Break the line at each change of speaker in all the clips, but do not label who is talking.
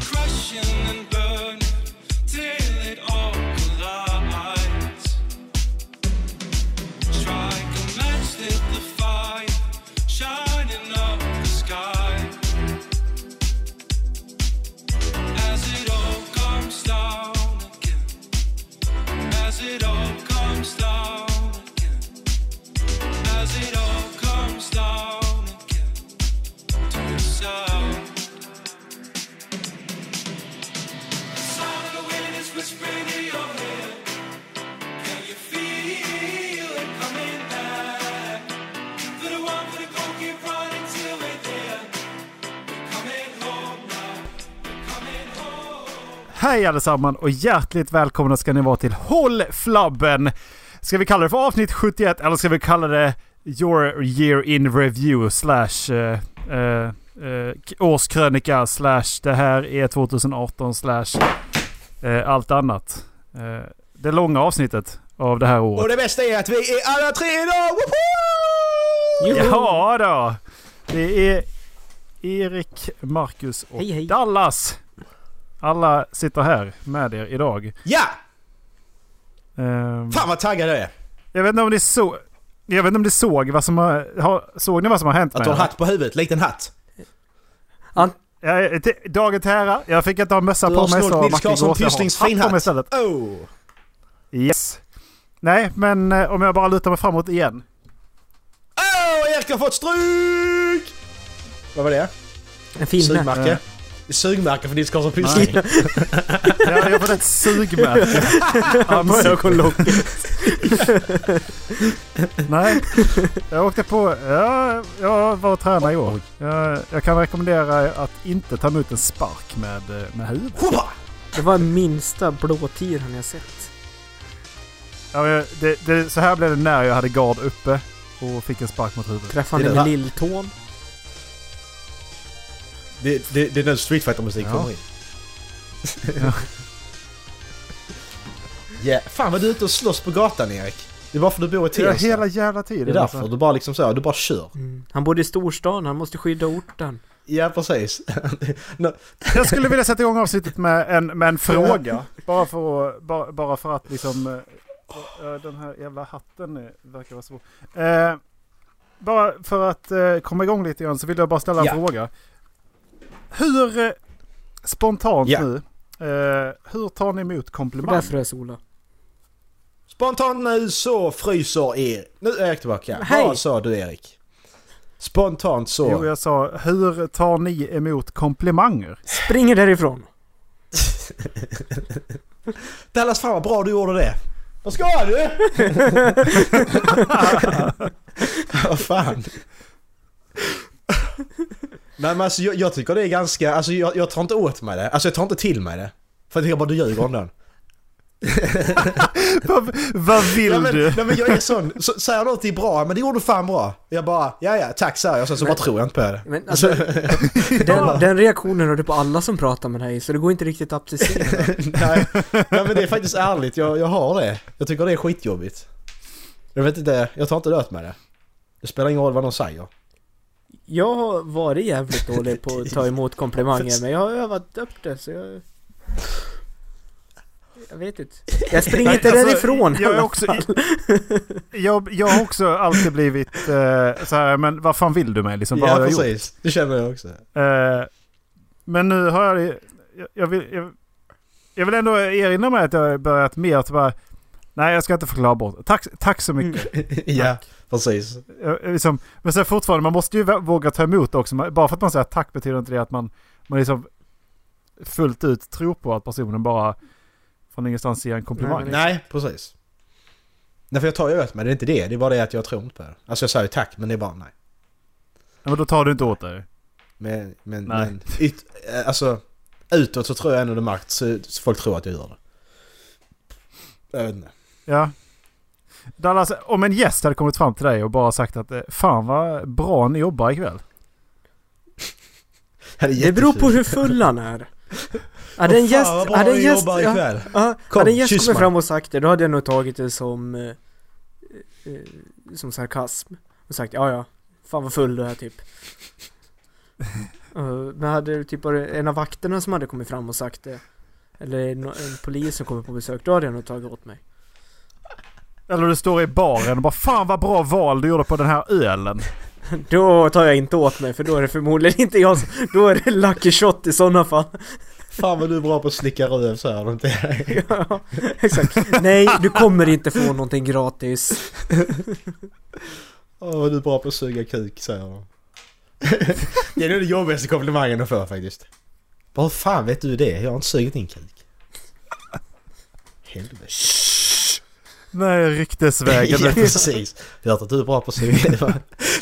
passion and burn till it all collides. Strike a match, lit the fire, shining up the sky. As it all comes down again, as it all comes down again, as it all comes down again to the sound. sound of the wind is whispering in your ear. Can you feel it coming back? For the one, for the go, keep running till we're there. We're coming home now. We're coming home.
Hej allesammans och hjärtligt välkomna ska ni vara till Håll Flabben! Ska vi kalla det för avsnitt 71 eller ska vi kalla det Your Year in Review slash eh, eh, eh, k- årskrönika slash det här är 2018 slash eh, allt annat. Eh, det långa avsnittet av det här
Och
året.
det bästa är att vi är alla tre idag! Woho!
Ja då! Det är Erik, Marcus och
Hej, hej.
Dallas. Alla sitter här med er idag.
Ja!
Ehm,
Fan vad taggad jag är!
Jag vet inte om ni såg... Jag vet inte om ni såg vad som har... har såg ni vad som har hänt
Att
med
du har
henne?
hatt på huvudet, liten hatt.
Jag- till- Dagen till ära. Jag fick inte ha mössa på
Du
mig.
har
så
snott Nils
Martin
Karlsson
Gåse har
Pysslings
hatt på mig
finhatt.
istället.
Oh!
Yes. Nej, men eh, om jag bara lutar mig framåt igen.
Åh, Erik har fått stryk! Vad var det?
En finne.
Sugmärke?
Eh.
Sugmärke för Nils Karlsson Pyssling.
Jag, jag har fått ett sugmärke. Ögonlocket. Nej, jag åkte på... Jag, jag var och tränade i år. Jag, jag kan rekommendera att inte ta emot en spark med, eh, med huvudet.
Hoppa!
Det var minsta blåtiran jag sett.
Ja, men det, det, så här blev det när jag hade gard uppe och fick en spark mot huvudet.
Det
Träffande
är
med
det.
lilltån.
Det, det, det är nu Street Fighter musik
Ja.
kommer in. yeah. Fan vad du är ute och slåss på gatan Erik. Det är bara för att du bor i
Ja,
Tensta.
hela jävla
Det är
tiden.
därför. Du bara liksom så, du bara kör.
Han bodde i storstan, han måste skydda orten.
Ja precis. Nå-
Jag skulle vilja sätta igång avsnittet med en, med en fråga. Bara för, att- bara, bara för att liksom... eh, eh, Den här jävla hatten eh, verkar vara svår. Eh, bara för att eh, komma igång lite grann så vill jag bara ställa en
Ja.
fråga. Hur eh, spontant
Ja.
nu, eh, hur tar ni emot
Och
komplimanger?
där frös Ola.
Spontant nu så fryser er. Nu är Erik tillbaka.
Hej.
Vad sa du Erik? Spontant så.
Jo, jag sa hur tar ni emot komplimanger?
Springer därifrån.
Dallas fan vad bra du gjorde det. Vad ska du? vad fan. Nej men alltså jag, jag tycker det är ganska, alltså jag, jag tar inte åt mig det. Alltså jag tar inte till mig det. För jag tycker bara du ljuger om den.
vad, vad vill
Nej men,
du?
nej, men jag är sån, så, säger något är bra, men det gjorde du fan bra. Jag bara, ja ja, tack säger jag, sen så bara tror jag inte på det.
Men alltså, den, den reaktionen har du på alla som pratar med dig, så det går inte riktigt att applicera.
Nej, nej men det är faktiskt ärligt, jag, jag har det. Jag tycker det är skitjobbigt. Jag vet inte, jag tar inte död med det. Det spelar ingen roll vad någon säger.
Jag har varit jävligt dålig på att ta emot komplimanger, men jag har övat upp det, så jag... Jag vet inte. Jag springer inte
Alltså,
därifrån
Jag, är
heller.
också, jag, jag har också alltid blivit eh, så här, men vad fan vill du mig? Liksom, vad har jag gjort?
Det känner jag också.
Eh, men nu har jag, jag, jag, vill, jag, jag vill ändå erinra mig att jag har börjat mer att bara, nej jag ska inte förklara bort. Tack, tack så mycket.
ja, precis.
Mm.
Jag- jag liksom, men sen fortfarande, man måste ju vä- våga ta emot också. Man- Bara för att man säger tack betyder inte det att man, man liksom fullt ut tror på att personen bara från ingenstans ger en komplimang.
Nej,
Nej, precis. Nej för jag tar ju åt mig, det är inte det. Det är bara det att jag tror inte på det. Alltså jag säger ju tack, men det är bara nej.
Ja, Men då tar du inte åt dig.
Men, men,
Nej.
men yt, eh, alltså utåt så tror jag ändå det makt så, så folk tror att jag gör det. Jag vet inte.
Ja. Dallas, om en gäst hade kommit fram till dig och bara sagt att eh, fan vad bra ni jobbar ikväll.
Det, är
Det beror på
jättefint.
hur full han är. Hade en
Fan,
gäst...
vad bra
Hade en
vi
gäst...
jobbar
ja,
ikväll.
ja,
Kom,
hade en gäst
kyss
kommit
mig.
fram och sagt det, då hade jag nog tagit det som... Eh, eh, som sarkasm. Och sagt ja, ja. Fan vad full du är typ. Eh, Men hade det typ varit en av vakterna som hade kommit fram och sagt det Eller en, en polis som kommer på besök, då hade jag nog tagit åt mig
Eller du står i baren och bara fan vad bra val du gjorde på den här ölen.
Då tar jag inte åt mig för då är det förmodligen inte jag som, Då är det lucky shot i sådana fall
Fan vad du är bra på att slicka röv så här. Inte?
Ja, exakt. Nej, du kommer inte få någonting gratis.
Åh, vad du är bra på att suga kuk säger de. det är nog den jobbigaste komplimangen de får faktiskt. Bara hur fan vet du det? Jag har inte sugit din kuk. Helvete.
Nej, ryktesvägen.
Ja, precis. Jag har hört att du är bra på att suga.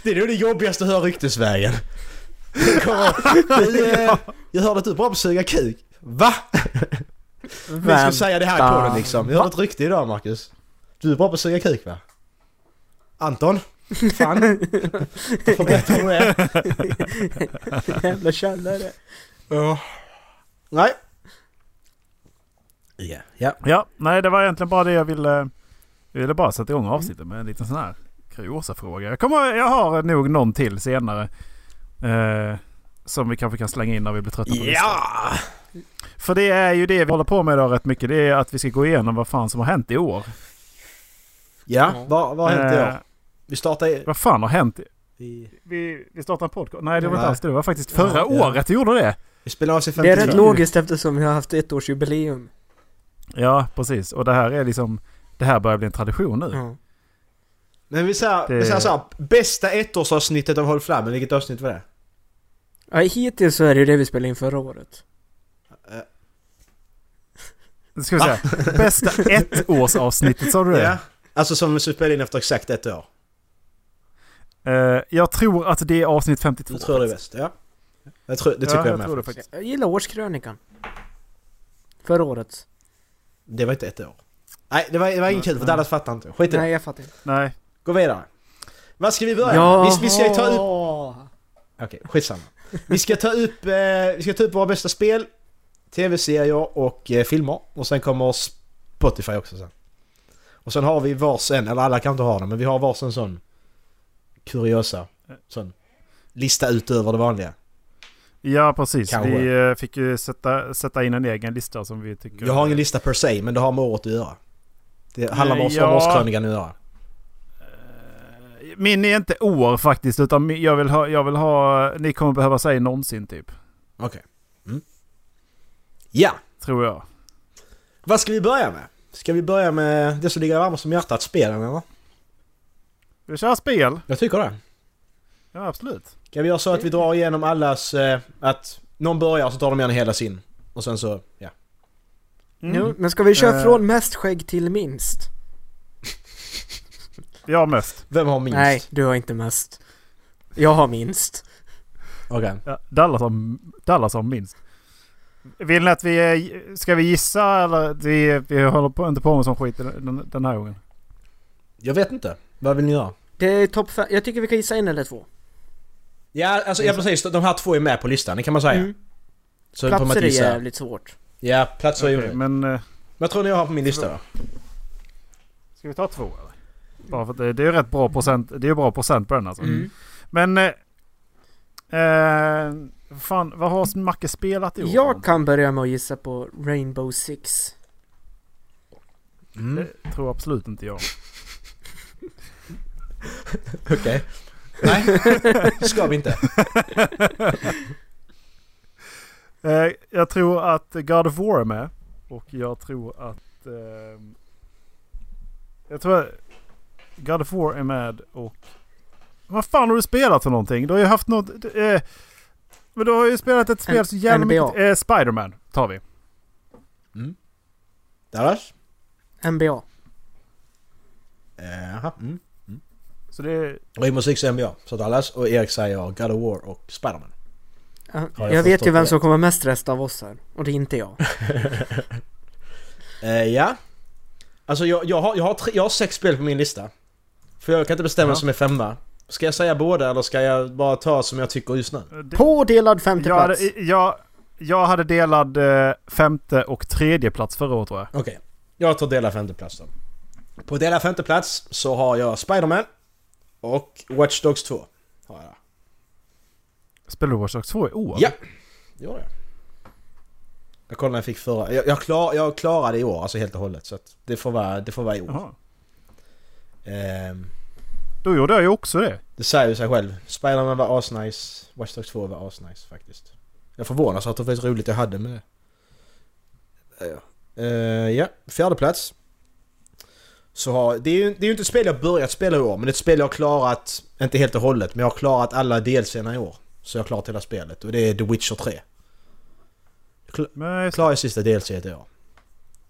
det är nog det jobbigaste att höra ryktesvägen. Det kommer- Du, eh, Jag hörde att du är bra på att suga kuk. Va? Vi skulle säga det här i
Vänta.
podden liksom. Jag hörde ett rykte idag Marcus. Du är bra på att suga kuk va? Anton? Fan. Du får berätta om det.
Jävla källare.
Ja. Nej. Ja. Ja.
Ja, nej det var egentligen bara det jag ville. Jag ville bara sätta igång avsnittet med en liten sån här kuriosa-fråga. Jag, kommer, jag har nog någon till senare. Eh, som vi kanske kan slänga in när vi blir trötta på listan.
Ja!
För det är ju det vi håller på med idag rätt mycket. Det är att vi ska gå igenom vad fan som har hänt i år.
Ja, vad vad har hänt i
Eh,
år? Vi startar i...
vad fan har hänt? i-
Vi,
Vi, vi startade en podcast. Nej det var
Nej.
inte alls det. Det var faktiskt förra
Ja, ja.
året vi gjorde det.
vi spelar av sig 50
Det är rätt logiskt eftersom vi har haft ett års jubileum.
Ja precis. Och det här är liksom. Det här börjar bli en tradition nu.
Ja.
Men vi säger, vi
Det-
säger såhär, bästa ettårsavsnittet av Håll Flammen, vilket avsnitt var det?
Ja, hittills så är det ju det vi spelade in förra året.
Nu ska vi säga. Bästa ettårsavsnittet sa du det?
Ja. Alltså som vi spelade in efter exakt ett år.
Eh, jag tror att det är avsnitt 52.
Jag tror det är bäst, ja. Jag tror, det tycker
ja,
jag,
jag
med.
tror det
faktiskt.
faktiskt.
Jag gillar årskrönikan. Förra året.
Det var inte ett år. Nej, det var, det var inget kul för Dallas fattar inte. Skit i det.
Nej, jag fattar inte.
Nej.
Gå vidare. Vad ska vi börja med? Vi, vi ska ju ta upp... Okej, skitsamma. Vi ska ta upp, eh, vi ska ta upp våra bästa spel, tv-serier och eh, filmer. Och sen kommer Spotify också sen. Och sen har vi varsin, eller alla kan inte ha den, men vi har varsin sån kuriosa. Sån lista utöver det vanliga.
Ja, precis.
Kanske.
Vi eh, fick ju sätta, sätta in en egen lista som vi tycker...
Jag har ingen lista per se, men det har med året att göra. Det handlar om
Ja.
ja. årskrönikan att göra.
Min är inte år faktiskt, utan min- jag vill ha... Jag vill ha ni kommer behöva säga någonsin, typ.
Okej. Mm. Ja,
Tror jag.
vad ska vi börja med? Ska vi börja med det som ligger varmast om hjärtat, spelen eller?
Vi kör spel.
Jag tycker det.
Ja, absolut.
Kan vi göra så
Mm.
att vi drar igenom allas... Eh, att någon börjar så tar de gärna hela sin. Och sen så, ja.
Mm. Jo, men ska vi köra
Eh.
från mest skägg till minst?
Jag mest.
Vem har minst?
Nej, du har inte mest. Jag har minst.
Okej.
Ja, Dallas, har, Dallas har minst. Vill ni att vi... eh, Ska vi gissa eller? Vi, vi håller på, inte på med sån skit den, den här gången.
Jag vet inte. Vad vill ni göra?
Det är topp fem. Jag tycker vi kan gissa en eller två.
Ja, alltså ja, precis. De här två är med på listan, det kan man säga.
Mm.
Så det
Platser
kommer
är
att gissa.
jävligt svårt.
Ja, platser är ju...
Okej, men... eh,
Vad tror ni jag har på min lista då?
Ska vi ta två eller? Bara för att det, det är ju rätt bra procent. Det är ju bra procent på den alltså.
Mm.
Men... Eh, eh, fan, vad har Macke spelat i år?
Jag kan börja med att gissa på Rainbow Six.
Mm.
Det tror absolut inte jag.
Okej. Nej, det ska vi inte.
Eh, jag tror att God of War är med. Och jag tror att... Eh, jag tror att God of War är med och... Vad fan har du spelat för någonting? Du har ju haft något... Eh, men du har ju spelat ett spel så jävla
NBA.
mycket... Eh, Spiderman tar vi.
Dallas?
NBA.
Jaha. Mm.
Så det...
Och i musik säger jag så Dallas och Erik säger God of War och Spiderman.
Ja,
jag
jag vet
förstår
ju vem
det.
som kommer mest resta av oss här. Och det är inte jag.
Eh, ja. Alltså jag, jag, har, jag, har tre, jag har sex spel på min lista. För jag kan inte bestämma
Ja.
vad som är femma. Ska jag säga båda eller ska jag bara ta som jag tycker just nu?
det
Pådelad femte
Jag
plats.
hade, jag, jag hade delad eh, femte och tredje plats förra året tror jag.
Okej. Jag tar delad femteplats då. På delad femteplats så har jag Spiderman och Watch Dogs 2. Har jag där.
Spelar du Watch Dogs 2 i år?
Ja. Det gjorde jag. Jag kollade när jag fick förra. Jag, jag, klar, jag klarade i år, alltså helt och hållet. Så att det, får vara, det får vara i år.
Jaha.
Ehm,
Då gjorde jag ju också det.
det säger ju sig själv. Spiderman var asnice. Watch Dogs 2 var asnice faktiskt. Jag förvånas att det var så roligt jag hade med det. Ja, Ja, Ehm, ja fjärde plats. Så har, det, är ju, det är ju inte ett spel jag börjat spela i år, men det är ett spel jag har klarat, inte helt och hållet, men jag har klarat alla delserna i år. Så jag har klarat hela spelet och det är The Witcher 3.
Men,
Jag klarar ju sista delseet i år.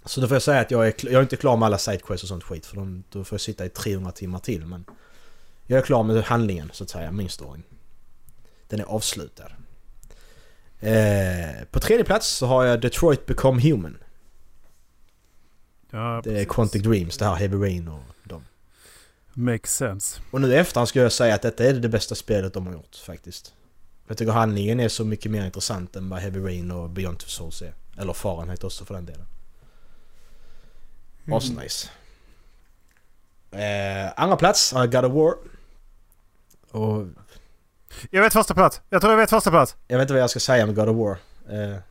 Så då får jag säga att jag är, kl- jag är inte klar med alla sidequests och sånt skit för de, då får jag sitta i 300 timmar till men... Jag är klar med handlingen så att säga, min story. Den är avslutad. Eh, på tredje plats så har jag Detroit Become Human.
ja,
Det är
precis.
Quantic Dreams, det här Heavy Rain och dem.
Makes sense.
Och nu i efterhand ska jag säga att detta är det bästa spelet de har gjort faktiskt. Jag tycker handlingen är så mycket mer intressant än vad Heavy Rain och Beyond Two Souls är. Eller Fahrenheit också för den delen.
Mm.
Asnice. Eh, andra plats har jag God of War. Och
Jag vet första plats. Jag tror jag vet första plats.
jag vet inte vad jag ska säga om God of War. Eh, det är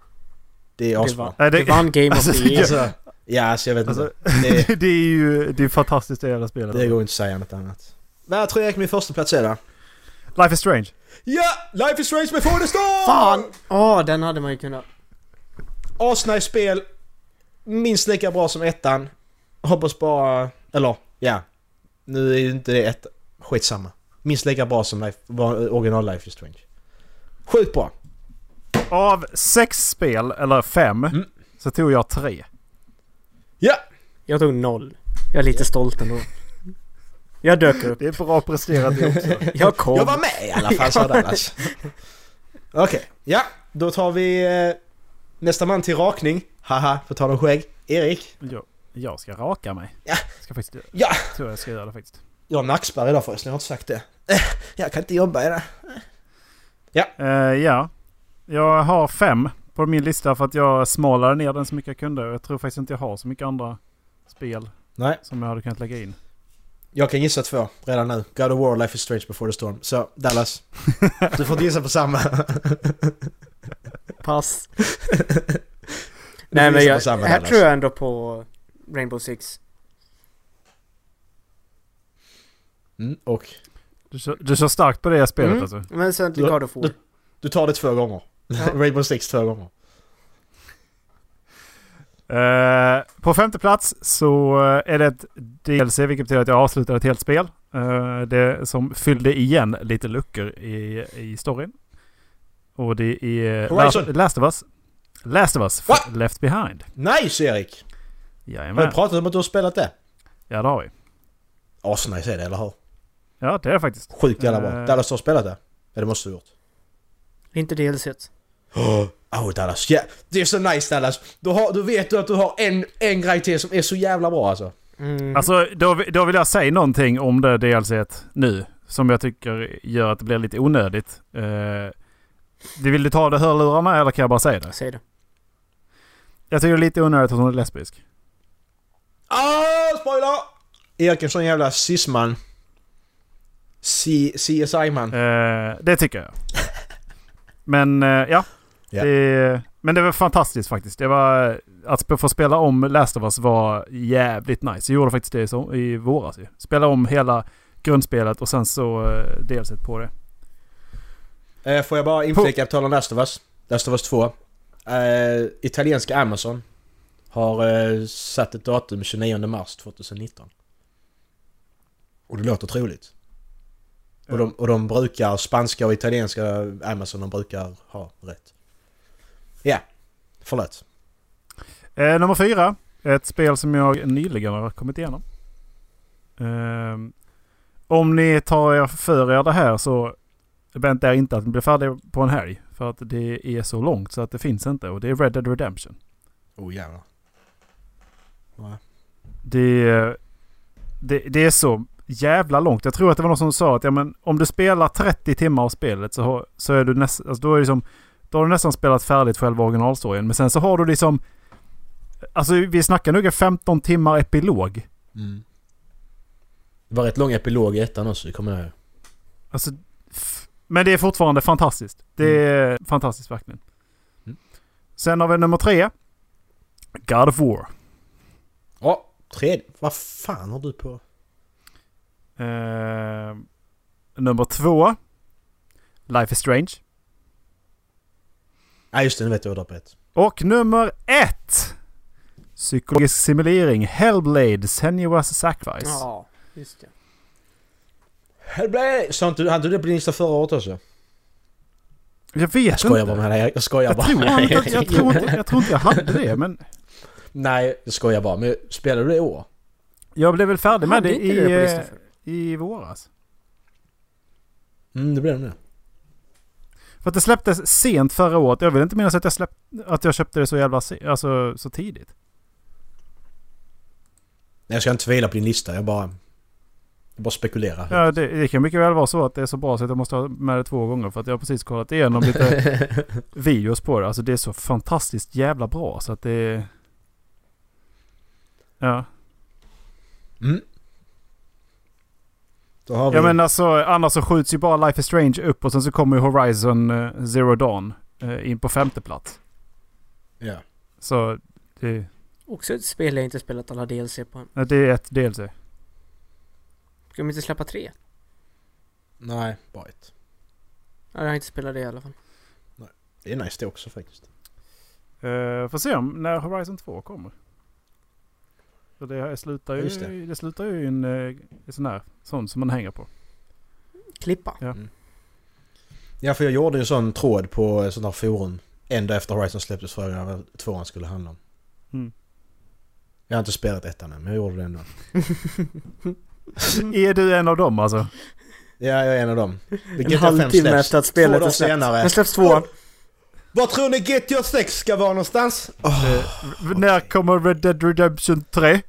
Det
asbra.
var-
Nej,
Det vann Game of
Alltså,
the Year.
Alltså, ja, alltså jag vet
Alltså,
inte. Det,
det är ju det är fantastiskt det jävla spelet.
det går inte att säga något annat. Men jag tror jag gick min första plats är det.
Life is Strange.
Ja! Life is strange before the storm!
Fan! Åh, den hade man ju kunnat...
Asnice spel. Minst lika bra som ettan. Hoppas bara... Eller, ja. Nu är ju inte det ett Skitsamma. Minst lika bra som life, var- original Life is Strange. Sjukt bra.
Av sex spel, eller fem,
Mm.
så tog jag tre.
Ja!
Jag tog noll. Jag är lite stolt ändå. Jag dök upp.
Det är bra presterat det också.
Jag kom.
Jag var med i alla fall sådär alltså. Okej, ja. Då tar vi eh, nästa man till rakning. Haha, på tal om skägg. Erik.
Jag, jag ska raka mig.
Ja.
Ska faktiskt,
Ja.
tror jag ska göra det faktiskt.
Jag har nackspärr idag förresten, jag har inte sagt det. Eh, Jag kan inte jobba idag.
Eh, ja. Jag har fem på min lista för att jag smalade ner den så mycket jag kunde. Jag tror faktiskt inte jag har så mycket andra spel
Nej.
som jag hade kunnat lägga in.
Jag kan gissa två redan nu. God of War, Life is Strange before the storm. Så Dallas, du får inte gissa på samma. Du
Pass.
får
Nej men
gissa
jag,
på samma,
här
Dallas.
tror jag ändå på Rainbow Six.
Mm, och
Du kör, du kör starkt på det spelet
Mm.
alltså?
Men sen
Du-
God of War.
du- du tar det två gånger. Rainbow Six två gånger.
Eh, på femte plats så eh, är det ett DLC, vilket betyder att jag avslutar ett helt spel. Eh, det som fyllde igen lite luckor i, i storyn. Och det är
Horizon.
Last, Last of Us. Last of Us,
Va?
f- Left Behind.
Nice Erik! Har
Jajamän.
du pratat om att du har spelat det?
Ja, det har vi.
Asnice är det, eller hur?
Ja, det är det faktiskt.
Sjukt jävla bra.
Eh.
Dallas, du har spelat det? Ja, det måste du ha gjort.
Inte DLC. -et.
Åh oh, Dallas, ja. Det är så nice Dallas. Du, har, du vet du att du har en, en grej till som är så jävla bra alltså.
Mm.
Alltså, då, vi- då vill jag säga någonting om det DLCt nu. Som jag tycker gör att det blir lite onödigt. Uh, vill du ta det i hörlurarna eller kan jag bara säga det?
Säg det.
Jag tycker det är lite onödigt att hon är lesbisk.
Ah, spoiler! Erik är en sån jävla cis-man. C- CSI-man.
Eh, det tycker jag. Men eh, ja.
Ja.
Det, men det var fantastiskt faktiskt. Det var, att sp- få spela om Last of Us var jävligt nice. Jag gjorde faktiskt det i som, i våras ju. Spela om hela grundspelet och sen så eh, dels ett på det.
Eh, får jag bara inflika på tal om Last of Us. Last of Us 2. Eh, italienska Amazon har eh, satt ett datum 29 mars 2019. Och det låter troligt. Och de, och de brukar, spanska och italienska Amazon, de brukar ha rätt. Ja, förlåt.
Eh, nummer fyra. Ett spel som jag nyligen har kommit igenom. Ehm, om ni tar er för er det här så vänta er inte att ni blir färdiga på en helg. För att det är så långt så att det finns inte. Och det är Red Dead Redemption.
Oh jävlar. Nej.
Det, det, det är så jävla långt. Jag tror att det var någon som sa att ja, men om du spelar 30 timmar av spelet så, har- så är du nästan... Alltså, då, är det som- då har du nästan spelat färdigt själva originalstoryn. Men sen så har du liksom... Alltså vi snackar nog 15 timmar epilog.
Mm. Det var rätt lång epilog i ettan också, det kommer jag ihåg.
Alltså f- Men det är fortfarande fantastiskt. Det är fantastiskt verkligen.
Mm.
Sen har vi nummer tre. God of War.
Ja, tredje. Vad fan har du på?
Eh, nummer två. Life is Strange.
Ja just det, nu vet jag vad du har på ett.
Och nummer ett. Psykologisk simulering. Hellblade. Senua's Sacrifice.
Ja, just det.
Hellblade! Sa inte du, hade du det på din lista förra året också?
Jag vet
Jag skojar
inte.
bara med dig, jag skojar
Jag
bara.
tror, jag, jag, jag, tror inte, jag tror inte jag hade det men
Nej, jag skojar bara. Men spelar du det i år?
jag blev väl färdig med
Hade
det
inte du det på
i,
listan
eh,
förut?
i våras.
Mm, det blir det nu.
För att det släpptes sent förra året. Jag vill inte minnas att jag, släpp, att jag köpte det så jävla se, alltså, så tidigt.
Nej, jag ska inte tvivla på din lista. Jag bara... Jag bara spekulerar.
Ja, det, det kan mycket väl vara så att det är så bra så att jag måste ha med det två gånger. För att jag har precis kollat igenom lite videos på det. Alltså det är så fantastiskt jävla bra så att det... Ja.
Mm. Då har vi...
Ja men alltså annars så skjuts ju bara Life is Strange upp och sen så kommer ju Horizon eh, Zero Dawn eh, in på femte plats.
Ja.
Så det,
Också ett spel jag inte spelat alla DLC på.
det är ett DLC.
Ska de inte släppa tre?
Nej, bara ett.
Ja, jag har inte spelat det i alla fall.
Det är nice det också faktiskt.
Uh, får se om när Horizon 2 kommer. För det här slutar ju,
Ja, just
det.
det.
slutar ju i en, eh, i sån här sån som man hänger på.
Klippa.
Ja, för jag gjorde ju en sån tråd på sådana här forum. En dag efter Horizon släpptes frågan jag vad tvåan skulle handla om.
Mm.
Jag har inte spelat ettan än, men jag gjorde det ändå. Mm.
Är du en av dem alltså?
Ja, jag är en av dem. Det
En halvtimme efter att spelet
två
är
dagar
släppt.
senare.
Men släpps tvåan.
Var tror ni GTA 6 ska vara någonstans? Eh,
V- När kommer Red Dead Redemption 3?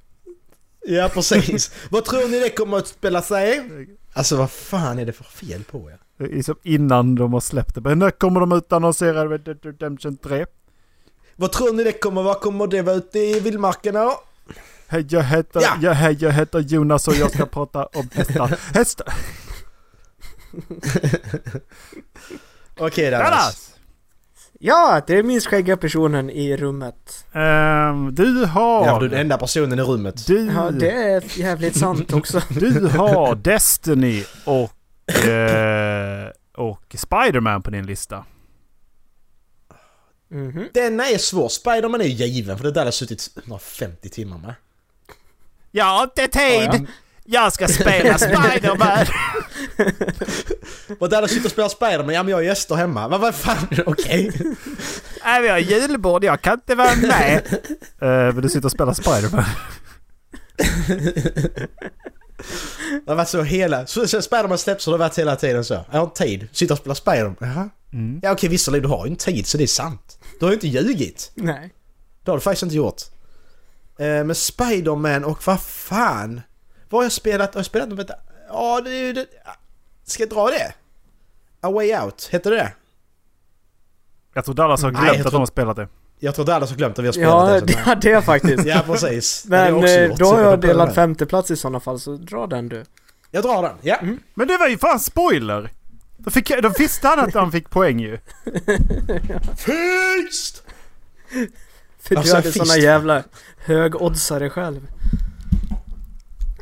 Ja, precis. Vad tror ni det kommer att spela sig? Alltså vad fan är det för fel på er?
Det är Liksom innan de har släppt det. Men när kommer de utannonsera Red Dead Redemption 3?
Vad tror ni det kommer vara? Kommer det vara ute i vildmarkerna då?
Hej jag heter,
Ja.
ja, hej, jag heter Jonas och jag ska prata om hästar. Hästar!
Okej Dallas.
Ja, det är minst skäggiga personen i rummet.
Ehm, du har...
Ja, för du är den enda personen i rummet.
Du,
Ja, det är jävligt sant också.
du har Destiny och, eh, och Spider-Man på din lista.
Mhm.
Denna är svår. Spiderman är ju given för det där har suttit 150 timmar med.
Jag har inte tid!
Ja,
Jag ska spela Spider-Man!
Och där har suttit och spelat Spiderman, ja men jag har gäster hemma. Men vad fan, okej.
Nej, vi har julbord, jag kan inte vara med! men Eh, du sitter och spelar Spider-Man.
Det har varit så hela... Så, så Spiderman släpps har det varit hela tiden så. Jag har inte tid. Sitter och spelar Spiderman. Jaha.
Mm.
Ja okej visserligen, du har ju inte tid så det är sant. Du har ju inte ljugit.
Nej.
Det har du faktiskt inte gjort. Eh, men Spider-Man och vad fan? Vad har jag spelat? Har jag spelat något? Vänta. Ja, det är ju det... Ska jag dra det? A Way Out, heter det det?
Jag tror Dallas har glömt
Nej, jag
att de
tror-
har spelat det.
Jag tror Dallas har glömt att vi har spelat
Ja,
det.
det
så-
hade jag faktiskt.
Ja, precis. Det har jag
Men
också
eh,
gjort.
då har jag delat
den.
femte plats i sådana fall, så dra den du.
Jag drar den, ja.
Mm.
Men det var ju fan spoiler! Då, fick, då visste han att han fick poäng ju.
Fist!
För
Alltså,
du hade
fist.
såna jävla högoddsare själv.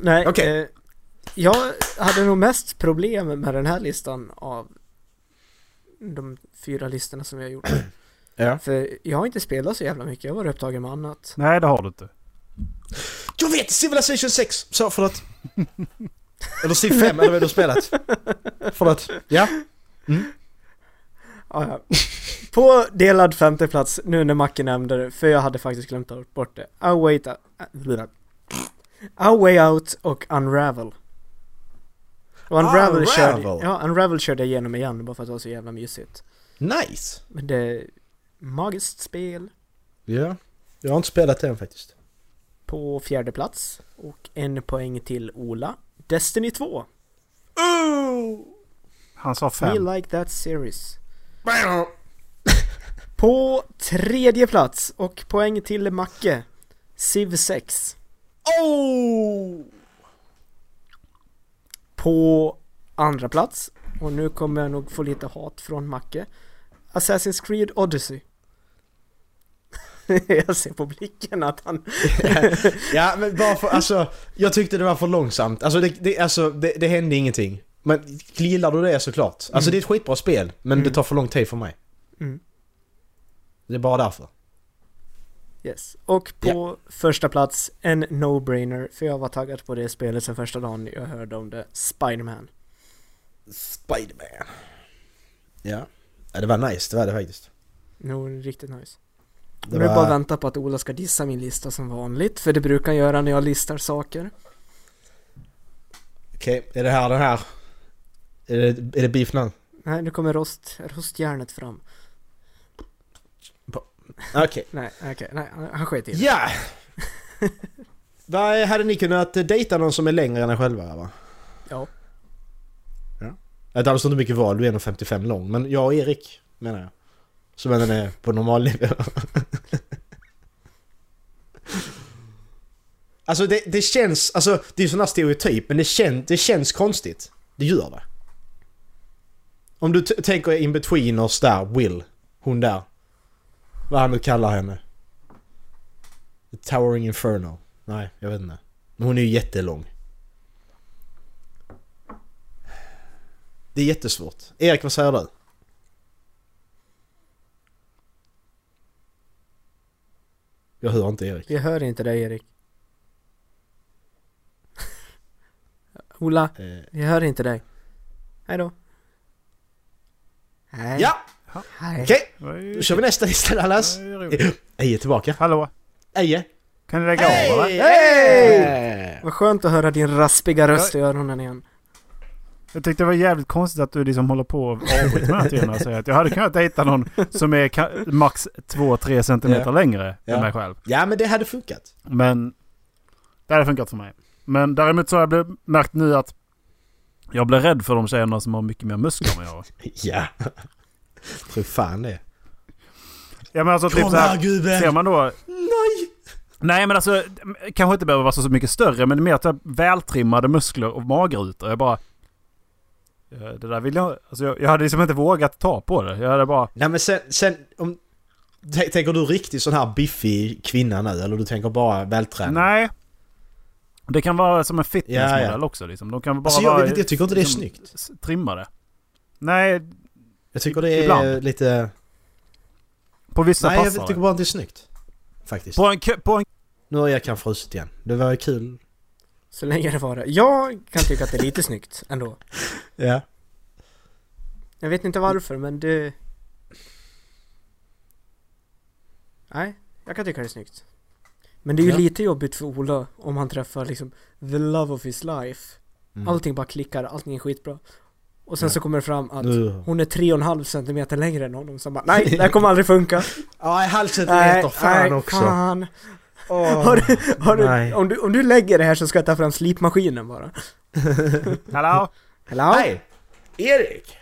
Nej,
Okej.
eh, jag hade nog mest problem med den här listan av de fyra listorna som jag gjort.
Ja.
För jag har inte spelat så jävla mycket, jag var upptagen med annat.
Nej, det har du inte.
Jag vet! Civilization 6! Så, förlåt. eller Civ 5, eller vad du har spelat. Förlåt. Ja.
Ah, ja. På delad femte plats nu när Macke nämnde det, för jag hade faktiskt glömt ta bort det. A Way, Ta- äh, A Way Out och Unravel. Och Unravel, Körde,
Unravel.
ja, Unravel körde jag igenom igen bara för att det var så jävla mysigt.
Nice!
Men det är magiskt spel
Ja. Jag har inte spelat den faktiskt.
på fjärde plats och en poäng till Ola. Destiny 2. Oh!
Han sa
We
fem.
like that series. På tredje plats och poäng till Macke. Civ 6.
Oh!
På andra plats och nu kommer jag nog få lite hat från Macke. Assassin's Creed Odyssey. jag ser på blicken att han...
Ja men bara för, alltså, jag tyckte det var för långsamt. Alltså det, det, alltså, det, det hände ingenting. Men gillar du det såklart. Alltså det är ett skitbra spel, men det tar för lång tid för mig.
Mm.
Det är bara därför.
Yes. Och på första plats, en no-brainer, för jag var taggad på det spelet sen första dagen jag hörde om det, Spiderman.
Spiderman. Ja. ja, det var nice, det var det faktiskt.
Jo, riktigt nice.
Det
Nu är det bara
var...
att vänta på att Ola ska dissa min lista som vanligt, för det brukar han göra när jag listar saker.
Okej, är det här den här? Är det, är det beef nu?
Nej, nu kommer rost, rostjärnet fram.
Okej.
Nej, okej, nej, han han sket i det.
Ja! Där hade ni kunnat dejta någon som är längre än er själva va?
Ja.
Ja. Det hade inte mycket val, du är 55 lång. Men jag och Erik menar jag. Som även är på normal nivå. alltså det, det känns, alltså det är ju sån här stereotyp men det, kän, det känns konstigt. Det gör det. Om du t- tänker in between oss där, Will. Hon där. Vad han nu kallar henne. The Towering Inferno. Nej, jag vet inte. Men hon är ju jättelång. Det är jättesvårt. Erik, vad säger du? Jag hör inte Erik.
Vi hör inte dig Erik. Ola,
Eh,
vi hör inte dig. Hej då. Nej.
ja,
Hej.
okej.
Oj,
Då kör vi nästa lista Dallas.
oj, oj.
Äh, Eje är tillbaka.
Hallå?
Eje.
Kan du lägga av eller?
Hey!
Vad skönt att höra din raspiga röst i öronen igen.
Jag tyckte det var jävligt konstigt att du liksom håller på och avbryter mig hela tiden och säger att jag hade kunnat dejta någon som är ka- max 2-3 centimeter
Ja.
längre
Ja.
än mig själv.
Ja, men det hade funkat.
Men det hade funkat för mig. Men däremot så har jag bli- märkt nu att jag blir rädd för de tjejerna som har mycket mer muskler än jag har.
Ja. Tror fan det.
Ja men alltså typ så här, ser
gubben!
man då...
Nej!
Nej men alltså, kanske inte behöver vara så så mycket större men det är mer att jag vältrimmade muskler och magrutor. Jag bara... eh, Det där vill jag... Alltså jag, jag hade liksom inte vågat ta på det. Jag hade bara...
Nej men sen, sen om... T- Tänker du riktigt sån här biffig kvinna nu eller du tänker bara vältränad?
Nej. Det kan vara som en fitnessmodell
Ja, ja.
också liksom. De kan bara
Alltså
vara...
jag, vet, jag tycker inte det är
liksom,
snyggt.
s- Trimmade. Nej,
Jag tycker det är
ibland.
lite...
på vissa
Nej jag
passar
tycker
det.
bara inte det är snyggt. Faktiskt.
På en, kö- på en
Nu har jag kan frusit igen. Det var ju kul.
Så länge det var det. Jag kan tycka att det är lite snyggt ändå.
Ja.
Jag vet inte varför men det... Nej, jag kan tycka det är snyggt. Men det är ju
Ja.
lite jobbigt för Ola om han träffar liksom the love of his life.
Mm.
Allting bara klickar, allting är skitbra. Och sen
Ja.
så kommer det fram att
Nu.
hon är 3,5 centimeter längre än honom. Så han bara, nej, det här kommer aldrig funka.
Ja, en halv centimeter.
nej,
Fan
nej,
också.
Fan.
Åh.
Har du, har
nej.
du, om, du, om du lägger det här så ska jag ta fram slipmaskinen bara.
Hallå?
Hello?
Nej! Erik!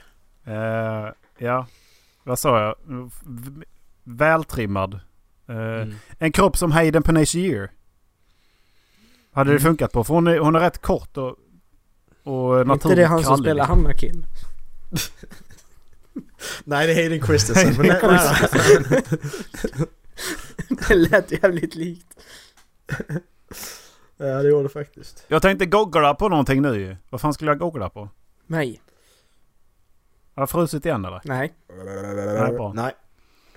Eh, ja, vad sa jag? V- Vältrimmad. Eh,
Mm.
En kropp som Hayden Panettiere. Hade
Mm.
det funkat på. För hon är, hon är rätt kort och, och
Är inte
naturligt
det han som
krallig.
spelar Anakin?
Nej det är Hayden Christensen. men nej, nej, nej.
Det lät jävligt likt.
Ja det gjorde det faktiskt.
Jag tänkte googla på någonting nu ju. Vad fan skulle jag googla på?
Nej,
Har jag frusit igen eller?
nej.
Nej, bra.
Nej.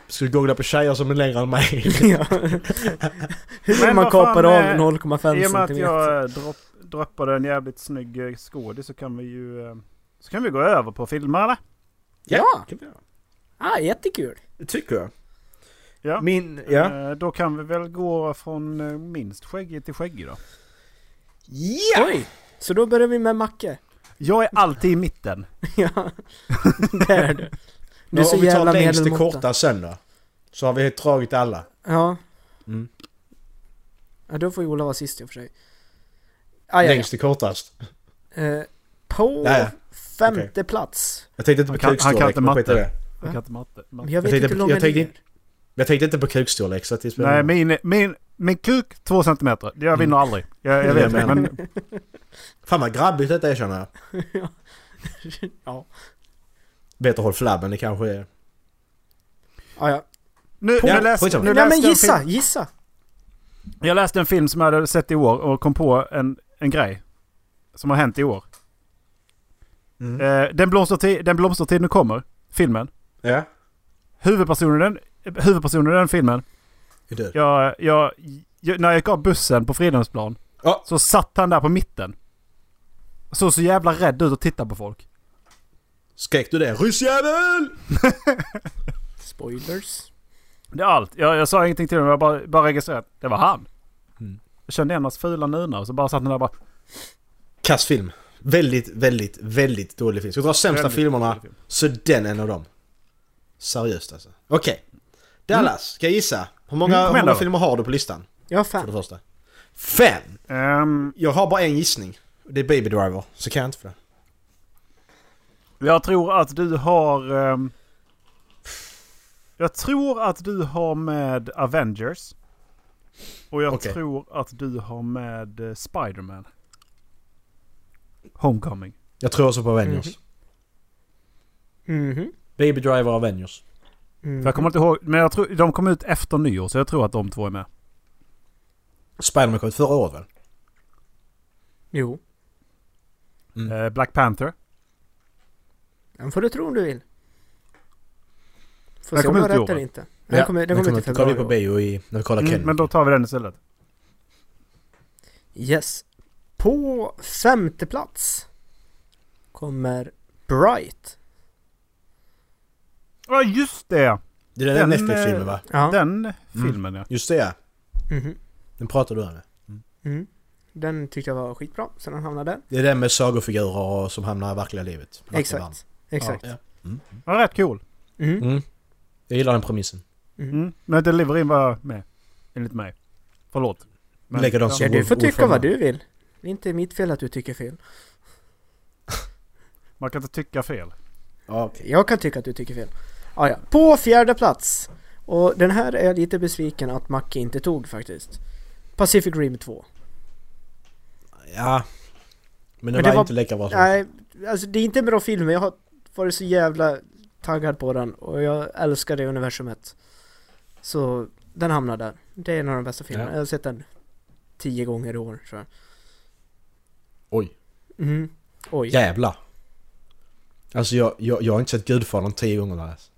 Skulle googla på tjejer som är längre än mig.
Ja. Hur
Men
man
vad fan,
kapar av
eh,
0,5
I och med
centimeter.
att jag eh, dropp, droppade en jävligt snygg eh, skådis så kan vi ju... eh, Så kan vi gå över på filmer eller?
Ja.
kan vi göra.
Ah, jättekul.
Det tycker jag.
Ja.
Min... Ja.
Eh, Då kan vi väl gå från eh, minst skäggig till skäggig då.
Ja!
Oj! Så då börjar vi med Macke.
Jag är alltid i mitten.
Ja, det är du. Du är
Men
så
om vi
jävla
tar längst till
medelmåtta.
korta sen då. Så har vi dragit alla.
Ja.
Mm.
Ja, då får ju Ola vara sist i och för sig. Ah, ja,
Längst till kortast.
ja. Eh, på
Ja, ja.
femte plats.
Jag tänkte inte på
Han kan- han kan
kukstorlek,
inte
men skit i
matte.
det.
Jag
Va?
kan inte matte. matte.
Men jag vet
tänkte-
inte hur lång
jag
den
tänkte
är.
inte- Jag tänkte inte på kukstorlek så att det spelar
Nej,
ingen roll.
min, min, min kuk två centimeter. Jag vinner aldrig. Jag, jag
Jag
vet det.
menar.
Men
Fan vad grabbigt detta är känner jag.
ja.
Bättre håll flabben, det kanske är...
Ah, ja.
Nu,
Ja,
nu läste,
skitsamma.
nu
Nej men
läste jag en
gissa,
Film,
gissa!
jag läste en film som jag hade sett i år och kom på en, en grej. Som har hänt i år.
Mm.
Eh, den, blomstertid, den blomstertid nu kommer, filmen.
Ja.
Huvudpersonen, i den- huvudpersonen i den filmen
Är död.
Jag, jag, jag, när jag gick av bussen på Fridhemsplan
Ja.
så satt han där på mitten. Såg så jävla rädd ut och tittade på folk.
Skrek du det? Ryssjävel!
Spoilers.
Det är allt. Jag, jag sa ingenting till honom, jag bara, bara registrerade. att Det var han.
Mm.
Jag kände igen hans fula nuna och så bara satt han där och bara...
Kass film. Väldigt, väldigt, väldigt dålig film. Ska vi dra sämsta
Väldigt
filmerna
dålig film.
så den är en av dem. Seriöst alltså. Okej. Dallas, ska jag gissa? Hur många,
Mm, kom
hur
igen
många
då.
filmer har du på listan?
Ja
För det
fan.
första. Fem!
Ehm,
Jag har bara en gissning. Det är Baby Driver, så kan jag inte för det.
jag tror att du har... ehm, jag tror att du har med Avengers. Och jag
Okej.
tror att du har med eh, Spider-Man. Homecoming.
Jag tror också på Avengers.
Mhm. Mhm.
Baby Driver och Avengers.
Mm.
För jag kommer inte ihåg, men jag tror, de kom ut efter nyår så jag tror att de två är med.
Spiderman kom ut förra året väl?
Jo,
Eh, Black Panther.
den får du tro om du vill. Får
Den
se om
kommer
jag
ut i
har
år,
rätt eller
va?
inte. Den kommer den kommer ut i
kollade vi på
februari.
bio i, när vi kollade
Mm,
Ken.
men då tar vi den istället.
Yes. På femte plats kommer Bright.
Ja just det!
Det är den,
Den,
Netflix-filmen va?
Ja. Mm.
Den filmen ja.
Just det ja.
Mhm.
Den pratade du om.
Mm. Den tyckte jag var skitbra, så den hamnade där.
Det är den med sagofigurer och- som hamnar i verkliga livet. Verkliga världen.
Exakt. Exakt.
Ja.
Var rätt cool.
Mm.
Mm. Jag gillar den premissen.
Mm. Men Delivery var med. Enligt mig. Förlåt. Men,
Likadant
ja.
som-
Ja, du får tycka
Ordförande.
vad du vill. Det är inte mitt fel att du tycker fel.
Man kan inte tycka fel.
Ja,
Jag kan tycka att du tycker fel. Ah, ja. På fjärde plats. Och den här är jag lite besviken att Macke inte tog faktiskt. Pacific Rim 2.
ja. Men det,
Men det
var,
var-
inte lika bra som...
Nej, alltså det är inte en bra film men jag har varit så jävla taggad på den och jag älskar det universumet. Så den hamnar där. Det är en av de bästa filmerna.
Ja.
Jag har sett den tio gånger i år tror
Oj.
jag. Mm. Oj.
Jävlar. Alltså jag, jag, jag har inte sett Gudfadern tio gånger Andreas.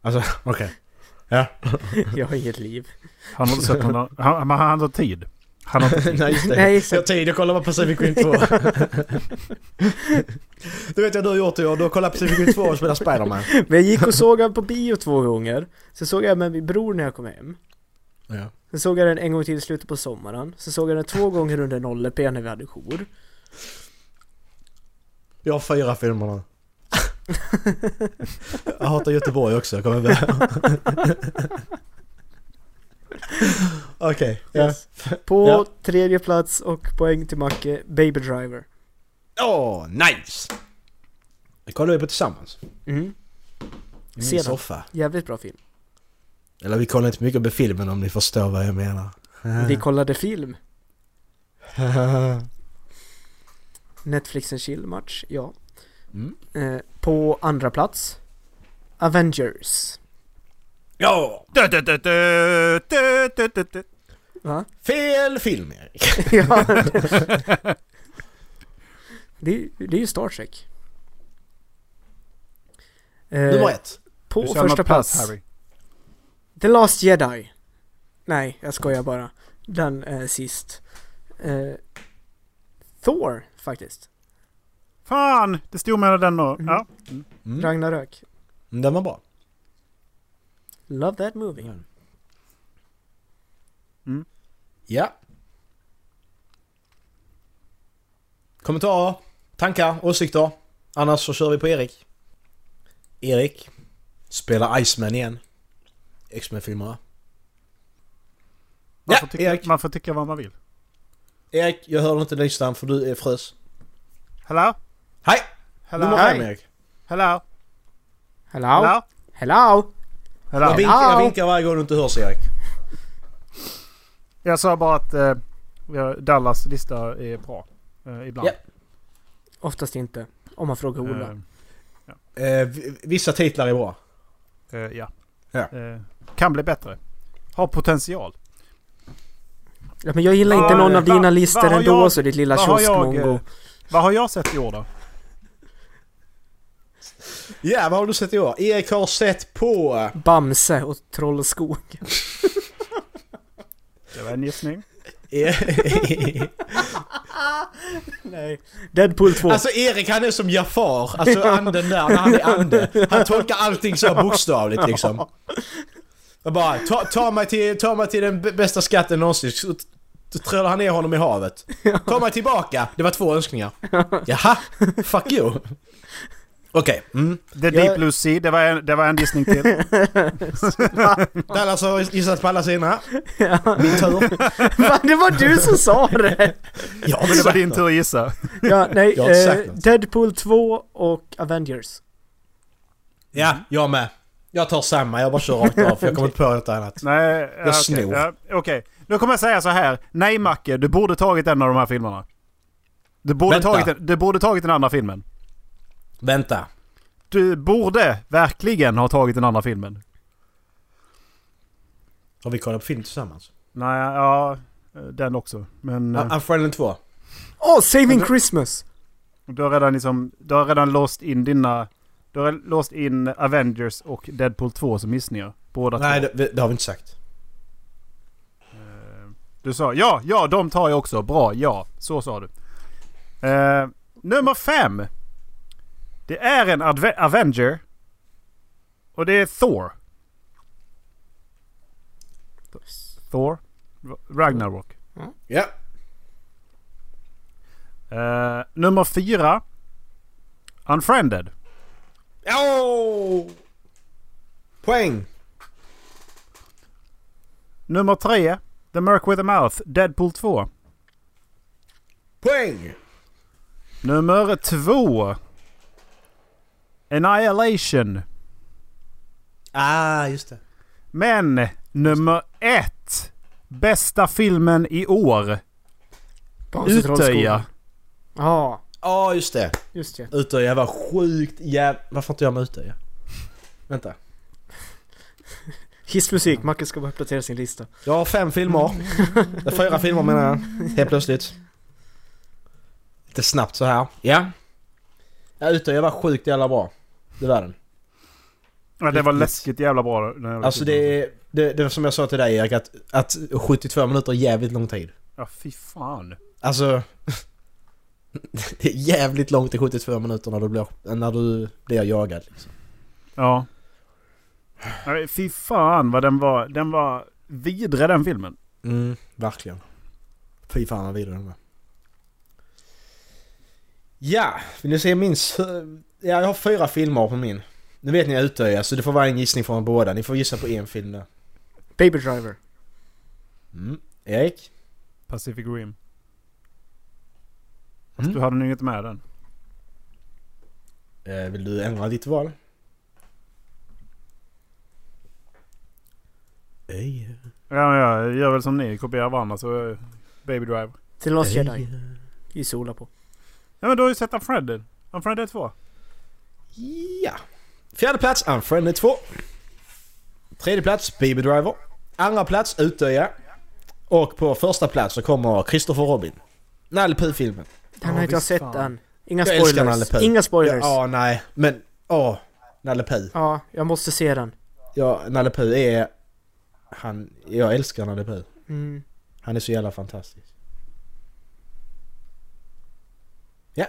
Alltså, okej. Ja.
Jag har inget liv.
Han har inte sett någon, han, han, han har inte tid. Han har inte tid.
Nej, just det.
Nej,
jag har
exakt.
tid, jag kollar på Pacific Rim 2. du vet jag du har gjort det, jag. du har kollat Pacific Rim 2 och spelat Spiderman.
Men jag gick och såg den på bio två gånger. Sen såg jag den med min bror när jag kom hem.
Ja.
Sen såg jag den en gång till i slutet på sommaren. Sen såg jag den två gånger under 0 p när vi hade jour.
Jag har fyra filmer nu. jag hatar Göteborg också, jag kommer med. Okej, ja.
Yes. På
Ja.
tredje plats och poäng till Macke, Baby Driver.
Åh, nice! Det kollar vi på tillsammans.
Mm.
I min
Sedan.
soffa.
Jävligt bra film.
Eller vi kollar inte mycket på filmen om ni förstår vad jag menar.
Vi kollade film. Netflix en chill match, ja.
Mm.
Eh, på andra plats. Avengers.
ja!
Du, du, du, du, du, du, du, du.
Va?
Fel film Erik!
ja. det, är- det är ju Star Trek. Eh,
Nummer ett.
På
Du känner
första plats.
Harry.
The Last Jedi. Nej, jag skojar bara. Den eh, sist. Eh, Thor, faktiskt.
Fan! Det stod mellan den och...
Mm.
Ja.
Mm.
Ragnarök.
Den var bra.
Love that movie.
Ja. Kommentarer, tankar, åsikter. Annars så kör vi på Erik. Erik. Spelar Iceman igen. X-Men-filmerna.
Man,
Ja,
får tycka,
Erik.
man får tycka vad man vill.
Erik, jag hörde inte listan för du är frös.
Hello?
Hej!
Hello?
Nummer fem
Hello?
Erik.
Hello?
Hello?
Hello?
Hello?
Jag
Hello?
vinkar, jag
Hallå.
vinkar varje gång du inte hörs Erik.
Jag sa bara att eh, ja, Dallas lista är bra. Eh, ibland.
Ja.
Oftast inte. Om man frågar Ola.
Eh,
Eh, v- vissa titlar är bra.
eh, ja.
Ja.
Eh, kan bli bättre. Har potential.
Ja, men jag gillar inte
Vad-
någon av
vad-
dina
vad
listor
har
ändå
jag-
så ditt lilla
vad har jag,
kioskmongo.
eh, Vad har jag sett i år då?
Ja, vad har du sett i år? Erik har sett på...
Bamse och Trollskog.
Det var en gissning.
E-
Nej. Deadpool 2.
alltså Erik han är som Jafar, alltså anden där när han är ande. Han tolkar allting så här bokstavligt liksom. Jag bara, ta, ta, mig till, ta mig till den b- bästa skatten någonsin. Så t- t- trölar han ner honom i havet. Ta mig tillbaka! Det var två önskningar. Jaha, fuck you. Okej, mm.
The Deep Blue Sea, det var en, det var en gissning till.
Dallas har gissat på alla sina. Min tur.
Fan, det var du som sa det!
Jag har
Men det var
sagt
din
något.
tur att gissa.
Ja, nej.
Jag har inte sagt
Eh,
något.
Deadpool 2 och Avengers.
Ja, jag med. Jag tar samma, jag bara kör rakt av för jag kommer inte på något annat.
Nej, jag okej.
snor.
Ja, okej. Nu kommer jag säga så här. Nej Macke, du borde tagit en av de här filmerna. Du borde,
Vänta.
tagit, den- du borde tagit den andra filmen.
Vänta.
Du borde verkligen ha tagit den andra filmen.
Har vi kollat på film tillsammans?
Nej, ja. Den också. Men eh,
Mm. Unfriended 2.
Åh, Saving Christmas!
du har redan liksom... Du har redan låst in dina... Du har låst in Avengers och Deadpool 2 som gissningar. Båda
Nej,
två.
det, det har vi inte sagt.
Du sa ja, ja, de tar jag också. Bra, ja. Så sa du. Eh, nummer fem. Det är en adve- Avenger. Och det är Thor. Thor. R- Ragnarok.
Ja.
Eh, nummer fyra. Unfriended.
Oh! Poäng!
Nummer tre. The Merc with a Mouth. Deadpool 2.
Poäng!
Nummer två. Annihilation.
Ah, just det.
Men nummer ett. Bästa filmen i år.
Bamse och
Utöja.
Ja,
Ja, Ah, just det.
just det.
Utöja var sjukt jävla... Varför inte jag med Utöja? Vänta.
Hissmusik, Macke ska bara uppdatera sin lista.
Jag har fem filmer. Det är fyra filmer menar jag. Helt plötsligt. Lite snabbt så här. Ja. Ja, Utöja var sjukt jävla bra. Det var den.
Ja, det var
Riktigt.
läskigt jävla bra. den här
Alltså
filmen.
det, det, det var som jag sa till dig Erik, att, att 72 minuter är jävligt lång tid.
Ja, fy fan.
Alltså... Det är jävligt långt till 72 minuter när du blir, när du blir jagad. Liksom.
Ja. Nej, Fy fan vad den var. Den var vidre den filmen.
Mm, verkligen. Fy fan vad vidrig den var. Ja, vill ni se min... s- Ja, jag har fyra filmer på min. Nu vet ni jag utöja, så det får vara en gissning från båda. Ni får gissa på en film där.
Baby Driver.
Mm. Erik?
Pacific Rim. Fast
Mm.
du hade nog inte med den.
Eh, vill du ändra ditt val? Ej,
Ja, ja, jag gör väl som ni. Kopierar varandra så... eh, Baby Driver.
Till Last
ej.
Jedi. Gissa Ola på.
Ja, men du har ju sett Unfriended. Unfriended 2.
Ja. Fjärde plats, Unfriended 2. Tredje plats, Baby Driver. Andra plats, Utöja. Och på första plats så kommer Christopher Robin. Nalle Puh-filmen.
Den
Ja,
har inte jag
visst
sett
fan.
än. Inga
Jag älskar Nalle
spoilers.
Puh.
Inga spoilers.
Ja, nej. Men, åh. Nalle Puh.
Ja, jag måste se den.
Ja, Nalle Puh är... Han... Jag älskar Nalle Puh.
Mm.
Han är så jävla fantastisk. Ja.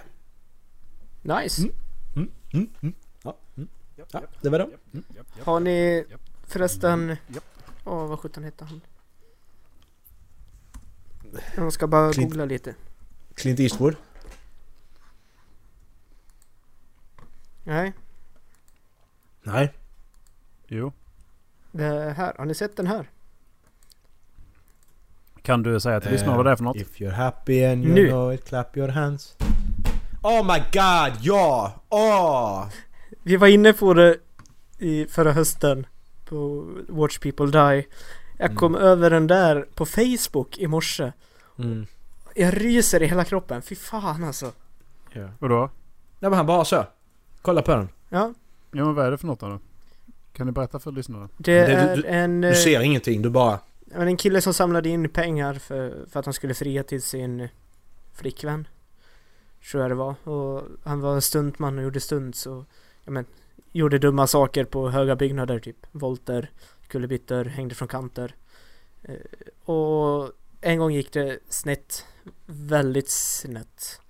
Mm.
Nice.
Ja. Mm. ja det var det.
Har ni förresten...
Japp.
Åh, vad sjutton hette han? Jag ska bara
Clint-
googla lite.
Clint Eastwood.
Nej,
Nej.
Jo.
det här. Har ni sett den här?
Kan du säga
Eh,
till lyssnarna vad det är för något?
If you're happy and you
Nu.
know it, clap your hands. Oh my god, ja! Åh!
Vi var inne på det i förra hösten på Watch People Die. Jag kom över den där på Facebook i morse.
Mm.
Jag ryser i hela kroppen. Fy fan alltså.
Vadå?
Nej men han bara så. Kolla på den.
Ja,
Ja men vad är det för något då? Kan ni berätta för lyssnarna?
det
Det-
är
du- du-
en...
Du
eh,
ser ingenting, du bara...
Ja, men en kille som samlade in pengar för, för att han skulle fria till sin flickvän. Tror jag det var. Och han var en stuntman och gjorde stunts och ja, men, gjorde dumma saker på höga byggnader typ. Volter, kullerbyttor, hängde från kanter. Eh, och en gång gick det snett. Väldigt snett.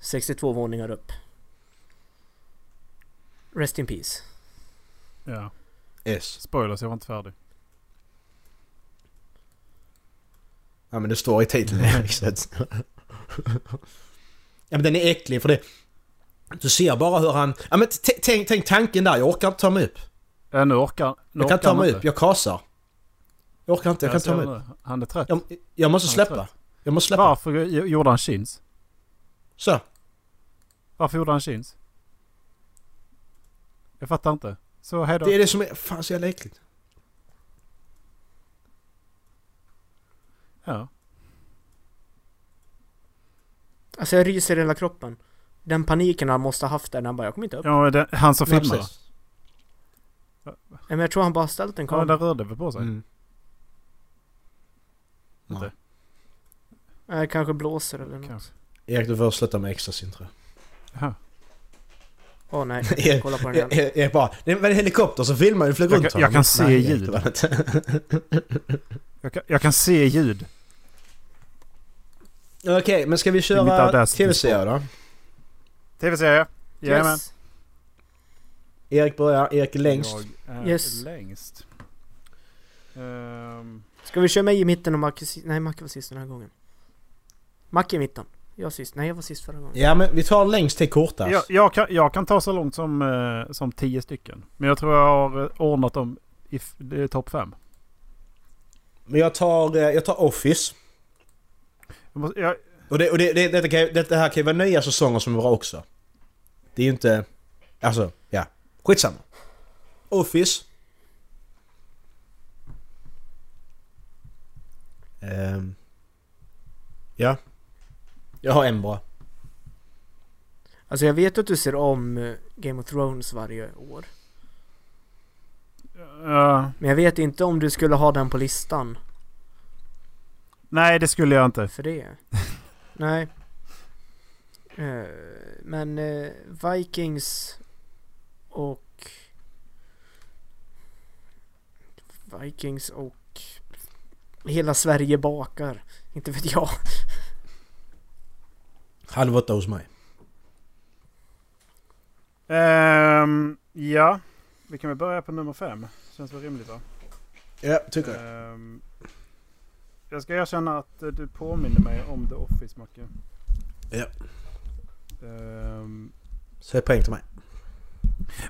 62 våningar upp. Rest in peace.
Ja.
S.
Spoilers, jag var inte färdig.
Ja men det står i titeln Erik, så att- Ja men den är äcklig för det... Du ser bara hur han... Ja men t- tänk, tänk tanken där, jag orkar inte ta mig upp.
Äh, nu orkar nu
Jag kan
orkar
ta
han
mig
inte. Alltså,
upp, jag kasar. Jag orkar inte, jag kan
ser
ta mig upp.
nu. Han är trött.
Jag, jag måste
Han är
släppa.
trött.
Jag måste släppa.
Varför gjorde han chins?
Så.
Varför gjorde han chins? Jag fattar inte. Så hejdå.
Det är det som är... Fan så jävla äckligt.
Ja.
Alltså jag ryser i hela kroppen. Den paniken han måste ha haft där när han bara jag kommer inte upp.
ja men den, han som
Nej,
filmar.
precis.
Nej, Men jag tror han bara har ställt en
Ja,
kamera.
den rörde väl på sig?
Mm.
Eh, kanske blåser eller något.
Kanske.
Erik du får sluta med extrasin tror jag.
Jaha.
Åh nej,
Ja,
kolla på den
Jag,
igen.
jag, jag bara, det var en helikopter som filmar ju flög
Jag
runt
kan- jag kan se
Nej,
ljud.
det var det inte.
Jag, kan, jag kan se ljud.
Okej, men ska vi
mitt
köra
Audacity-spår.
tv-serier då?
Tv-serie. Jajamän.
Yes.
Erik börjar, Erik är längst.
Jag är
Yes.
längst. Ehm,
Ska vi köra mig i mitten och Macke sist? Nej, Macke var sist den här gången. Macke i mitten. Jag sist. Nej, jag var sist förra gången.
Ja men vi tar längst till kortast.
jag, jag, kan, jag kan ta så långt som, eh, som tio stycken. Men jag tror jag har eh, ordnat dem i f- det är topp fem.
Men jag tar, eh, jag tar Office.
Jag måste, jag,
Och, det, och det, det, detta, kan, ju- detta här kan ju vara nya säsonger som är bra också. Det är ju inte... Alltså, ja. Skitsamma. Office. Ehm. ja. Jag har en bra.
Alltså jag vet att du ser om eh, Game of Thrones varje år.
eh,
Men jag vet inte om du skulle ha den på listan
nej, det skulle jag inte.
för det. nej. Eh, men eh, Vikings och... Vikings och... Hela Sverige bakar. Inte vet jag.
Halv åtta hos mig.
Ehm, ja, vi kan väl börja på nummer fem. Känns väl rimligt va?
Ja, tycker jag.
Ehm, jag ska erkänna att eh, du påminner mig om The Office, Macke.
Ja.
Ehm,
Så är poäng till mig.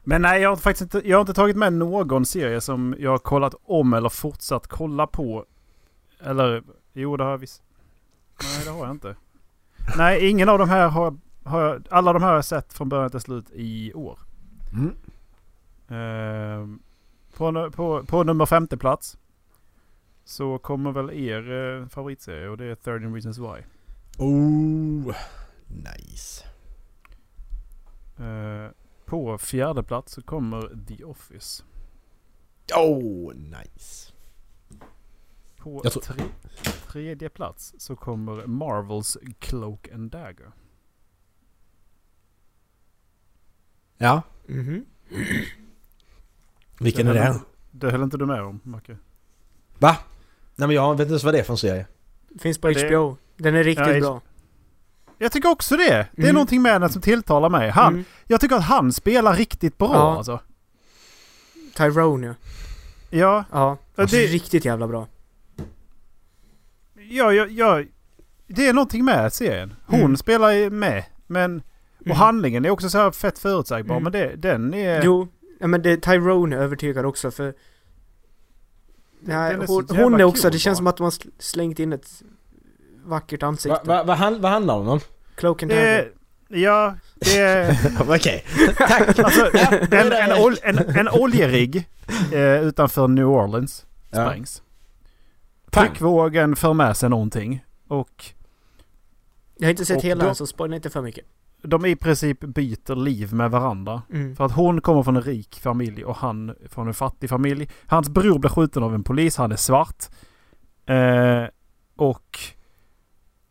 Men nej, jag har faktiskt inte, jag har inte tagit med någon serie som jag har kollat om eller fortsatt kolla på. Eller, jo det har jag visst. Nej, det har jag inte. Nej, ingen av de här har, har jag, alla de här har jag sett från början till slut i år.
Mm.
Ehm, på, nu- på, på nummer femte plats så kommer väl er eh, favoritserie och det är 13 Reasons Why.
Oh, nice.
Eh, på fjärde plats så kommer The Office.
Oh, nice.
På
Jag tror-
tre, tredje plats så kommer Marvels Cloak and Dagger.
Ja.
Mhm.
Vilken är
Den
det?
här- Det höll inte du med om, Macke?
Va? Nej men jag vet inte ens vad det är för en serie.
Finns på
Ja, det-
HBO. Den är riktigt
Ja, det-
bra.
Jag tycker också det! Det är
Mm.
någonting med den som tilltalar mig. Han,
Mm.
Jag tycker att han spelar riktigt bra
Ja.
alltså.
Tyrone ja.
Ja,
Ja.
Ja, det-
Riktigt jävla bra.
ja, ja, ja. Det är någonting med serien. Hon
Mm.
spelar ju med. Men, och
Mm.
handlingen är också så här fett förutsägbar.
Mm.
Men det, den är...
Jo, ja, men det, Tyrone övertygar också för... Nej,
Den är så
hon,
jävla
hon är också,
cool
det känns
bara.
som att de har sl- slängt in ett vackert ansikte.
Va, va, vad han- vad handlar det om?
Cloak and
det
dagger.
är ja, det är...
Okej. Tack!
Alltså,
Ja, det
en,
är det.
en, ol, en, en oljerigg eh, utanför New Orleans
Ja.
sprängs. Tryckvågen för med sig någonting. Och
Jag har inte sett
och
hela
då-
än så spoila inte för mycket.
de i princip byter liv med varandra.
Mm.
För att hon kommer från en rik familj och han från en fattig familj. Hans bror blir skjuten av en polis, han är svart. Eh, och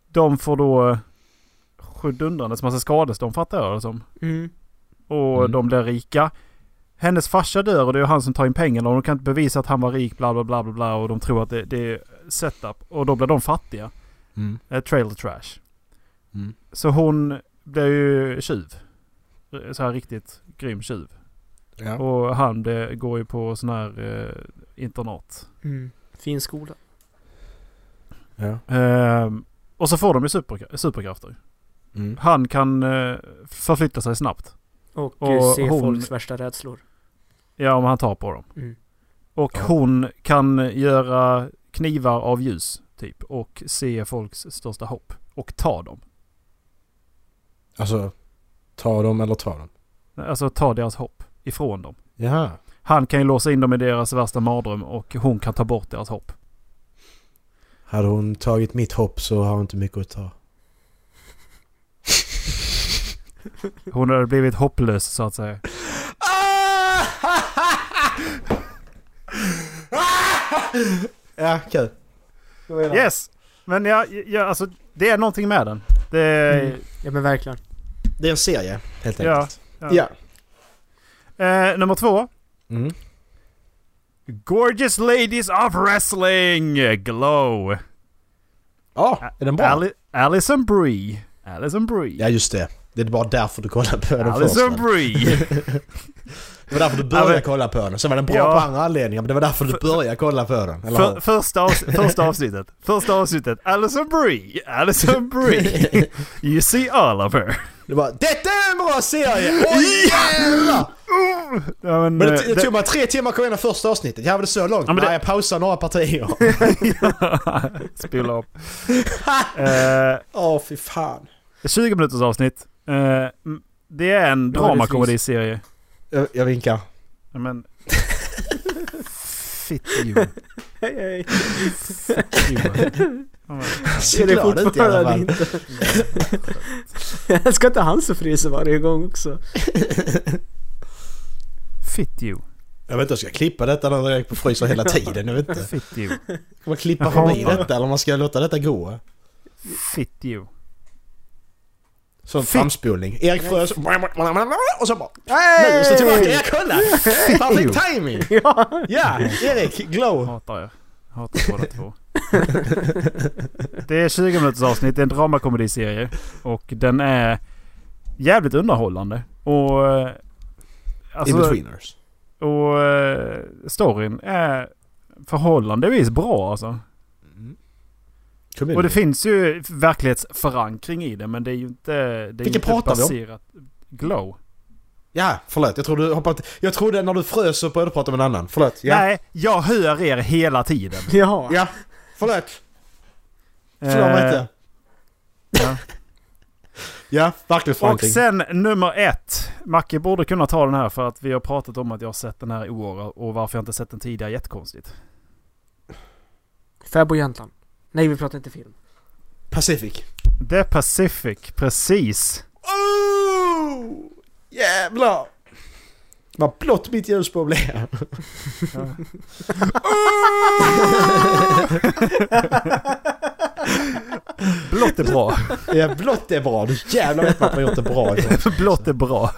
de får då skydd undandes massa skadestånd fattar jag det som.
Mm.
Och
Mm.
de blir rika. Hennes farsa dör och det är han som tar in pengarna och de kan inte bevisa att han var rik bla bla bla bla bla och de tror att det, det är setup. Och då blir de fattiga.
Mm.
Eh, trailer trash.
Mm.
Så hon blir ju tjuv. Eh, Så här riktigt grym tjuv.
Ja.
Och han blir, går ju på sån här eh, internat.
Mm. Fin skola.
ja.
Ehm, och så får de ju super, superkrafter.
Mm.
Han kan eh, förflytta sig snabbt.
Och,
Och
eh, se
hon-
folks värsta rädslor.
Ja, om han tar på dem.
Mm.
Och
Ja.
hon kan göra knivar av ljus, typ. Och se folks största hopp. Och ta dem.
Alltså, ta dem eller ta dem.
Alltså ta deras hopp ifrån dem.
Jaha.
Han kan ju låsa in dem i deras värsta mardröm och hon kan ta bort deras hopp.
Hade hon tagit mitt hopp så har hon inte mycket att ta.
Hon hade blivit hopplös så att säga.
Ah! Ja, kul.
Yes! Men ja, ja, alltså det är någonting med den. Det är...
Mm. Ja men verkligen.
Det är en serie.
Helt
Ja.
enkelt.
Ja.
Ja.
Eh, nummer två.
Mm.
Gorgeous Ladies of Wrestling! Glow!
Ja, är den bra?
Ali- Alison Brie. Alison Brie.
Ja, just det. Det är bara därför du kollar på den först.
Alison
men.
Brie.
Det var därför du
Ja,
började
men-
kolla på den. Sen var den bra
Ja.
på andra anledningar, men det var därför du började kolla på den. Eller
För,
hur?
första, avs första avsnittet. Första avsnittet. Alison Brie. Alison Brie. You see Oliver.
Du bara “Detta är en bra serie! Oj jävlar!”
Ja, men,
Men
eh,
det, det
det-
tog mig tre timmar att komma igenom första avsnittet. Jag var det så långt?
Ja, men det-
Nej, jag pausade några partier.
Spilla upp. Eh,
Åh, fy fan.
20 minuters avsnitt. Eh, m- det är en
Ja, det är
dramakomediserie.
Jag, jag vinkar.
Ja, men... Fitt you.
Hej hej.
you. Ja, men-
Ser
det
glad ut i alla fall.
Jag ska inte han så fryser varje gång också.
Fitt you.
Jag vet inte, jag ska klippa detta när jag är på fryser hela tiden. Jag vet inte.
Fitt you.
Ska man klippa
Jaha.
förbi detta eller om man ska låta detta gå?
Fitt you.
Som
Fitt.
framspolning. Erik Frös... Och så bara... Nu! Och så tillbaka. Ja, kolla! Perfekt timing!
Ja.
Ja, Erik, glow!
Hatar er. Hatar båda två. det är 20 minuters avsnitt. Det är en dramakomediserie. Och den är jävligt underhållande. Och... eh,
In
Alltså,
betweeners.
och eh, storyn är förhållandevis bra alltså. Och det
Community.
finns ju verklighetsförankring i det men det är ju inte... Det är ju
Vilken
inte
pratar vi om?
baserat... Glow.
Ja, förlåt. Jag trodde, du hoppade, jag trodde när du frös så började du prata om en annan. Förlåt. Ja.
Nej, jag hör er hela tiden.
Ja.
Ja, förlåt.
Eh,
Förlåt mig inte.
ja.
Ja, verkligen
Och
förankring.
sen nummer ett. Macke borde kunna ta den här för att vi har pratat om att jag har sett den här i år och varför jag inte sett den tidigare är jättekonstigt.
Fäbo Jämtland. Nej vi pratar inte film.
Pacific.
The Pacific, precis.
Oh! Jävlar! Vad blått mitt ljusspår blev.
Blått är bra.
Ja, blått är bra. Du jävlar vet man att man gjort det bra. ifrån.
Blått är bra.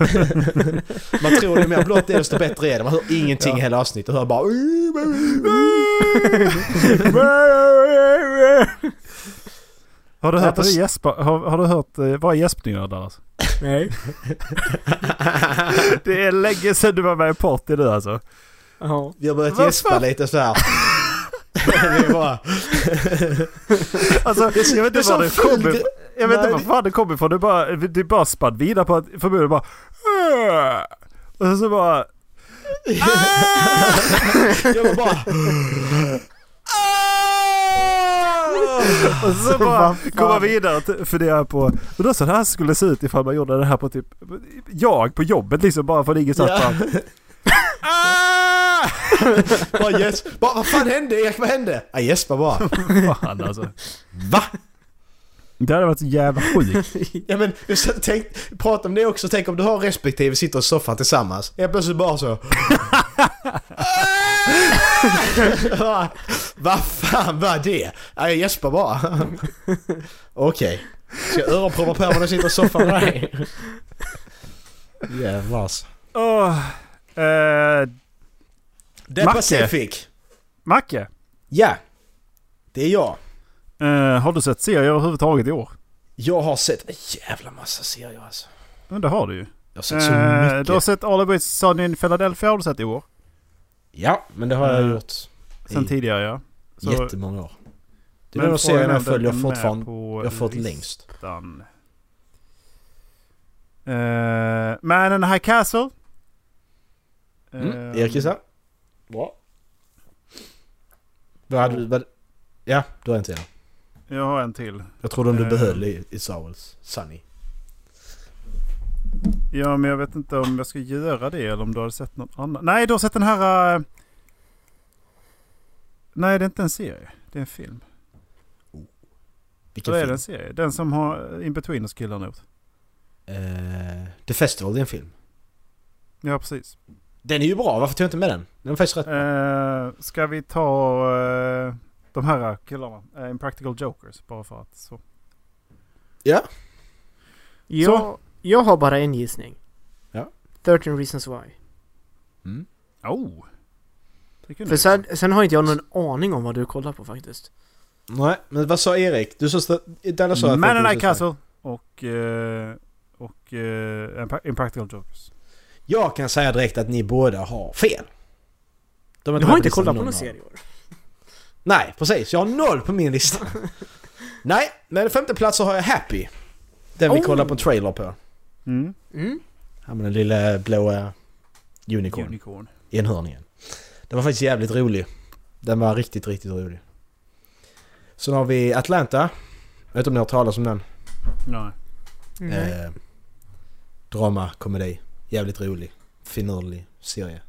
Man tror ju mer blått är desto bättre är det. Man hör ingenting i hela avsnittet. Hör bara...
Har du hört,
Ja,
att
fast-
det gäspa, har, har du hört eh, vad är gäspningar Dallas?
Nej.
Det är länge sedan du var med i party nu alltså.
Ja.
Vi har börjat
Vad
gäspa
fan?
lite så här. Det är bra.
alltså jag vet
det är
inte var
så
det
fult.
kommer Jag vet
Nej,
inte var
det-
fan det kommer ifrån. Du bara, du bara spann vidare på att förmodligen bara... "Åh!" Och så bara...
Jag var bara...
Och så bara komma vidare och fundera på, undrar så här skulle det se ut ifall man gjorde det här på typ, jag på jobbet liksom bara från ingenstans
Ja.
bara. Ah!
Bara yes. bara, vad fan hände Erik? Vad hände? Jag gäspade bara.
Fan alltså.
Va?
Det hade varit så jävla sjukt.
Ja men så tänk, prata om det också. Tänk om du har respektive sitter i soffan tillsammans. Helt plötsligt bara så. Vad fan var det? Ja, Jag gäspar bara. Okej. Ska jag öronproppa på när du sitter i soffan med dig? Jävlar alltså.
Åh, eh,
The
Macke.
Pacific.
Macke,
Ja. Det är jag.
eh, har du sett serier överhuvudtaget i år?
Jag har sett en jävla massa serier alltså.
Ja, det har du ju.
Jag har sett så
Eh,
mycket.
Du har sett All About Sunny in Philadelphia har du sett i år.
Ja, men det har jag
Eh,
gjort.
Sen
I-
tidigare ja. Så-
Jättemånga år. Det är
men
den
får
serien jag
ändå
följer
med
fortfarande.
på
Jag har fått
listan.
längst.
Eh, Man in the High Castle.
Mm.
Eh,
Erkissa? Bra. Vad hade du... Vad, ja, du har en till.
Eh, Jag har en till.
Jag trodde om du
Eh.
behöll i, i Sauls Sunny.
Ja men jag vet inte om jag ska göra det eller om du har sett någon annan. Nej du har sett den här... eh, Nej det är inte en serie. Det är en film.
Vilken
Eller är det
film?
en serie? Den som har eh, Inbetweeners-killarna gjort.
Eh, The Festival, det är en film.
Ja precis.
Den är ju bra, varför tog jag inte med den? Den är faktiskt rätt...
Eh, ska vi ta eh, de här killarna? Eh, Impractical Jokers bara för att så.
Jag,
Så.
jag har bara en gissning.
Ja.
13 reasons why.
Mm.
Oh! Det kunde
För
vi.
sen, sen har inte jag någon aning om vad du kollar på faktiskt.
Nej, men vad sa Erik? Du sa... Danne sa att...
Man in
det-
High Castle och, eh, och eh, Impa- Impractical Jokers.
Jag kan säga direkt att ni båda har fel. De är
Du har
med
inte
listan,
kollat på
någon
någon
av dem.
serie i år?
Nej, precis. Jag har noll på min lista. Nej, men femte plats så har jag Happy. Den vi
Oh.
kollar på en trailer på.
Mm.
Mm.
Han med den lilla blåa unicorn
Unicorn.
i en hörn igen. Den var faktiskt jävligt rolig. Den var riktigt, riktigt rolig. Sen har vi Atlanta. Jag vet inte om ni har hört talas om den.
Nej.
Nej.
Eh, drama, komedi. Jävligt rolig. Finurlig serie.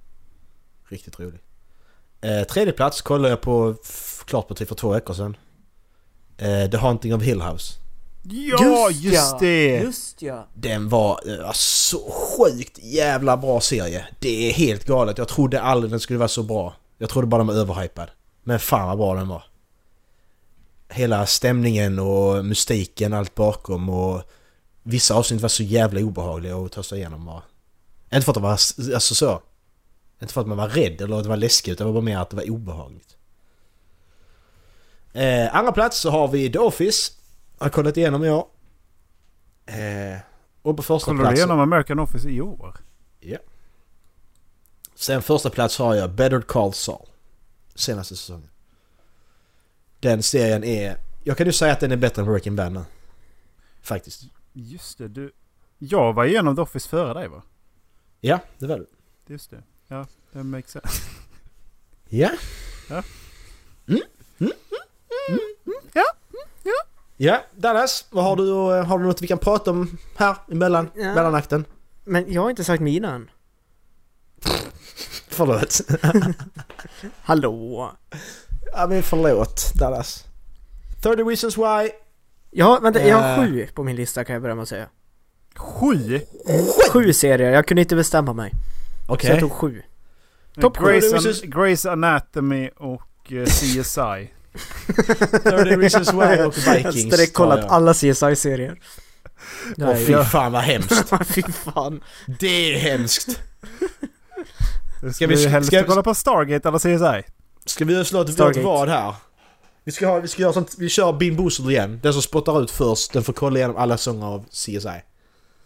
Riktigt rolig. Eh, tredje plats kollade jag på f- klart på typ för två veckor sedan. Eh, The Haunting of Hill House.
Ja just, det!
Just ja!
Den var eh, så sjukt jävla bra serie. Det är helt galet. Jag trodde aldrig den skulle vara så bra. Jag trodde bara den var överhypad. Men fan vad bra den var. Hela stämningen och mystiken allt bakom och vissa avsnitt var så jävla obehagliga att ta sig igenom bara. Inte för att det var, alltså så. Inte för att man var rädd eller att det var läskigt utan det var bara mer att det var obehagligt. Eh, andra plats så har vi The Office. Har kollat igenom i år. Eh, och på första
Kollar du
plats...
igenom American Office i år?
Sen första plats har jag Better Call Saul. Senaste säsongen. Den serien är... Jag kan ju säga att den är bättre än Breaking Bad nu. Faktiskt.
Just det, du... Jag var igenom The Office före dig va?
Ja, det var det.
Just det. Ja, det makes sense.
Ja.
Ja.
Mm. Mm. Mm. Ja. Ja, Dallas, vad har du, och- har du något vi kan prata om här emellan,
Ja.
mellanakten?
Men jag har inte sagt mina än.
Förlåt.
Hallå!
ja men förlåt Dallas. 30 reasons why.
Ja, vänta, jag har
Eh.
sju på min lista kan jag börja med att säga.
Sju!
Sju serier, jag kunde inte bestämma mig. Så jag tog sju. Top
Grace,
Sju.
An- Grace Anatomy och eh, CSI.
30 reasons why och Vikings.
jag har kollat
tar jag.
alla CSI-serier.
Åh
Nej,
fy
jag-
fan vad hemskt.
Fy fan.
Det är hemskt.
Ska
vi-
vi helst
ska vi-
kolla på Stargate eller CSI?
Ska vi slå ett vårt
Stargate.
vad här? Vi ska, ha, vi ska göra sånt, vi kör Bim Boozled igen. Den som spottar ut först, den får kolla igenom alla sånger av CSI.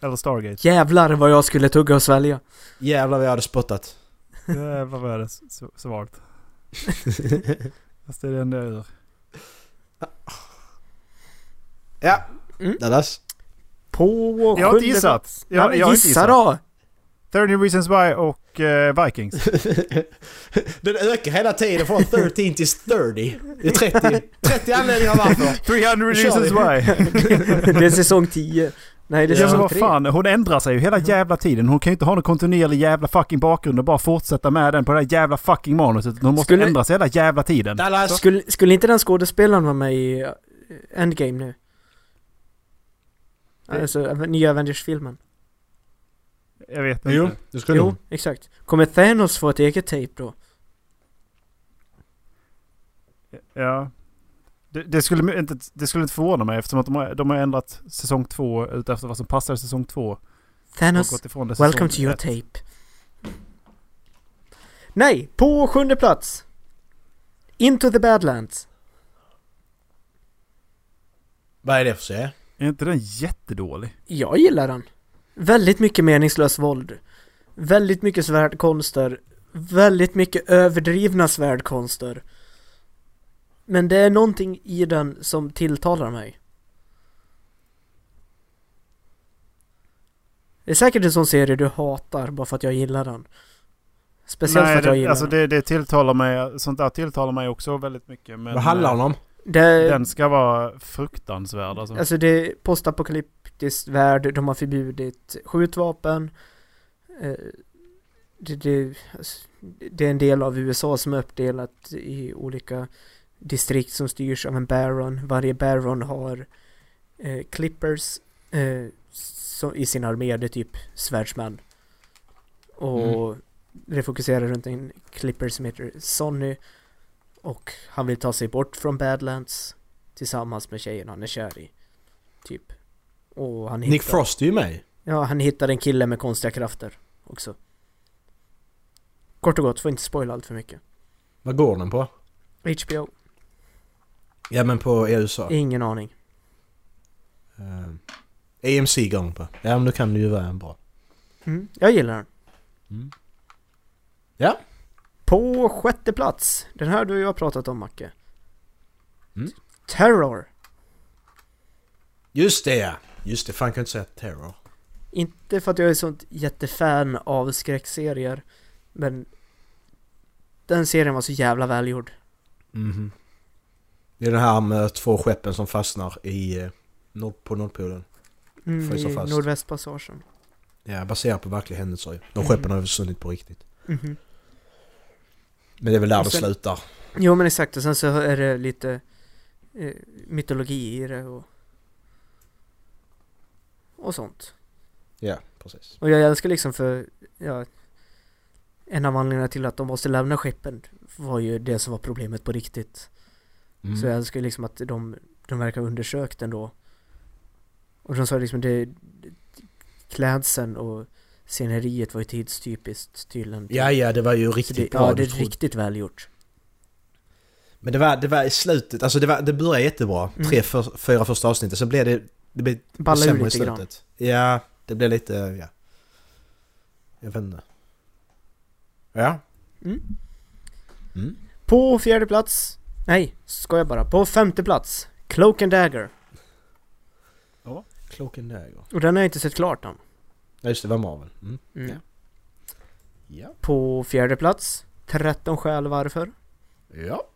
Eller Stargate.
Jävlar vad jag skulle tugga och svälja.
Jävlar vad jag hade spottat.
Jävlar vad är det så- svårt. Fast det är det enda jag gör.
Ja.
Mm.
Dallas?
På sjunde...
Jag har inte gissat.
Jag,
Jag, jag har inte
gissa
gissat.
då!
30 Reasons Why och eh, Vikings.
Den ökar hela tiden från 13 till 30. Det är 30. 30 anledningar varför.
300
Nu kör
Reasons
vi.
Why.
det är säsong 10. Nej, det är
Ja men
säsong
vad
3.
fan, hon ändrar sig ju hela
Mm-hmm.
jävla tiden. Hon kan ju inte ha någon kontinuerlig jävla fucking bakgrund och bara fortsätta med den på det här jävla fucking manuset. Hon måste
Skulle-
ändra sig hela jävla tiden.
Dallas?
Skulle, skulle inte den skådespelaren vara med i eh, Endgame nu? Alltså nya Avengers-filmen.
Jag vet inte.
Jo, det ska
Jo,
Mm. jo.
exakt. Kommer Thanos få ett eget tape då?
Ja. Det, det, skulle inte, det skulle inte förvåna mig eftersom att de har, de har ändrat säsong två utefter vad som passar säsong två.
Thanos,
Och gått ifrån det
welcome to
säsong
your
ett.
tape. Nej, på sjunde plats. Into the Badlands.
Vad är det för serie?
Är inte den jättedålig?
Jag gillar den. Väldigt mycket meningslöst våld. Väldigt mycket svärdkonster. Väldigt mycket överdrivna svärdkonster. Men det är någonting i den som tilltalar mig. Det är säkert en sån serie du hatar bara för att jag gillar den. Speciellt för att jag
det,
gillar
alltså
den.
det, det tilltalar mig, sånt där tilltalar mig också väldigt mycket. Men
Vad handlar den om?
Det,
eh, Den ska vara fruktansvärd alltså.
Alltså det är postapokalyptisk värld, de har förbjudit skjutvapen. Eh, Det, det, alltså, det är en del av USA som är uppdelat i olika distrikt som styrs av en baron. Varje baron har eh, clippers eh, som, i sin armé, det är typ svärdsmän. Och det fokuserar runt en clipper som heter Sonny. Och han vill ta sig bort från Badlands tillsammans med tjejen han är kär i. Typ. Och han
Nick
hittar-
Frost är ju med.
Ja, han hittar en kille med konstiga krafter också. Kort och gott, får inte spoila allt för mycket.
Vad går den på?
HBO,
Ja men på E i USA.
ingen aning.
Ehm, AMC går den på. Ja men då kan det ju vara en bra.
Mm, jag gillar den.
Ja.
På sjätte plats, den här du och jag har pratat om Macke.
Mm.
Terror.
Just det ja. Just det, fan kan jag inte säga terror.
Inte för att jag är sånt jättefan av skräckserier, men den serien var så jävla välgjord.
Mhm. Det är den här med två skeppen som fastnar i, eh, nord, på Nordpolen.
Mm,
Fryser
I
fast.
Nordvästpassagen.
Ja, baserat på verkliga händelser ju. De
Mhm.
skeppen har ju försvunnit på riktigt.
Mhm.
Men det är väl där
Och
det
sen-
slutar.
Jo men exakt, och sen så är det lite eh, mytologi i det och, och sånt.
Ja, precis.
Och jag älskar liksom för, ja, en av anledningarna till att de måste lämna skeppen var ju det som var problemet på riktigt.
Mm.
Så jag älskar ju liksom att de, de verkar ha undersökt ändå. Och de sa liksom det, klädseln och sceneriet var ju tidstypiskt tydligen.
Ja, ja, det var ju
Så
riktigt
det,
bra.
ja, det är
du trodde-
riktigt välgjort.
Men det var, det var i slutet, alltså det, var, det började jättebra.
Mm.
Tre, för, fyra första avsnitten, sen blev det, det blev
Balla ur
sämre i
lite grann.
slutet. Ja, det blev lite, ja. Jag vet inte. Ja.
Mm.
Mm.
På fjärde plats, nej, skojar bara. På femte plats, Cloak and Dagger.
Kloken där går.
Och den har jag inte sett klart än.
Ja, just det, det var Marvel. Mm.
Mm.
Ja. Ja.
På fjärde plats, 13 skäl varför.
Ja.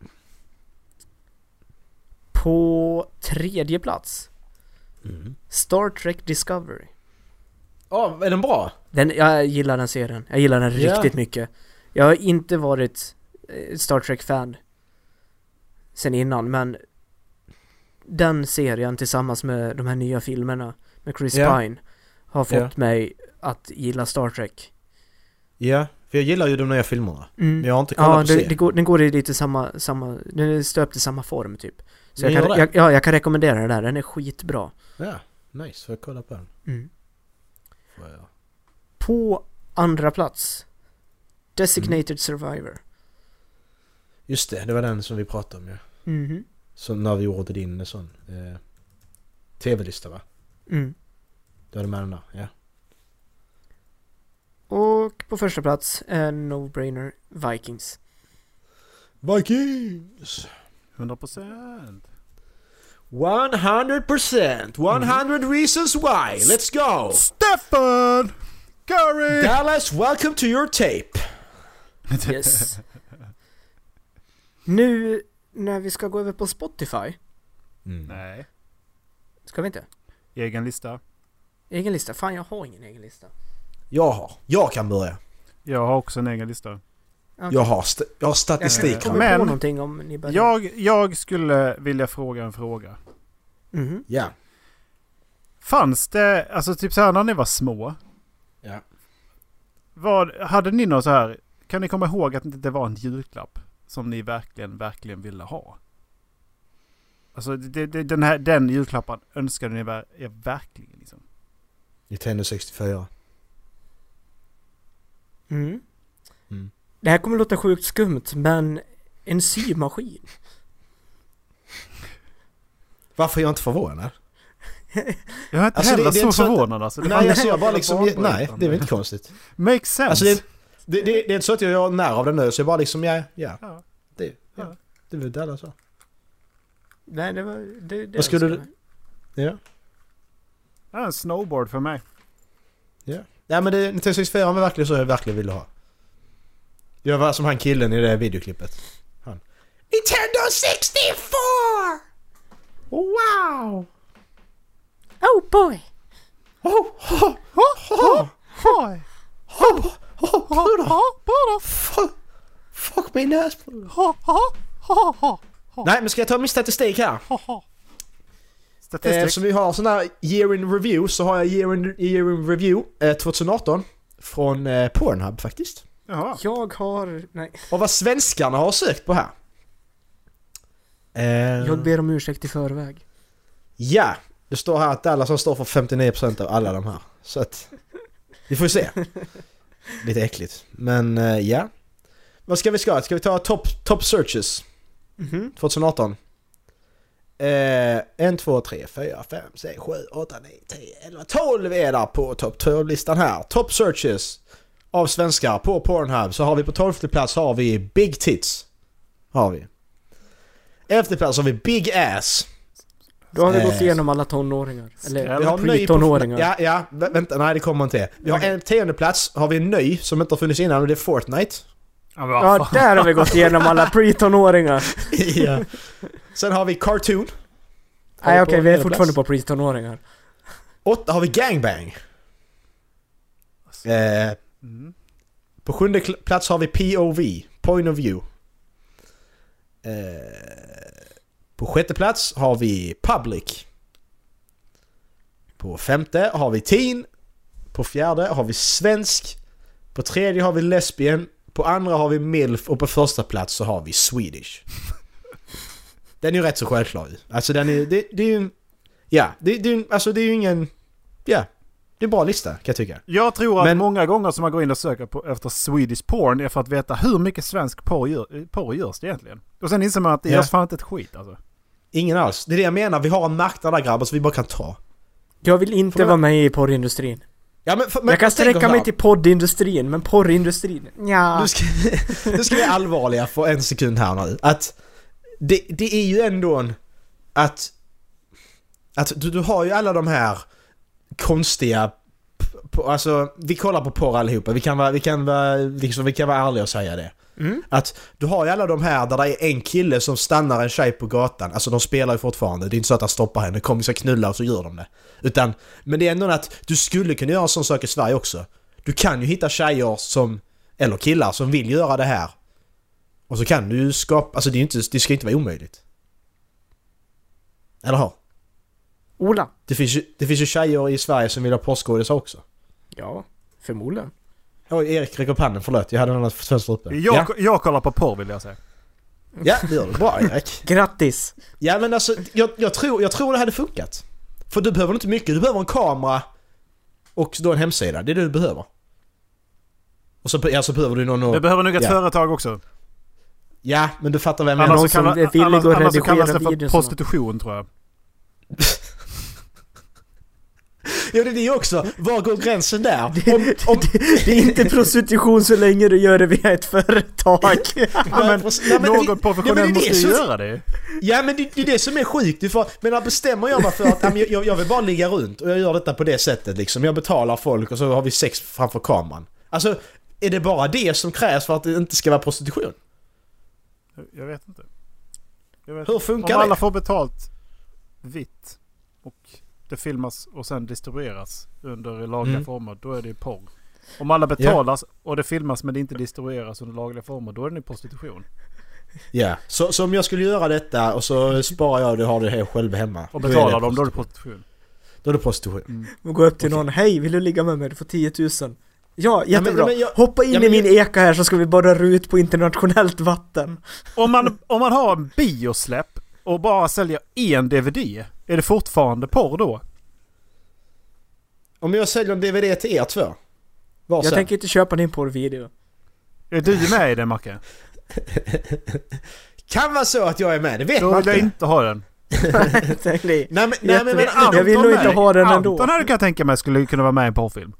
På tredje plats,
Mm.
Star Trek Discovery.
Åh, är den bra?
Den, jag gillar den serien. Jag gillar den
Ja.
riktigt mycket. Jag har inte varit eh, Star Trek-fan sen innan, men den serien tillsammans med de här nya filmerna med Chris
Ja.
Pine har fått
Ja.
mig att gilla Star Trek.
Ja, för jag gillar ju de nya filmerna.
Mm.
Men jag har inte kollat
Ja,
på
det,
serien.
det går, den går i lite samma, samma, den är stöpt i samma form typ. Så
Den
jag
gör
kan,
det?
jag, ja, jag kan rekommendera den där, den är skitbra.
Ja, nice. Får jag kolla på den?
Mm.
Får jag.
På andra plats, Designated
Mm.
Survivor.
Just det, det var den som vi pratade om ju. Ja.
Mhm.
Som när vi gjorde din sån eh, tv-lista va?
Mm.
Du hade med den där, ja.
Och på första plats, en no-brainer, Vikings.
Vikings!
100%.
100%! 100 reasons why! Let's go!
Stefan! Curry!
Dallas, welcome to your tape!
Yes. nu när vi ska gå över på Spotify,
Mm.
Nej.
ska vi inte?
Egen lista.
Egen lista? Fan, jag har ingen egen lista.
Jag har. Jag kan börja.
Jag har också en egen lista.
Okej.
Jag har, st- jag har
Jag
statistik.
Eh,
kommer
här.
Men-
på någonting om ni börjar. Mm-hmm.
Jag, jag skulle vilja fråga en fråga.
Mhm.
Ja.
Fanns det, alltså typ så här när ni var små.
Ja.
Vad, hade ni något så här, kan ni komma ihåg att det var en julklapp som ni verkligen, verkligen ville ha? Alltså det, det, den, här, den julklappen önskade ni ver- er verkligen liksom.
Nintendo 64.
Mm.
Mm.
Det här kommer låta sjukt skumt, men en symaskin.
Varför är jag inte förvånad?
Jag är inte
Alltså, det-
heller
det är
så
inte så att-
förvånad alltså. Det
Nej,
fanns-
alltså jag bara liksom...
barnbarn,
Nej,
utan
det är
det.
väl inte konstigt.
Makes sense.
Alltså det, det, det, det är inte så att jag gör när av den nu, så jag bara liksom, ja, ja.
Ja.
Det, ja.
Ja.
det är väl det alla sa.
Nej, det var... Det, det
Vad skulle
önskar
du- Ja.
Ja, en snowboard för
Eh,
mig.
Nej men det, Nintendo 64 var verkligen så jag verkligen ville ha. Jag var som han killen i det här videoklippet. Han. Nintendo 64! Wow!
jag. Oh boy!
Oh, oh, oh,
Hoj!
oh, oh, bröder!
bara
Fuck- Fuck min näs bröder!
ha, ha, ha, ha,
Nej men ska jag ta min statistik här?
ha, ha.
Eh,
Statistik.
Eftersom vi har sån här year in review så har jag year in, year in review eh, 2018 från eh, Pornhub faktiskt.
Jaha.
Jag har... Nej.
Och vad svenskarna har sökt på här. Eh,
Jag ber om ursäkt i förväg.
Ja, det står här att Dallas har står för 59% av alla de här. Så att vi får se. Lite äckligt. Men eh, ja. Vad ska vi ska? Ska vi ta top, top searches
Mhm.
2018? Eh, 1, 2, 3, 4, 5, 6, 7, 8, 9, 10, 11, 12 är där på topp 12-listan här. Top searches av svenskar på Pornhub så har vi på 12 plats har vi Big Tits. Har vi. 11 plats har vi Big Ass.
Då har vi gått
Eh.
igenom alla tonåringar. Eller
Skräll.
Vi har en ny på-
tonåringar.
Ja, ja, vä- vänta, nej det kommer inte. Vi har en tionde plats, har vi en ny som inte har funnits innan och det är Fortnite.
Ja, men vad
Ja,
fan.
där har vi gått igenom alla pre-tonåringar.
ja. Sen har vi Cartoon. Har
Nej
på
okej, vi är
tionde
fortfarande
plats.
på pre-tonåringar.
Åtta har vi Gangbang.
Alltså.
Eh,
Mm.
på sjunde kl- plats har vi POV, Point of View. Eh, på sjätte plats har vi Public. På femte har vi Teen. På fjärde har vi Svensk. På tredje har vi Lesbian. På andra har vi MILF och på första plats så har vi Swedish. Den är ju rätt så självklar ju. Alltså den är det, det är ju en... Ja, det, det, är ju en- alltså det är ju ingen... Ja, det är en bra lista kan jag tycka.
Jag tror att
Men-
många gånger som man går in och söker på, efter Swedish porn är för att veta hur mycket svensk porr, gör, porr görs det egentligen. Och sen inser man att det
Ja.
görs fan inte ett skit alltså.
Ingen alls. Det är det jag menar, vi har en marknad där grabbar som vi bara kan ta.
Jag vill inte
Får jag-
vara med i porrindustrin.
Ja, men, för, men
Jag kan
tänk om
sträcka
här.
mig till poddindustrin, men porrindustrin? Nja.
Nu ska, nu ska vi vara allvarliga för en sekund här nu. Att det, det är ju ändå en... Att... Att du, du har ju alla de här konstiga... p- p- Alltså, vi kollar på porr allihopa. Vi kan vara, vi kan vara, liksom, vi kan vara ärliga och säga det.
Mm.
Att du har ju alla de här där det är en kille som stannar en tjej på gatan. Alltså de spelar ju fortfarande. Det är inte så att han stoppar henne. Kom vi ska knulla och så gör de det. Utan, men det är ändå att du skulle kunna göra en sån sak i Sverige också. Du kan ju hitta tjejer som, eller killar som vill göra det här. Och så kan du ju skapa, alltså det, är ju inte, det ska ju inte vara omöjligt. Eller hur?
Ola?
Det finns ju, det finns ju tjejer i Sverige som vill ha påskgodisar också.
Ja, förmodligen.
Oj, Erik räcker upp handen, förlåt. Jag hade en annan fönster uppe.
Jag,
Ja,
jag kollar på porr vill jag säga.
ja, det gör du. Bra Erik.
Grattis!
Ja men alltså, jag, jag, tror, jag tror det hade funkat. För du behöver inte mycket, du behöver en kamera och då en hemsida. Det är det du behöver. Och så, be- ja, så behöver du någon
Du
att...
behöver nog ett
Ja.
företag också.
Ja, men du fattar vad jag menar.
Annars,
någon
så
som
kallar,
är villig
annars,
att
annars så
redigera
kallas det för
videorna.
prostitution tror jag.
Ja, det är det också. Var går gränsen där? Om,
Det,
om,
det, det är inte prostitution så länge du gör det via ett företag.
Ja, men- ja, men det-
Någon
ja, men det
professionell
är
måste
det
ju
som-
göra det.
Ja men det, det är det som är sjukt. Du får, men här bestämmer jag mig för att ja, men jag, jag vill bara ligga runt och jag gör detta på det sättet liksom. Jag betalar folk och så har vi sex framför kameran. Alltså, är det bara det som krävs för att det inte ska vara prostitution?
Jag vet inte. Jag vet
Hur
inte.
funkar
Om alla
det?
får betalt vitt och det filmas och sen distribueras under lagliga
Mm.
former, då är det ju porr. Om alla betalas och det filmas men det inte distribueras under lagliga former, då är det ju prostitution.
Ja. Så, så om jag skulle göra detta och så sparar jag det och har det här själv hemma.
Och
då är det
betalar Mm. de, då är det
prostitution.
prostitution.
Då är det prostitution.
Och gå upp till någon, hej vill du ligga med mig? Du får 10 000 Ja,
men-
jättebra!
men jag-
Hoppa in
ja,
i
men
min eka här så ska vi borra ut på internationellt vatten.
Om man, om man har en biosläpp och bara säljer en DVD, är det fortfarande porr då?
Om jag säljer en DVD till er två? Var
Jag
sen?
tänker inte köpa din porrvideo.
Är du med i det Macke?
Kan vara så att jag är med, det vet
Då
man
vill jag
inte.
inte ha den.
Tänk dig.
Nej men, nej, men, men
Jättebra.
Anton,
Jag vill nog inte
här-
ha den ändå.
Anton här kan jag tänka mig skulle kunna vara med i en porrfilm.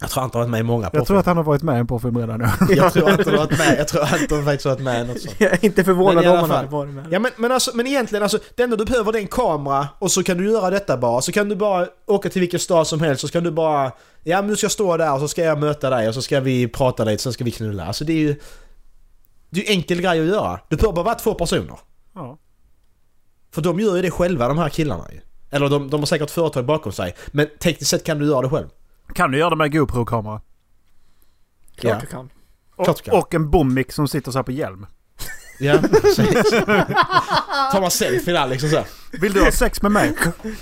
Jag tror Anton har varit med i många
Jag tror
porrfilmer.
att han har varit med i en porrfilm redan nu.
Jag tror Anton har varit med, jag tror Anton faktiskt har varit med i något sånt.
Jag är inte
Men
förvånad
i alla
om han
fall.
hade varit med.
Ja men, men, alltså, men egentligen alltså, det enda du behöver det är en kamera och så kan du göra detta bara. Så kan du bara åka till vilken stad som helst så kan du bara... Ja men du ska stå där och så ska jag möta dig och så ska vi prata lite, sen ska vi knulla. Alltså det är ju... Det är ju enkel grej att göra. Du behöver bara vara två personer.
Ja.
För de gör ju det själva de här killarna ju. Eller de, de har säkert företag bakom sig. Men tekniskt sett kan du göra det själv.
Kan du göra det med en GoPro-kamera?
Klart
Ja.
du kan.
Klart du
Och,
kan.
och en bommick som sitter så här på hjälm.
Ja, precis. Tar man selfie där liksom så. här.
Vill du ha sex med mig?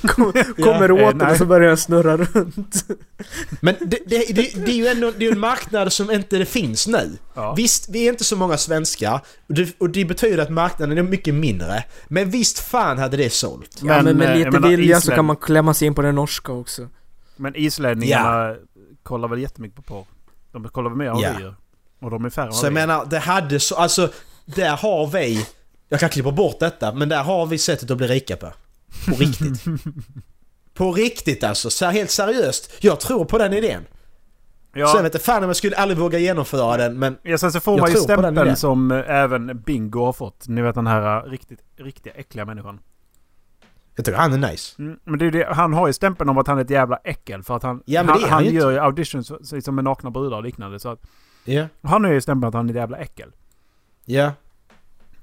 Kom, kommer
eh,
åt den
nej.
och så börjar den snurra runt.
Men det, det, det, det är ju ändå det är ju en marknad som inte det finns nu.
Ja.
Visst, vi är inte så många svenskar och det, och det betyder att marknaden är mycket mindre. Men visst fan hade det sålt.
Men, ja, men
eh,
med
jag
lite
menar,
vilja så
Island-
kan man klämma sig in på den norska också.
Men islänningarna kollar väl jättemycket på porr? De kollar väl mer än vad
Ja.
vi gör? Och de är färre än
Så jag
vad vi är.
menar, det hade så... Alltså, där har vi... Jag kan klippa bort detta, men där har vi sättet att bli rika på. På riktigt. på riktigt alltså, så här helt seriöst. Jag tror på den idén. Sen
Ja,
vet jag fan om jag skulle aldrig våga genomföra den, men...
ja, sen så får
Jag
man ju
tror på den
stämpeln
idén.
som eh, även Bingo har fått. Ni vet den här eh, riktigt, riktiga äckliga människan.
Jag tycker han är nice.
Mm, men det är ju det, han har ju stämpeln om att han är ett jävla äckel. För att han,
Ja, men
han,
det är han
han
ju
gör ju auditions så- så liksom med nakna brudar och liknande. Så att,
Ja.
han har ju stämpeln att han är ett jävla äckel.
Ja.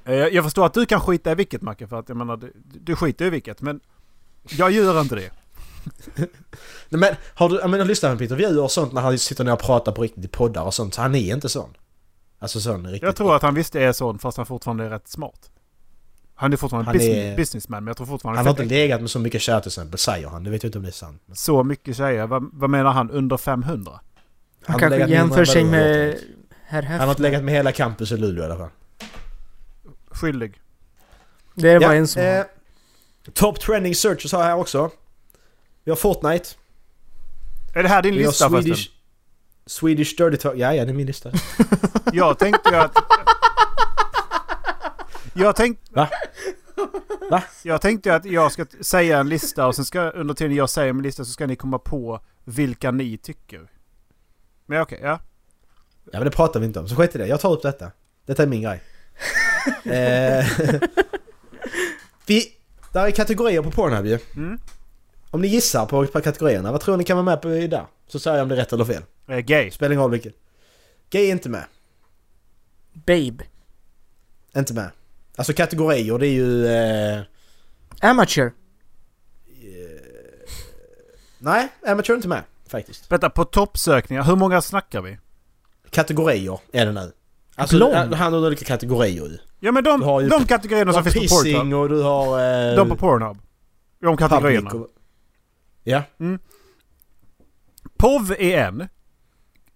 Eh, Jag, jag förstår att du kan skita i vilket Macke, för att jag menar, du, du skiter i vilket. Men jag gör inte det.
Nej, men har du, jag menar, lyssnar på intervjuer och sånt när han sitter ner och pratar på riktigt i poddar och sånt, så han är inte sån. Alltså sån riktigt.
Jag tror att han visst är sån fast han fortfarande är rätt smart. Han är fortfarande
Han
han
är-
businessman men jag tror fortfarande
Han har
han
inte legat med så mycket tjejer till exempel, säger han. Det vet jag inte om det är sant. Men
så mycket tjejer. Vad, vad menar han? Under 500?
har
Han kanske
legat med
jämför sig
Madonna,
med
tror
herr
jag. Han har inte
Hefner.
legat med hela campus i Luleå i alla fall.
Skyldig.
Det är bara
Ja,
en som
eh,
har.
Top trending searches har jag här också. Vi har Fortnite.
Är det här din
Vi har
lista
Swedish...
förresten?
Swedish Dirty Talk. Ja, ja, det är min lista.
Jag tänkte ju att... Jag tänkte...
Va? Va?
Jag tänkte ju att jag ska t- säga en lista och sen ska under tiden jag säger min lista så ska ni komma på vilka ni tycker. Men okej, ja.
Ja, men det pratar vi inte om. Så skit i det. Jag tar upp detta. Detta är min grej. eh, vi... Där är kategorier på Pornhub ju.
Mm.
Om ni gissar på, på kategorierna, vad tror ni kan vara med på i där? Så säger jag om det är rätt eller fel.
Eh, Gay.
Spelar ingen roll vilket. Gay är inte med.
Babe.
Inte med. Alltså kategorier, det är ju... Eh,
Amateur.
nej, amateur är inte med faktiskt.
Vänta, på toppsökningar, hur många snackar vi?
Kategorier är det nu. Alltså,
Blond.
det handlar om olika kategorier ju.
Ja men de,
Du har ju-
de kategorierna
Du
som
har
finns på Pornhub.
pissing och du har... Eh,
De på Pornhub. De kategorierna.
public och- Ja.
POV är en.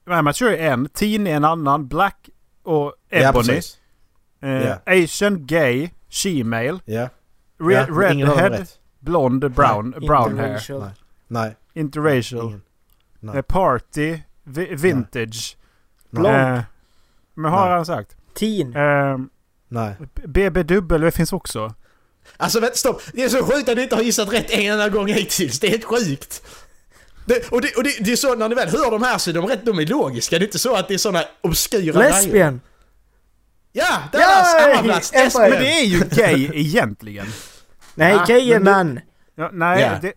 Amateur är en. Teen är en annan. Black och
Ja,
Ebony.
precis.
eh,
Ja.
Asian, gay, shemale.
Ja.
Re-
ja. Ingen av dem
redhead,
är rätt.
blond, brown, brown hair.
Interracial.
Nej. Nej.
Interracial.
Ingen. Nej.
Eh, party, vi- vintage.
Blond.
Eh, men har
Nej.
han sagt.
Teen.
Eh,
Nej.
BBW finns också.
Alltså vänta, stopp! Det är så sjukt att ni inte har gissat rätt en enda gång hittills. Det är helt sjukt! Det, och det, och det, det är så när ni väl hör de här så är de rätt de är logiska. Det är inte så att det är såna obskyra grejer.
Lesbian.
Ja! Där var samma plats!
Yay!
Lesbian.
Men det är ju gay egentligen.
Nej,
Ah,
gay är
men du-
man.
Ja, nej,
Ja.
det...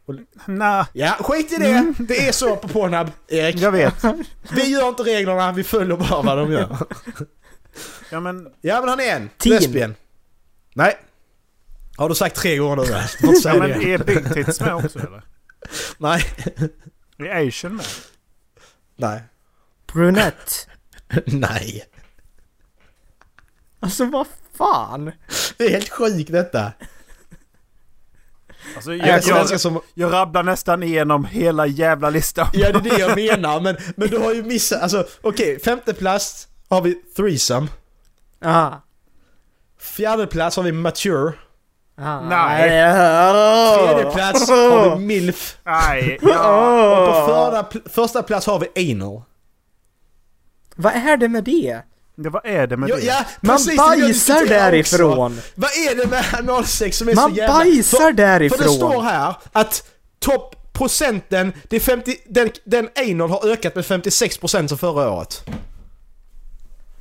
Nej,
Ja, skit i det! Det är så på Pornhub, Erik.
jag vet.
Vi gör inte reglerna, vi följer bara vad de gör.
Ja, men...
Ja men han är en.
Teen.
Lesbien. Nej. Har du sagt tre gånger nu? va? Du får inte
Ja,
säga
men
det.
är Big Tits med också eller?
Nej.
Är Asian med?
Nej.
Brunett.
Nej.
Alltså vad fan?
Det är helt sjukt detta.
Alltså,
Jag,
jag,
jag,
jag,
som,
jag rabblar nästan igenom hela jävla listan.
Ja, det är det jag menar. Men, men du har ju missat. Alltså, okej. femte plats har vi threesome.
Aha.
Fjärde plats har vi mature.
Aha.
Nej.
Ah.
Tredje plats har vi milf.
Nej. Ja.
Och på
Åh.
förra, pl- första plats har vi anal.
Vad är det med det?
Ja, Vad är det med
Ja,
det?
ja,
Man
precis, det vill jag
bajsar
diskutera också.
därifrån!
Vad är det med analsex som är
Man
så jävla...
bajsar
för, För det
därifrån.
står här att toppprocenten, det är 50, den, den anal har ökat med 56% som förra året.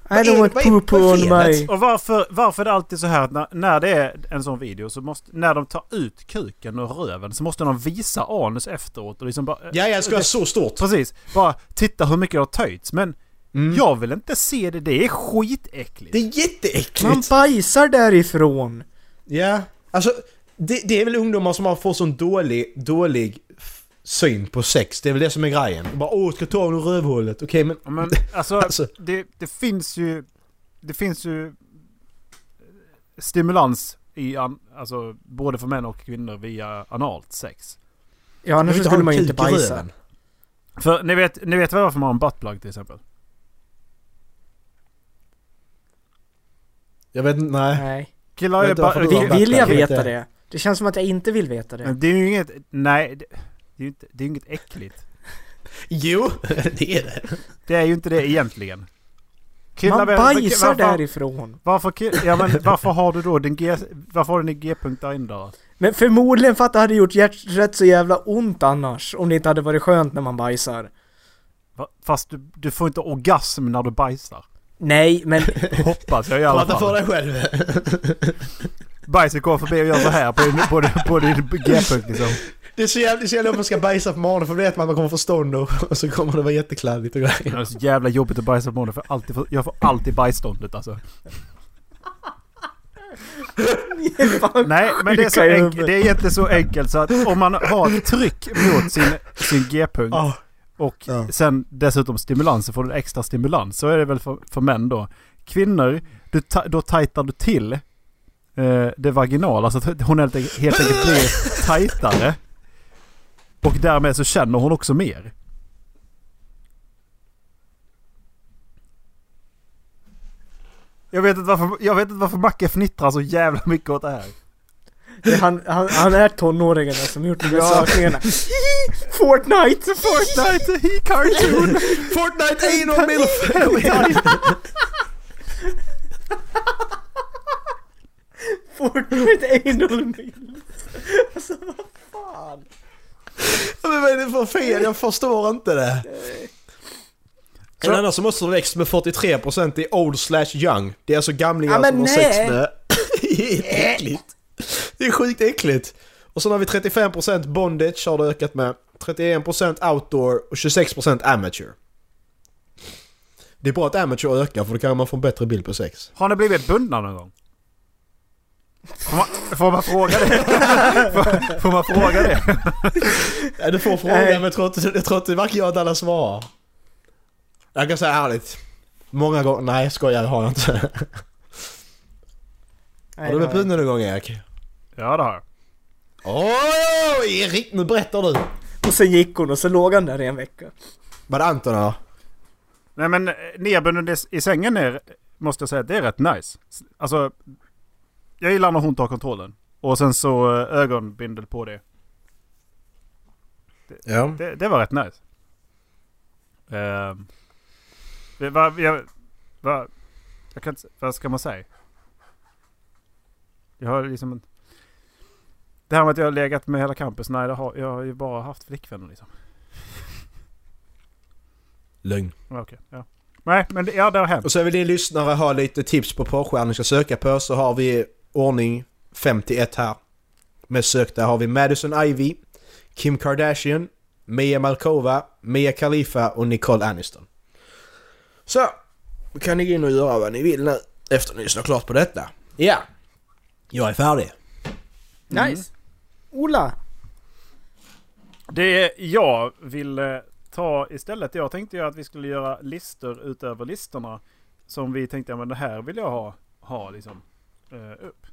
I
är
don't
det-
want
vad är-
poo poo
vad är
on
felet?
my...
Och varför, varför är det alltid så här att när, när det är en sån video så måste, när de tar ut kuken och röven så måste de visa anus efteråt och liksom bara...
Ja, jag ska vara så stort.
Precis, bara titta hur mycket det har töjts men
Mm.
jag vill inte se det, det är skitäckligt.
Det är jätteäckligt.
Man bajsar därifrån!
Ja, alltså det, det är väl ungdomar som har fått sån dålig, dålig f- syn på sex. Det är väl det som är grejen. Bara åh, ska ta honom ur rövhålet. Okej men...
Ja, Men alltså,
Alltså.
Det, det finns ju... Det finns ju eh, stimulans i an, alltså, både för män och kvinnor via analt sex.
Ja,
jag
annars
vill
skulle
ha
man ju
en
inte
kuk i
bajsa.
röven.
För ni vet, ni vet väl varför man har en buttplug till exempel?
Jag vet inte, nej.
Nej.
Killar
Jag
är
vet inte varför du har
Vill,
en
bara...
vill jag
Jag vet
veta
det.
det? Det känns som att jag inte vill veta det.
Men Det är ju inget... Nej, det, det är ju inte, det är ju inget äckligt.
Jo, det är det.
Det är ju inte det egentligen. Killar
Man
vet-
bajsar
varför,
därifrån.
Varför, ki- ja, men varför har du då din G... Varför har du din G-punkt där inne då?
Men förmodligen för att det hade gjort hjärt rätt så jävla ont annars. Om det inte hade varit skönt när man bajsar.
Va- Fast du, du får inte orgasm när du bajsar.
Nej, men
Hoppas jag i alla
Prata för
fall.
dig själv.
Bajset går förbi och gör så här på din, på din, på din G-punkt liksom.
Det är så jävla, det är så jävla om man ska bajsa på morgonen för då vet man att man kommer få stånd och, och så kommer det vara jättekladdigt och
Det
grejer.
är så jävla jobbigt att bajsa på morgonen för alltid, får- jag får alltid bajsståndet alltså. Nej men det är, så
Sjuka i
enk-
huvudet.
det är inte så enkelt så att om man har ett tryck mot sin, sin G-punkt
Ja.
och
Ja.
sen dessutom stimulans så får du extra stimulans. Så är det väl för, för män då. Kvinnor, du ta- då tajtar du till eh, det vaginala så att hon helt, enkelt- helt enkelt blir tajtare. Och därmed så känner hon också mer. Jag vet inte varför, jag vet inte varför Macke fnittrar så jävla mycket åt det här.
det är han, han, han är tonåringen som gjort de där sökningarna. Fortnite!
Fortnite, he cartoon!
Fortnite anal milf!
Fortnite anal milf. Alltså vad fan.
Men vad är det för fel? Jag förstår inte det. En annan som också har växt med 43% är old slash young. Det är alltså gamlingar
Ja, men
som har
nej.
sex med. det är äckligt. Det är sjukt äckligt. Och sen har vi 35% bondage har det ökat med. 31% outdoor och 26% amateur. Det är bra att amateur ökar för då kan man få en bättre bild på sex.
Har ni blivit bundna någon gång? Får man, får man fråga det? får, får man fråga det?
Ja, Du får frågan
Nej.
men jag tror inte, jag tror inte varken jag eller alla svarar. Jag kan säga ärligt. Många gånger, nej skojar jag har jag inte. Har du
Nej, nej.
blivit bunden någon gång Erik?
Ja det har jag.
Åh, Erik nu berättar du!
Och sen gick hon och så låg han där i en vecka.
Var det Anton eller?
Nej men eh, nerbunden i- i sängen är, måste jag säga, det är rätt nice. S- Alltså, jag gillar när hon tar kontrollen. Och sen så eh, ögonbindel på det.
Ja.
Det, det var rätt nice. Ehm, det var, jag, var, jag kan inte, s- vad ska man säga? Jag har liksom en, Det här med att jag har legat med hela campus, nej det har, jag har ju bara haft flickvänner liksom.
Lögn.
Ja, Okej, ja. Nej men det, ja, det har hänt.
Och så vill ni lyssnare ha lite tips på porrstjärnor ni ska söka på så har vi ordning 51 här. Med sökta har vi Madison Ivy, Kim Kardashian, Mia Malkova, Mia Khalifa och Nicole Aniston. Så, då kan ni gå in och göra vad ni vill nu efter ni lyssnat klart på detta. Ja, jag är färdig.
Nice. Ola.
Det jag vill eh, ta istället, jag tänkte ju att vi skulle göra listor utöver listorna. Som vi tänkte, ja men det här vill jag ha, ha liksom eh, upp.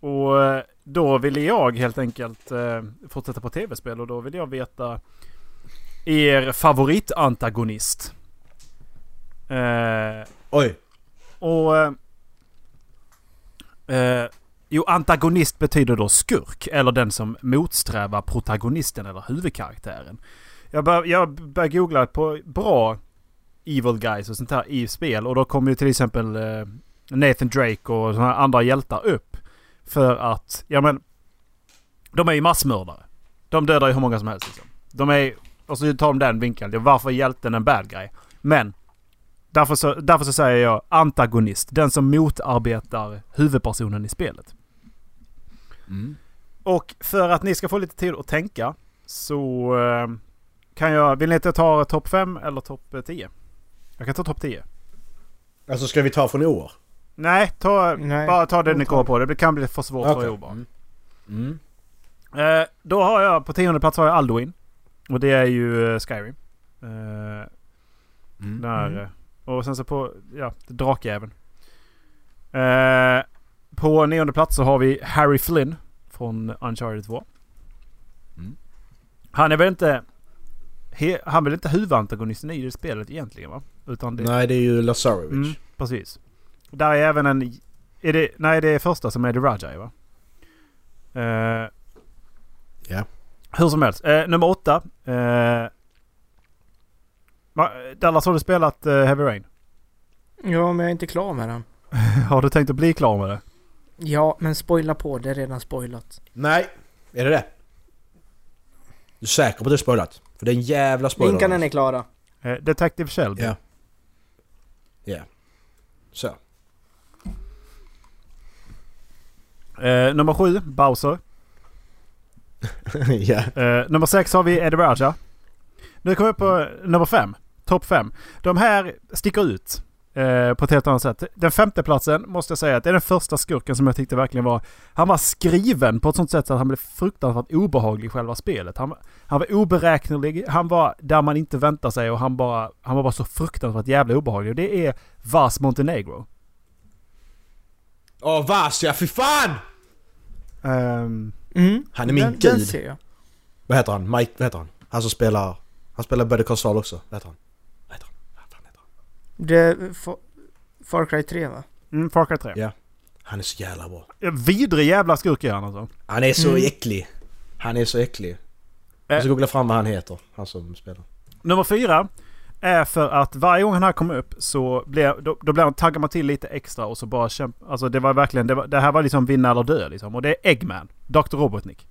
Och eh, då ville jag helt enkelt eh, fortsätta på tv-spel och då ville jag veta er favoritantagonist. Eh,
Oj.
och... eh, Eh, jo, antagonist betyder då skurk. Eller den som motsträvar protagonisten eller huvudkaraktären. Jag bör- jag började googla på bra evil guys och sånt här i spel. Och då kom ju till exempel eh, Nathan Drake och såna här andra hjältar upp. För att, ja men... De är ju massmördare. De dödar ju hur många som helst liksom. De är Och så tar de den vinkeln. Ja, Varför är hjälten en bad guy? Men Därför så, därför så säger jag antagonist. Den som motarbetar huvudpersonen i spelet.
Mm.
Och för att ni ska få lite tid att tänka så eh, kan jag... Vill ni att jag tar topp 5 eller topp eh, 10? Jag kan ta topp 10.
Alltså ska vi ta från i år?
Nej, ta,
Nej.
bara ta det ni kommer på. Det kan bli för svårt för
Okej.
Jobar.
Mm.
Eh, då har jag på tionde plats har jag Alduin. Och det är ju eh, Skyrim. Eh,
Mm.
Där, eh, Och sen så på, ja, drakjäveln. Eh, på nionde plats så har vi Harry Flynn från Uncharted 2.
Mm.
Han är väl inte... He, han är väl inte huvudantagonisten i det spelet egentligen va? Utan det,
Nej, det är ju Lazarovic.
Mm, precis. Där är även en... Är det, nej, det är första som är The Rajai va? Eh,
Ja.
Hur som helst. Eh, nummer åtta. Eh, Ma- Dallas, har du spelat eh, Heavy Rain?
Ja, men jag är inte klar med den.
Har du tänkt att bli klar med det?
Ja, men spoila på. Det är redan spoilat.
Nej, är det det? Du är säker på att det är spoilat? För det är en jävla spoiler.
Linkarna är klara.
Eh, Detective Shelby.
Ja. Ja. Så.
Eh, nummer sju, Bowser.
ja.
Eh, nummer sex har vi Eddie Raja. Nu kommer vi på eh, nummer fem. Topp fem. De här sticker ut eh, på ett helt annat sätt. Den femte platsen måste jag säga att det är den första skurken som jag tyckte verkligen var... Han var skriven på ett sånt sätt så att han blev fruktansvärt obehaglig i själva spelet. Han, han var oberäknelig, han var där man inte väntar sig och han, bara, han var bara så fruktansvärt jävla obehaglig. Och det är Vas Montenegro.
Åh, Vasja, fy fan!
Ehm,
Mm.
Han är min
den, den
gud.
ser jag.
Vad heter han? Mike, vad heter han? Han som spelar... Han spelar Better Call Saul också. Vad heter han? Vad heter han? Vad fan heter han?
Det är Fa- Far Cry 3 va?
mm, Far Cry 3.
Ja. Han är så jävla bra.
Eh, Vidrig jävla skurk är han alltså.
Han är så
Mm.
äcklig. Han är så äcklig. Jag ska googla fram vad han heter, han som spelar.
Nummer fyra är för att varje gång han här kom upp så blev, då, då blev han, taggar man till lite extra och så bara kämpa. Alltså det var verkligen, det, var, det här var liksom vinna eller dö liksom. Och det är Eggman, Dr. Robotnik.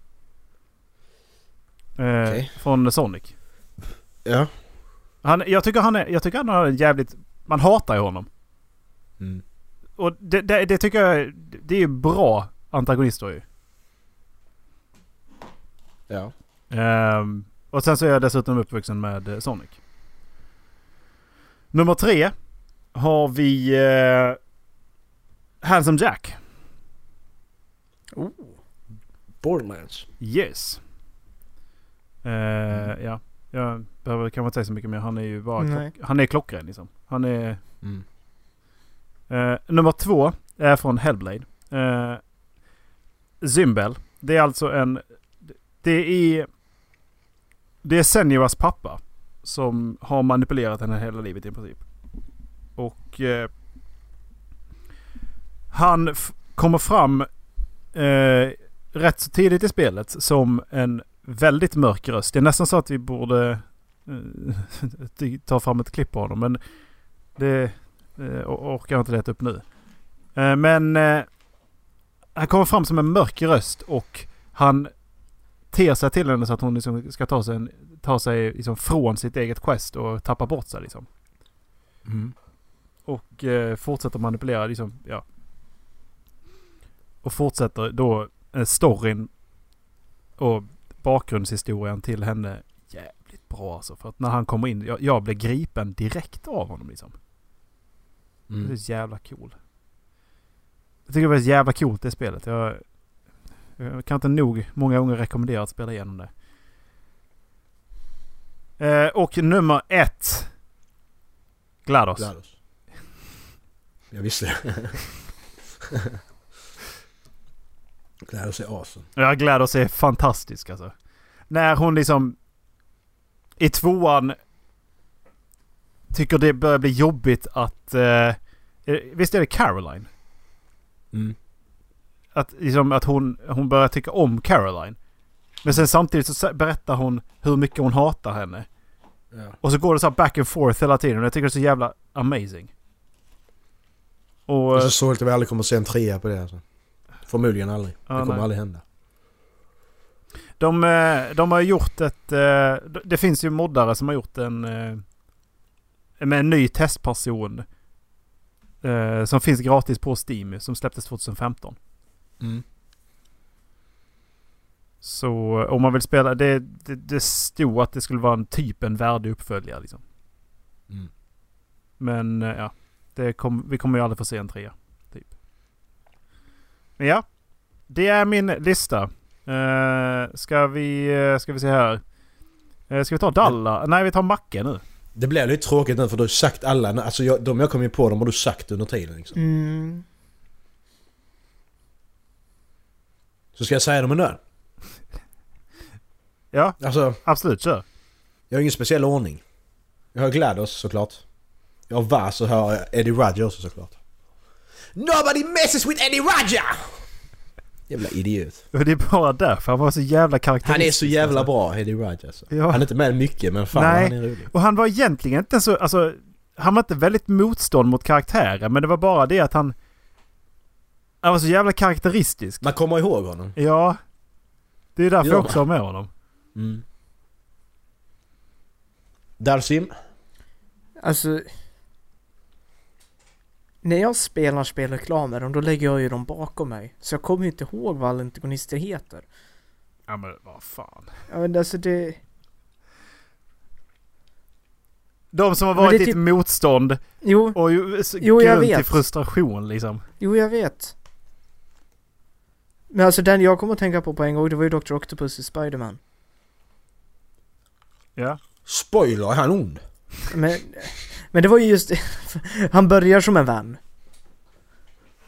Eh,
Okej.
Från Sonic.
Ja.
Han, jag, tycker han är, jag tycker han har en jävligt... Man hatar ju honom.
Mm.
Och det, det, det tycker jag, det är ju bra antagonister ju.
Ja.
Ehm, och sen så är jag dessutom uppvuxen med eh, Sonic. Nummer tre har vi eh, Handsome Jack.
Borderlands.
Yes. Eh, Ja, jag behöver kanske inte säga så mycket mer. Han är ju bara
Nej.
klock, han är klockren liksom. Han är...
Mm.
Eh, nummer två är från Hellblade. Eh, Zimbel. Det är alltså en... Det är... Det är Senuas pappa. Som har manipulerat henne hela livet i princip. Och... Eh, han f- kommer fram eh, rätt så tidigt i spelet som en väldigt mörk röst. Det är nästan så att vi borde eh, ta fram ett klipp på honom. Men det... Eh, och orkar inte leta upp nu. Eh, men eh, han kommer fram som en mörk röst och han ter sig till henne så att hon liksom ska ta sig, en, ta sig liksom från sitt eget quest och tappa bort sig liksom.
Mm.
Och eh, fortsätter manipulera liksom, ja. Och fortsätter då eh, storyn och bakgrundshistorien till henne jävligt bra alltså. För att när han kommer in, jag, jag blir gripen direkt av honom liksom. Det är
Mm.
så jävla cool. Jag tycker det var så jävla coolt det spelet. Jag, jag kan inte nog många gånger rekommendera att spela igenom det. Eh, och nummer ett. GLaDOS.
GLaDOS. Jag visste det. Gladys är awesome.
Ja, Gladys är fantastisk alltså. När hon liksom i tvåan tycker det börjar bli jobbigt att... Eh, visst är det Caroline?
Mm.
Att, liksom, att hon, hon börjar tycka om Caroline. Men sen samtidigt så sä- berättar hon hur mycket hon hatar henne.
Ja.
Och så går det så här back and forth hela tiden och jag tycker det är så jävla amazing. Och... eh,
Jag är så sorgligt att vi aldrig kommer att se en trea på det alltså. Förmodligen aldrig.
Ja,
det kommer
nej.
aldrig hända.
De, eh, de har gjort ett... eh, Det finns ju moddare som har gjort en... eh, Med en ny testperson. eh, Som finns gratis på Steam som släpptes 2015. Mm. Så eh, om man vill spela... Det, det, det stod att det skulle vara en typ en värdig uppföljare liksom.
Mm.
Men eh, ja. Det kom, vi kommer ju aldrig få se en trea. Typ. Men ja. Det är min lista. Eh, ska vi... eh, Ska vi se här. Eh, ska vi ta Dalla? Nej, vi tar Macke nu.
Det blir lite tråkigt nu för du har sagt alla, alltså jag, de jag kom ju på dem har du sagt under tiden liksom.
Mm.
Så ska jag säga dem ändå?
Ja,
Alltså,
absolut. Kör.
jag har ingen speciell ordning. Jag har Glados såklart. Jag har Vaz och har jag Eddie Roger också såklart. Nobody messes with Eddie Roger! Jävla idiot.
Och Det är bara därför. Han var så jävla karaktäristisk.
Han är så jävla
alltså.
bra, Eddie Roger alltså.
Ja.
Han är inte med mycket men fan
Nej.
han är rolig.
Och han var egentligen inte så... Alltså, han var inte väldigt motstånd mot karaktären. Men det var bara det att han... Han var så jävla karaktäristisk.
Man kommer ihåg honom.
Ja. Det är därför
Ja.
jag också har med honom.
Mm. Darsim?
Alltså... När jag spelar spelreklamer, då lägger jag ju dem bakom mig. Så jag kommer ju inte ihåg vad alla antagonister heter.
Ja men vad fan.
Ja men alltså det...
De som har
Men det
varit
är
ditt
typ-
motstånd
Jo,
och ju, s-
Jo, jag
grund till
vet.
frustration liksom.
jo jag vet. Men alltså den jag kommer att tänka på på en gång, det var ju Dr. Octopus i Spider-Man.
Ja.
Spoiler, är han ond?
Men, men det var ju just... Han börjar som en vän.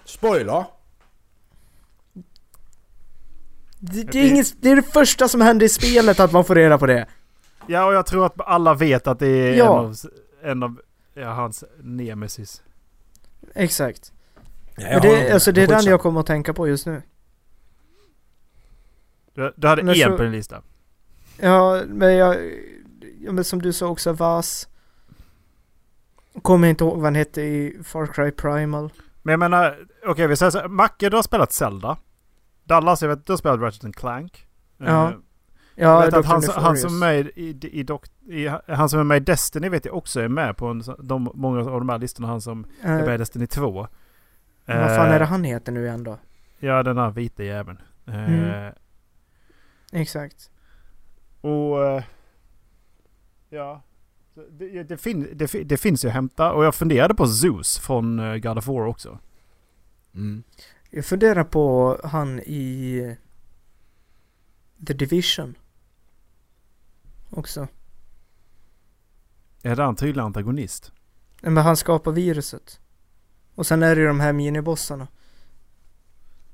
Spoiler!
Det, det, är inget, det är det första som händer i spelet att man får reda på det.
Ja och jag tror att alla vet att det är en
Ja.
av, s- en av ja, hans nemesis.
Exakt.
Ja,
Men det, alltså, det är den jag kommer att tänka på just nu.
Du, du hade
Men
en
så-
på din lista.
Ja, men jag... Ja, men som du sa också, Vas. Kommer inte ihåg vad han hette i Far Cry Primal.
Men jag menar, okej vi säger så här, Macke du har spelat Zelda. Dallas jag vet du har spelat Ratchet and Clank. Eh,
Ja.
jag
Ja,
vet att
Dr.
han, han, som är
Nefarious.
med i, i, doc, i, han som är med i Destiny vet jag också är med på en, sån- de, många av de här listorna. Han som är
Eh,
med i Destiny 2.
vad fan är
Eh,
det han heter nu igen då?
Ja, den här vita jäveln. Eh,
Mm. Exakt.
och... eh, ja. Så Det, det, fin, det, fin- det finns ju att hämta. Och jag funderade på Zeus från eh, God of War också.
Mm.
Jag funderar på han i... The Division. Också.
Är det en tydlig antagonist?
Nej, Men han skapar viruset. Och sen är det ju de här minibossarna.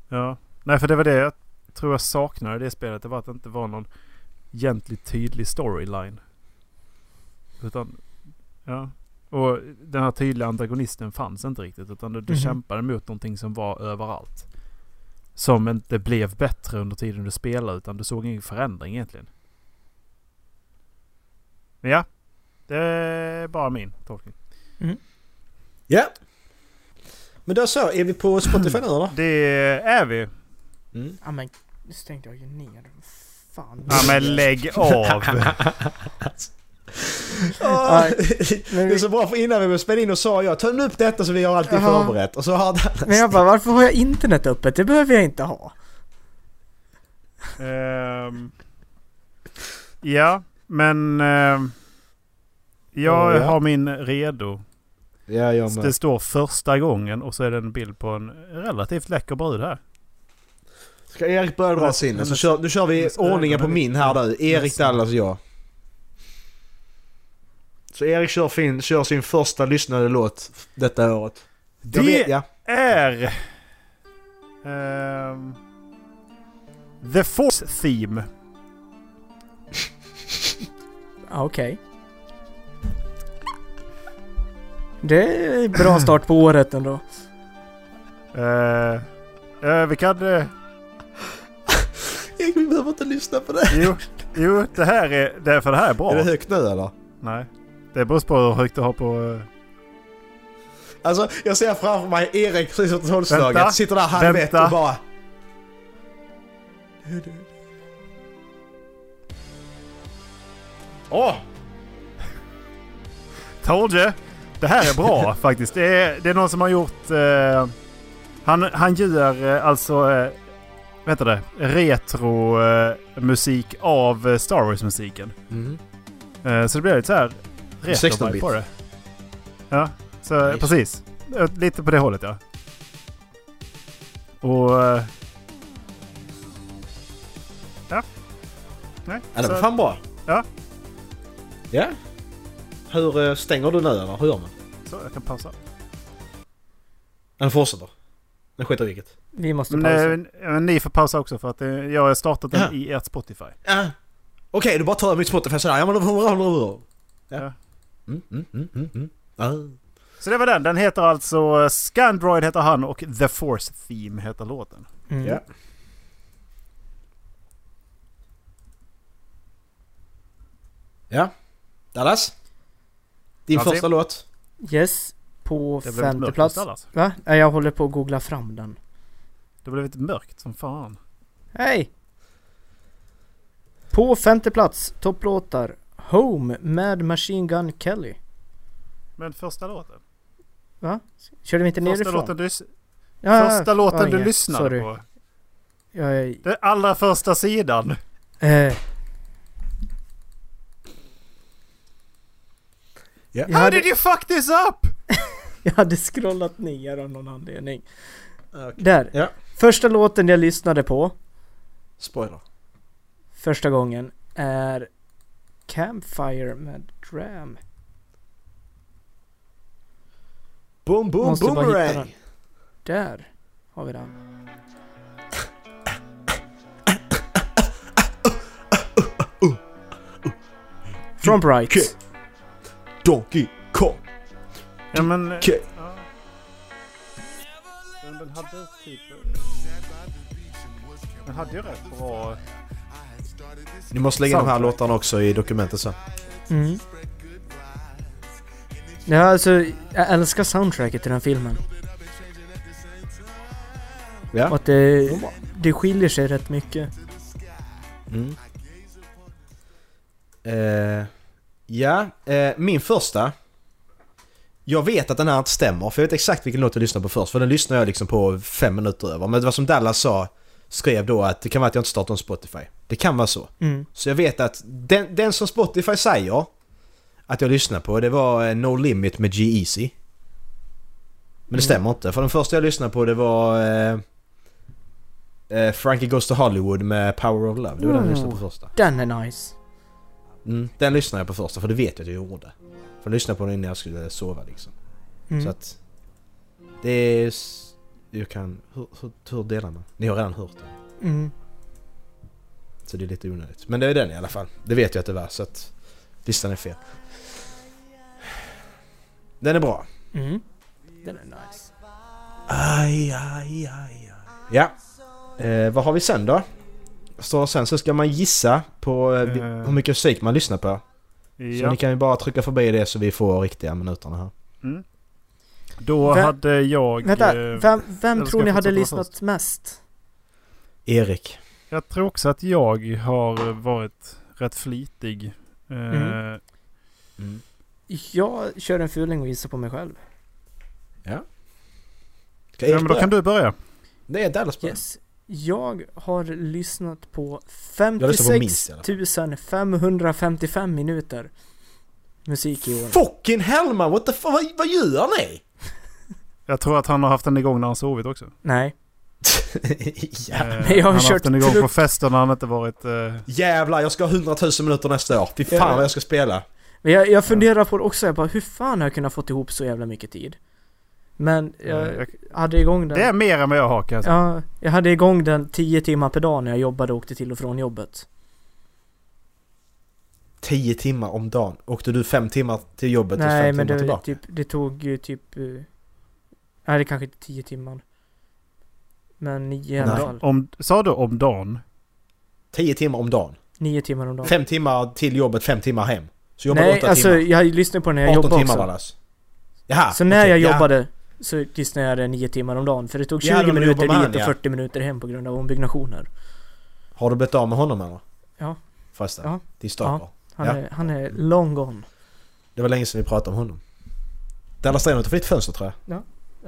Ja. Nej, för det var det jag tror jag saknade i det spelet. Det var att det inte var någon egentligt tydlig storyline. Utan... Ja. Och den här tydliga antagonisten fanns inte riktigt. Utan du, du
Mhm.
kämpade mot någonting som var överallt. Som inte blev bättre under tiden du spelade. Utan du såg ingen förändring egentligen. Men ja. Det är bara min tolkning.
Ja. Men då så, är vi på Spotify nu eller?
Det är vi.
Mm.
Ja men, nu stängde jag ju ner. Fan.
Ja men lägg av.
Ah,
Men,
det är
vi,
så bra för innan vi började spela in och sa jag ta nu upp detta så vi har alltid
Jaha.
förberett. Och så har han...
men jag bara, varför har jag internet öppet? Det behöver jag inte ha.
Ehm, ja, men ehm, jag
Ja, ja.
har min redo.
Ja, jag
Det står första gången och så är det en bild på en relativt läcker brud här.
Ska Erik börja dra sin? Och så kör, nu kör vi
Men-
ordningen på min här nu. Erik, Dallas och jag. Så Erik kör, fin, kör sin första lyssnade låt detta året. Jag
Det-
vet, ja.
Är... ehm, The Force Theme.
Ja, Okej. Det är en bra start på året ändå.
Eh, eh, vi kan... eh,
Vi behöver inte lyssna på det.
jo, jo, det här är... Det, är- för det här är bra.
Är det högt nu eller?
Nej. Det beror på hur högt du har på... eh,
Alltså, jag ser framför mig Erik precis åt tolvslaget.
Vänta,
sitter där halvett
vänta.
och bara...
Åh! Told you. Det här är bra faktiskt. Det är, det är någon som har gjort... Eh, han, han gör eh, alltså... Eh, vad heter det? Retromusik eh, musik av eh, Star Wars-musiken.
Mm.
Eh, så det blir lite så här... retro
16-bit.
på det. Ja, så
Nice.
precis. Eh, Lite på det hållet ja. Och... Eh, ja. Nej.
Ja, det
så-
var fan bra.
Ja.
Ja. Hur eh, stänger du nu eller hur gör man?
Så, jag kan pausa.
Den fortsätter. Den skiter i vilket.
Vi måste
Men,
pausa.
eh, men ni får pausa också för att eh, jag har startat den
Ja.
i ert Spotify.
Ja. Okej, du bara tar mitt Spotify sådär. Ja men då får man...
Ja.
Ja. Mm, mm, mm, mm, mm. Ja.
Så det var den. Den heter alltså eh, Scandroid heter han och The Force Theme heter låten.
Mm.
Ja. Ja. Dallas? Din
Dallas.
första låt?
Yes. På
Det blev lite
femte
mörkt
plats.
mot allas.
Va? Nej, Jag håller på att googla fram den.
Det blev lite mörkt som fan.
Hej! På femte plats, topplåtar. Home med Machine Gun Kelly.
Men första låten?
Va? Körde vi inte
Första
nerifrån?
låten du,
Ja,
första låten du
inget.
lyssnade
Ah, Sorry.
på?
Jag är-
Den allra första sidan?
eh,
Ja.
Jag
How
hade-
did you fuck this up?
Jag hade scrollat ner av någon anledning.
Okej.
Där.
Ja.
Första låten jag lyssnade på
Spoiler.
första gången är Campfire med Dram.
Boom, boom,
Måste bara hitta
boomerang!
den. Där har vi den. From Bright.
Donkey Kong!
Ja men... eh,
Okej.
ja. Men Den hade typ... Den hade ju rätt bra...
Ni måste lägga in de här
Soundtrack.
låtarna också i dokumentet sen.
Mm. Ja, alltså, jag älskar soundtracket till den filmen.
Ja.
Och att det, det skiljer sig rätt mycket.
Mm. Eh, ja, eh, min första. Jag vet att den här inte stämmer, för jag vet exakt vilken låt jag lyssnade på först. För den lyssnade jag liksom på fem minuter över. Men det var som Dallas sa, skrev då att det kan vara att jag inte startar en Spotify. Det kan vara så.
Mm.
Så jag vet att den, den som Spotify säger att jag lyssnade på, det var eh, No Limit med G-Eazy. Men det stämmer inte, för den första jag lyssnade på det var... Eh, eh, Frankie Goes to Hollywood med Power of Love. Det var den jag lyssnade på första.
Den är nice.
Mm, den lyssnade jag på första för det vet jag att jag gjorde. För jag lyssnade på den innan jag skulle sova liksom.
Mm.
Så att... Det är... s- Jag kan... Hur, hur, hur delar man? Ni har redan hört den.
Mm.
Så det är lite onödigt. Men det är den i alla fall. Det vet jag att det var så att... Listan är fel. Den är bra.
Mm. Den är nice.
Aj, aj, aj, aj. Ja. Eh, vad har vi sen då? Så sen så ska man gissa på eh, vi-
Eh.
hur mycket musik man lyssnar på. Så
Ja.
ni kan ju bara trycka förbi det så vi får riktiga minuterna här.
Då
Vem-
hade jag...
Vänta,
eh,
vem, vem
eller ska
tror ni
jag
hade
fortsätta
lyssnat
först?
mest?
Erik.
Jag tror också att jag har varit rätt flitig. Eh,
Mm. Jag kör en fuling och gissar på mig själv.
Ska
Ja,
Erik
men då
börja?
kan du börja.
Det är Dallas på.
Yes. Jag har lyssnat på
lyssnar på minst
56
i alla
555 minuter musik i år.
Fucking hell man, what the fuck, vad, vad gör ni?
Jag tror att han har haft den igång när han sovit också.
Nej.
ja.
Eh,
jag har
han
kört
haft den igång
truck.
på fester när han inte varit... eh,
Jävlar, jag ska ha 100 000 minuter nästa år. Fy fan
Ja.
vad jag ska spela.
Men jag, jag funderar på det också, jag bara hur fan har jag kunnat fått ihop så jävla mycket tid? Men
Eh,
jag
jag-
hade igång den.
Det är mer än vad jag har kan jag
Alltså.
säga.
Ja, jag hade igång den 10 timmar per dag när jag jobbade och åkte till och från jobbet.
10 timmar om dagen. Åkte du 5 timmar till jobbet och
Nej,
5
men
timmar
det,
tillbaka?
typ, det tog ju typ... eh, Nej, det kanske inte 10 timmar. Men 9 i alla
Nej.
fall.
Om, sa du om dagen?
10 timmar om dagen.
9 timmar om dagen.
5 timmar till jobbet, 5 timmar hem. Så jobbar du
Nej,
8
alltså
timmar.
jag lyssnade på den när jag
18
jobbade
timmar
också.
var det alltså. Jaha,
Så när
okej,
jag
ja.
jobbade så lyssnade jag det 9 timmar om dagen. För det tog 20
Ja, när du
minuter
jobbar med han,
dit och
ja.
40 minuter hem på grund av ombyggnationer.
Har du blivit av med honom eller?
Ja.
Förresten,
Ja.
din stalker.
Han,
Ja.
är, han är long gone.
Det var länge sedan vi pratade om honom. Dallas Stenholt har flytt fönster tror jag.
Ja,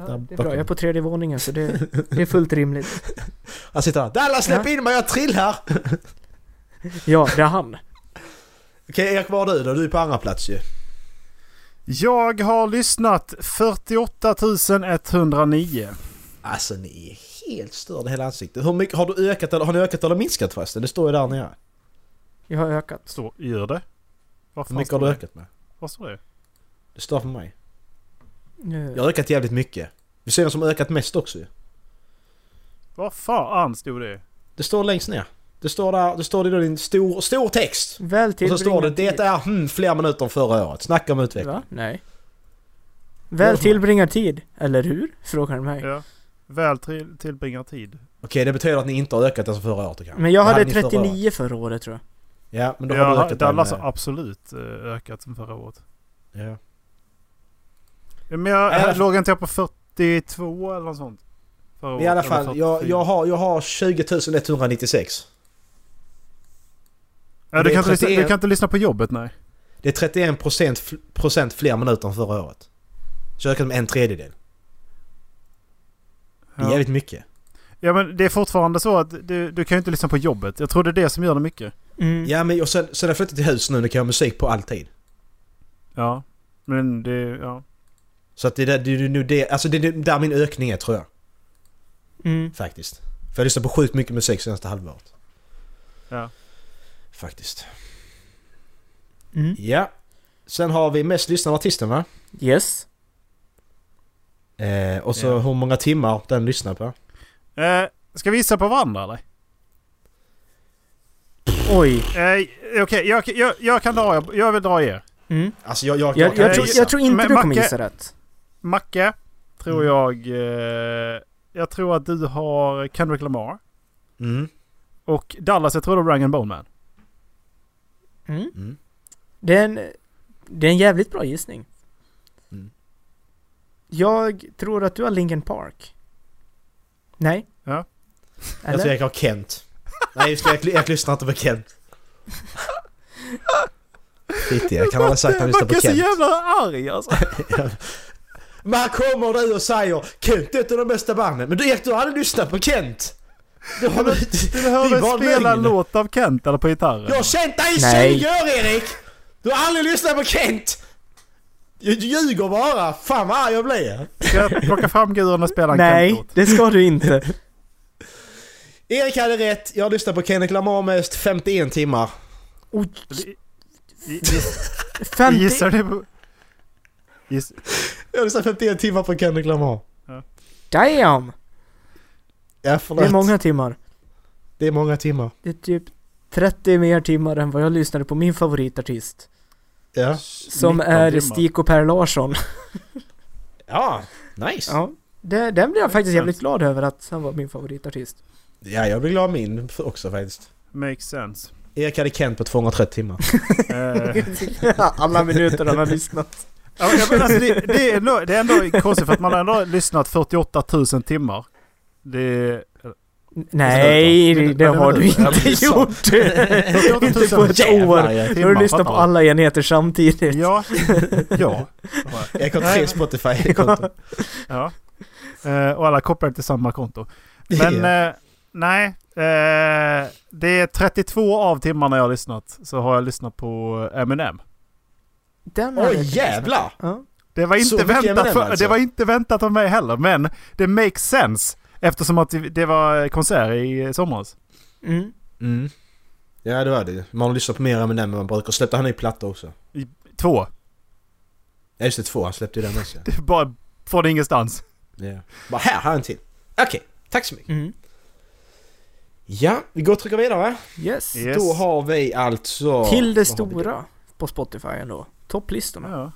Där
det är bra.
bakom.
Jag är på tredje våningen så det, det är fullt rimligt.
Han sitter där. Dallas släpp
Ja.
in mig, jag trillar!
Ja, det är han.
Okej Erik, var är du då? Du är på andra plats ju.
Jag har lyssnat 48 109.
Alltså ni är helt störda i hela ansiktet. Hur mycket, har du ökat eller, har ni ökat eller minskat förresten? Det står ju där nere.
Jag har ökat.
Står, gör det? Vad
Hur
fan
mycket har
står
du
det?
ökat med?
Vad står det?
Det står för mig.
Nu-
Jag har ökat jävligt mycket. Vi ser vem som har ökat mest också ju.
Vad fan stod det?
Det står längst ner. Det står där, det står det då i en stor, stor text.
Väl
Och så står det
tillbringad tid.
det är hmm, fler minuter än förra året. Snacka om utveckling.
Va? Nej.
Vadå
Väl
för
tillbringad tid, eller hur? Frågar du mig.
Ja. Väl till, tillbringar tid.
Okej, det betyder att ni inte har ökat än förra året kanske.
Men jag
Det
hade
ni förra året.
39 förra året tror jag.
Ja, men då har du
Ja,
ökat
Dallas
den,
har absolut eh, ökat sen förra året.
eh, ja.
Men jag
alla-
låg inte jag på 42 eller något sånt? Förra
I alla
året, eller
fall, jag,
44.
jag, har, jag har 20 196.
Ja, du,
det är
kan inte lyssna,
31.
du kan inte lyssna på jobbet nej.
Det är 31 procent, procent fler minuter än förra året. Så jag har ökat med en tredjedel. Det är
Ja.
jävligt mycket.
Mm.
Ja men det är fortfarande så att du, du kan ju inte lyssna på jobbet. Jag tror det är det som gör det mycket.
Mm.
Ja, men och sen, sen har jag flyttat till hus nu, nu kan jag ha musik på alltid.
Ja. Men det, ja.
Så att det, där, det är nu det, alltså det är där min ökning är tror jag.
Mm.
Faktiskt. För jag lyssnar på sjukt mycket musik senaste halvåret.
Ja.
Faktiskt.
Mm.
Ja. Sen har vi mest lyssnade artisten va?
Yes.
Eh, och så
Ja.
hur många timmar den lyssnar på.
Eh, ska vi gissa på varandra eller?
Oj.
Eh, Okej, jag, jag, jag kan dra. Jag, jag vill dra er.
Mm.
Alltså jag, jag,
Jag,
kan
jag,
inte
tror,
gissa.
jag tror inte
Men
du kommer
Macke-
gissa rätt.
Macke,
Mm.
tror jag... Eh, jag tror att du har Kendrick Lamar.
Mm.
Och Dallas, jag tror du har Rang Bone Man.
Mm.
Mm.
Det, är en, det är en jävligt bra gissning.
Mm.
Jag tror att du har Linkin Park. Nej?
Ja.
Jag tror
Eller?
jag har Kent. Nej just det, jag, jag lyssnar inte på Kent. Skit i, jag kan aldrig sagt att jag lyssnar
Eh,
på
Macke är så
Kent.
jävla arg alltså.
Men här kommer du och säger Kent är ett av de bästa banden. Men du Erik, du hade lyssnat på Kent! Du har
Du hör
Det
mig
var
spela en
lögn.
låt av Kent eller på gitarren.
Jag har känt dig i
Nej.
20 år Erik! Du har aldrig lyssnat på Kent! Du ljuger bara! Fan vad arg jag blir!
Ska jag plocka fram guren och spela en
Nej,
Kent-låt?
det ska du inte.
Erik hade rätt, jag har lyssnat på Kendrick Lamar mest 51 timmar.
Oj,
Gi- gi-
50...
Gissar du på... Giss,
Jag har lyssnat 51 timmar på Kendrick Lamar.
Damn!
Ja
Det
förlåt.
är många timmar.
det är många timmar.
Det är typ 30 mer timmar än vad jag lyssnade på min favoritartist.
Ja.
Som
19
är
timmar.
Stiko Per Larsson.
Ja, nice.
Ja. Det, den blev jag faktiskt
sant.
jävligt glad över att han var min favoritartist.
Ja, jag blir glad min också faktiskt.
Makes sense.
Erik hade Kent på 230 timmar.
Eh,
Alla minuter han har lyssnat.
Ja, men jag menar, alltså, det, det, är ändå, det är ändå konstigt för att man har ändå lyssnat 48 000 timmar. Det,
Nej,
Men-
det,
men-
det
men-
har
men-
du
men-
inte
men-
gjort. inte
48
på
000
ett år.
Erik.
Du har lyssnat på
fattar
alla enheter samtidigt.
Ja. Ja.
Erik har tre Spotify-konton.
ja. Eh, och alla kopplade till samma konto. Men eh, nej. Eh, det är 32 av timmarna jag har lyssnat. Så har jag lyssnat på Eminem.
Den har
Oj
jag inte lyssnat.
jävlar!
Ja.
Det var,
Så
inte
mycket
väntat
Eminem
för,
alltså?
det var inte väntat av mig heller. Men det makes sense. Eftersom att det- det var konsert i somras.
Mm.
Mm. Ja det var det ju. Man har lyssnat på mer Eminem än man brukar. Släppte han ny platta också?
Två.
Ja just det, två. Han släppte ju den också.
Det är bara från ingenstans.
Ja.
Bara här, här är en till. Okej, tack så mycket.
Mm.
Ja, vi går och trycker vidare.
Yes.
Yes.
Då har vi alltså...
Till det
vad har vi då?
stora på Spotify ändå. Topplistorna.
Ja.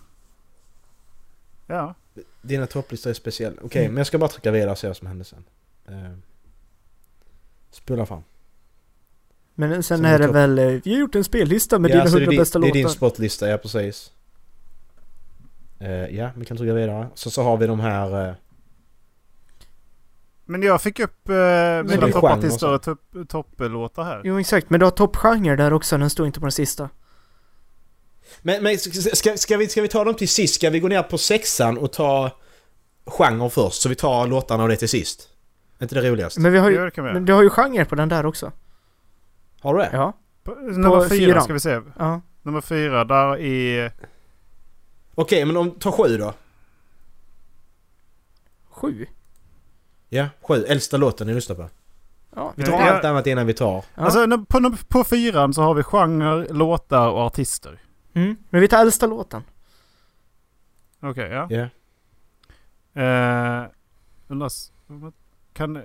Ja.
Dina topplistor är speciella. Okej,
Mm.
men jag ska bara trycka vidare och se vad som händer sen. Uh, spola fram.
Men sen
Som
är
är
det
topp.
väl, eh, vi har gjort en spellista med
Ja,
dina
alltså,
100
det är din-
bästa
Det är din
låtar.
spotlista, ja precis. Eh, ja, vi kan trycka vidare. Så så har vi de här... eh,
Men jag fick upp eh,
det
mina
är
toppartister
genre
och topp- topplåtar här.
Jo exakt, men du har toppgenre där också, den står inte på den sista.
Men, men ska, ska, vi, ska vi ta dem till sist? Ska vi gå ner på sexan och ta genren först? Så vi tar låtarna och det till sist? Är inte det roligast?
Men vi har
Ja,
ju,
det kan vi göra.
men du har ju genre på den där också.
Har du det?
Ja.
På- Nummer fyra
fyran.
ska vi se.
Ja.
Nummer fyra, där är...
Okej, men om, ta sju då.
Sju.
Ja, sju. Äldsta låten ni lyssnar på.
Ja.
Vi tar
Ja.
allt annat innan vi tar.
Ja.
Alltså nu- på, num- på fyran så har vi genre, låtar och artister.
Mm. Men vi tar äldsta låten.
Okej, ja.
Ja.
Eh, undras, kan...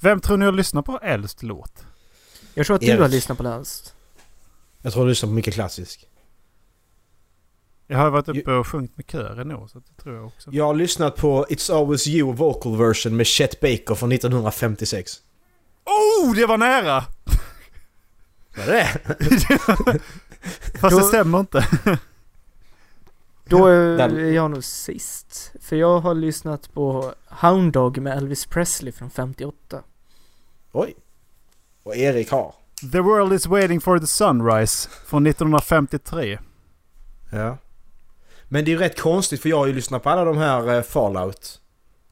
Vem tror ni har lyssnat på äldst låt?
Jag tror att du
Erik.
har lyssnat på den äldst.
Jag tror du lyssnar på mycket klassisk.
Jag har ju varit uppe och sjungit med kören i år, så det tror jag också.
Jag har lyssnat på It's Always You vocal version med Chet Baker från 1956.
Oh, det var nära!
Vad är det?
Fast det
Då-
stämmer inte.
Då eh, är
Den-
jag nog sist. För jag har lyssnat på Hound Dog med Elvis Presley från 58.
Oj. Och Erik har.
The World Is Waiting For The Sunrise från 1953.
Ja. Men det är ju rätt konstigt för jag har ju lyssnat på alla de här eh, Fallout.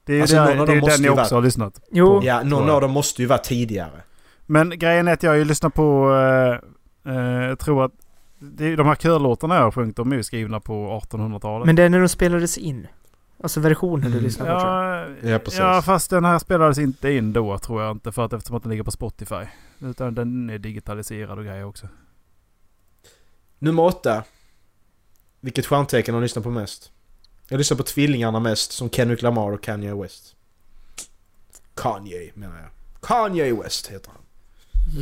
Det är ju
Alltså,
där-
någon av
det är ju
dem
den
måste ju
jag
vara-
också har lyssnat
Jo,
Ja, någon
Tror jag.
av dem måste ju vara tidigare.
Men grejen är att jag har ju lyssnat på, eh, eh, jag tror att det, är- de här körlåtarna jag har sjungit, de är ju skrivna på 1800-talet.
men det är när de spelades in. Alltså versionen du
Mm.
lyssnar på tror jag.
ja,
Ja, precis.
ja, fast den här spelades inte in då tror jag inte, för att eftersom att den ligger på Spotify. Utan den är digitaliserad och grejer också.
Nummer åtta. Vilket stjärntecken har du lyssnat på mest? Jag lyssnar på tvillingarna mest, som Kendrick Lamar och Kanye West. Kanye menar jag. Kanye West heter han.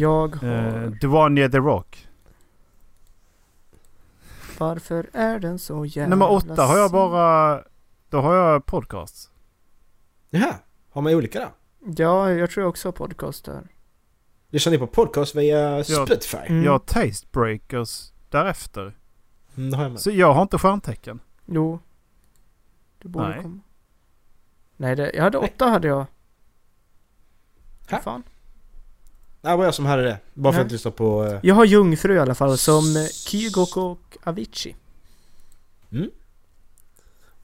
Jag har...
Eh, Duane The Rock.
Varför är den så jävla
Nummer åtta har jag
sen?
bara, då har jag podcasts.
Jaha, har man olika där?
Ja, jag tror jag också har podcast där.
Lyssnar ni på podcast via Spotify?
Mm.
Jag har Taste Breakers därefter.
Mm, det har jag med.
Så jag har inte stjärntecken.
Jo. Du borde
Nej.
komma. Nej, det, jag hade
Nej.
åtta hade jag.
Ha?
Fan.
Nej, det var jag som hade det. Bara för
Nej.
att lyssna på... eh,
Jag har Jungfru i alla fall som eh, Kygok och Avicii.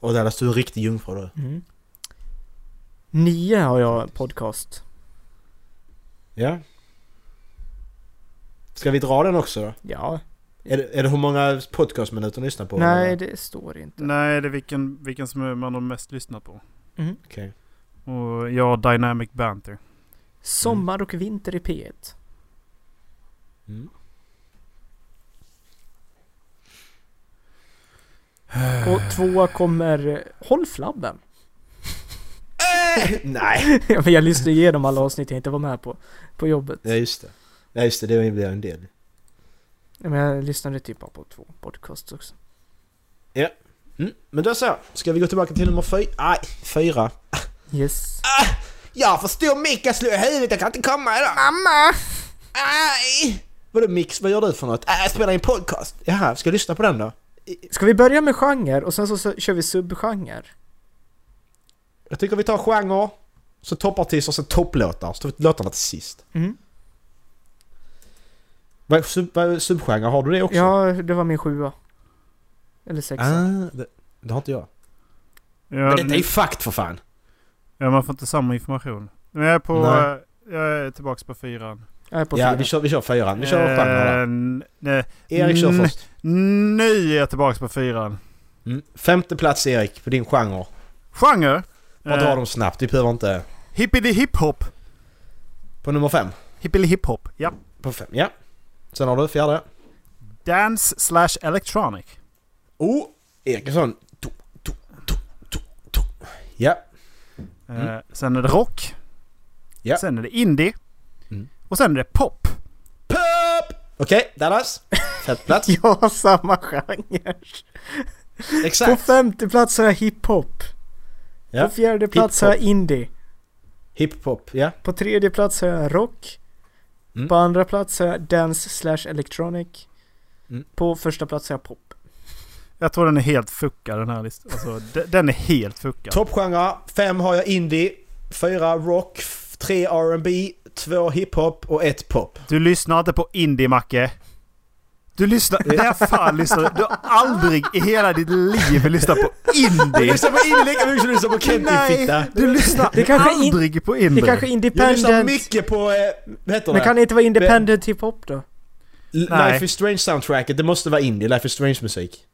Och Dallas, du är en riktig jungfru du.
Mm. Nio har jag podcast.
Ja. Ska vi dra den också då?
Ja.
Är det, är det hur många podcastminuter ni lyssnar på? Mm.
Nej,
eller?
det står inte.
Nej, det är vilken, vilken som är- man har mest lyssnat på.
Okej.
Och jag har Dynamic Banter.
Sommar och vinter i P1.
Mm. Äh.
Och tvåa kommer eh, Håll flabben.
Nej!
Ja, men jag lyssnade igenom alla avsnitt jag inte var med på. På jobbet.
Ja, just det. Ja, just det. Det blir en del.
Ja, Men jag lyssnade typ bara på två podcasts också.
Mm. Men då så. Ska vi gå tillbaka till nummer fyra? Nej, fyra.
Yes.
Jag förstår Micke slog i huvudet. Jag kan inte komma idag. Mamma! Aj! Vadå Mix? Vad gör du för något? Äh, jag spelar in podcast. Jaha, ska jag lyssna på den då?
Ska vi börja med genre och sen så, så kör vi subgenre?
Jag tycker vi tar genre, så toppartister och sen topplåtar. Så tar vi låtarna till sist.
Mm.
Vad är sub, vad är subgenre? Har du det också?
Ja, det var min sjua. Eller sexa.
Ah, det, det har inte jag.
Ja,
Men detta är ju fakt för fan!
ja, man får inte samma information. Men jag är på...
Nej.
eh, Jag är tillbaka på fyran.
Jag är på
Ja,
fyra.
vi kör, vi kör fyran. Vi kör genrerna.
Eh, n- nej.
Erik kör
Mm.
först.
Nu är jag tillbaka på fyran.
Mm. Femte plats Erik, på din genre.
Genre?
Bara dra
Eh,
dem snabbt, vi behöver inte...
Hippity hiphop.
På nummer fem.
Hippity hiphop, ja.
På fem, ja. Sen har du fjärde.
Dance slash electronic.
Oh! Eriksson. Du, du, du, du, du. Ja.
Eh,
Mm.
Sen är det rock.
Ja.
Sen är det indie.
Mm.
Och sen är det pop.
Pop! Okej, Dallas. Fett plats.
Jag har samma genre. På
Exakt.
femte plats har jag hiphop.
Ja.
På fjärde plats har jag indie.
Hiphop, ja.
På tredje plats har jag rock.
Mm.
På andra plats har jag dance slash electronic.
Mm.
På första plats har jag pop.
Jag tror den är helt fuckad den här listan. Alltså, de- den är helt fuckad.
Toppgenre, fem har jag indie, fyra rock, f- tre R&B, två hiphop och ett pop.
Du lyssnar inte på indie, Macke. Du lyssnar... När fan lyssnar du? Du har aldrig i hela ditt liv lyssnat på indie.
lyssnar på indie lika mycket som du lyssnar på Kent din fitta.
Du lyssnar
Det kanske in-
aldrig på
Det
indie.
kanske är
Jag lyssnar
independent.
mycket på, eh, vad heter det?
Men kan det inte vara independent hiphop då?
L-
Nej.
Life is Strange soundtracket, det måste vara indie, Life is Strange musik.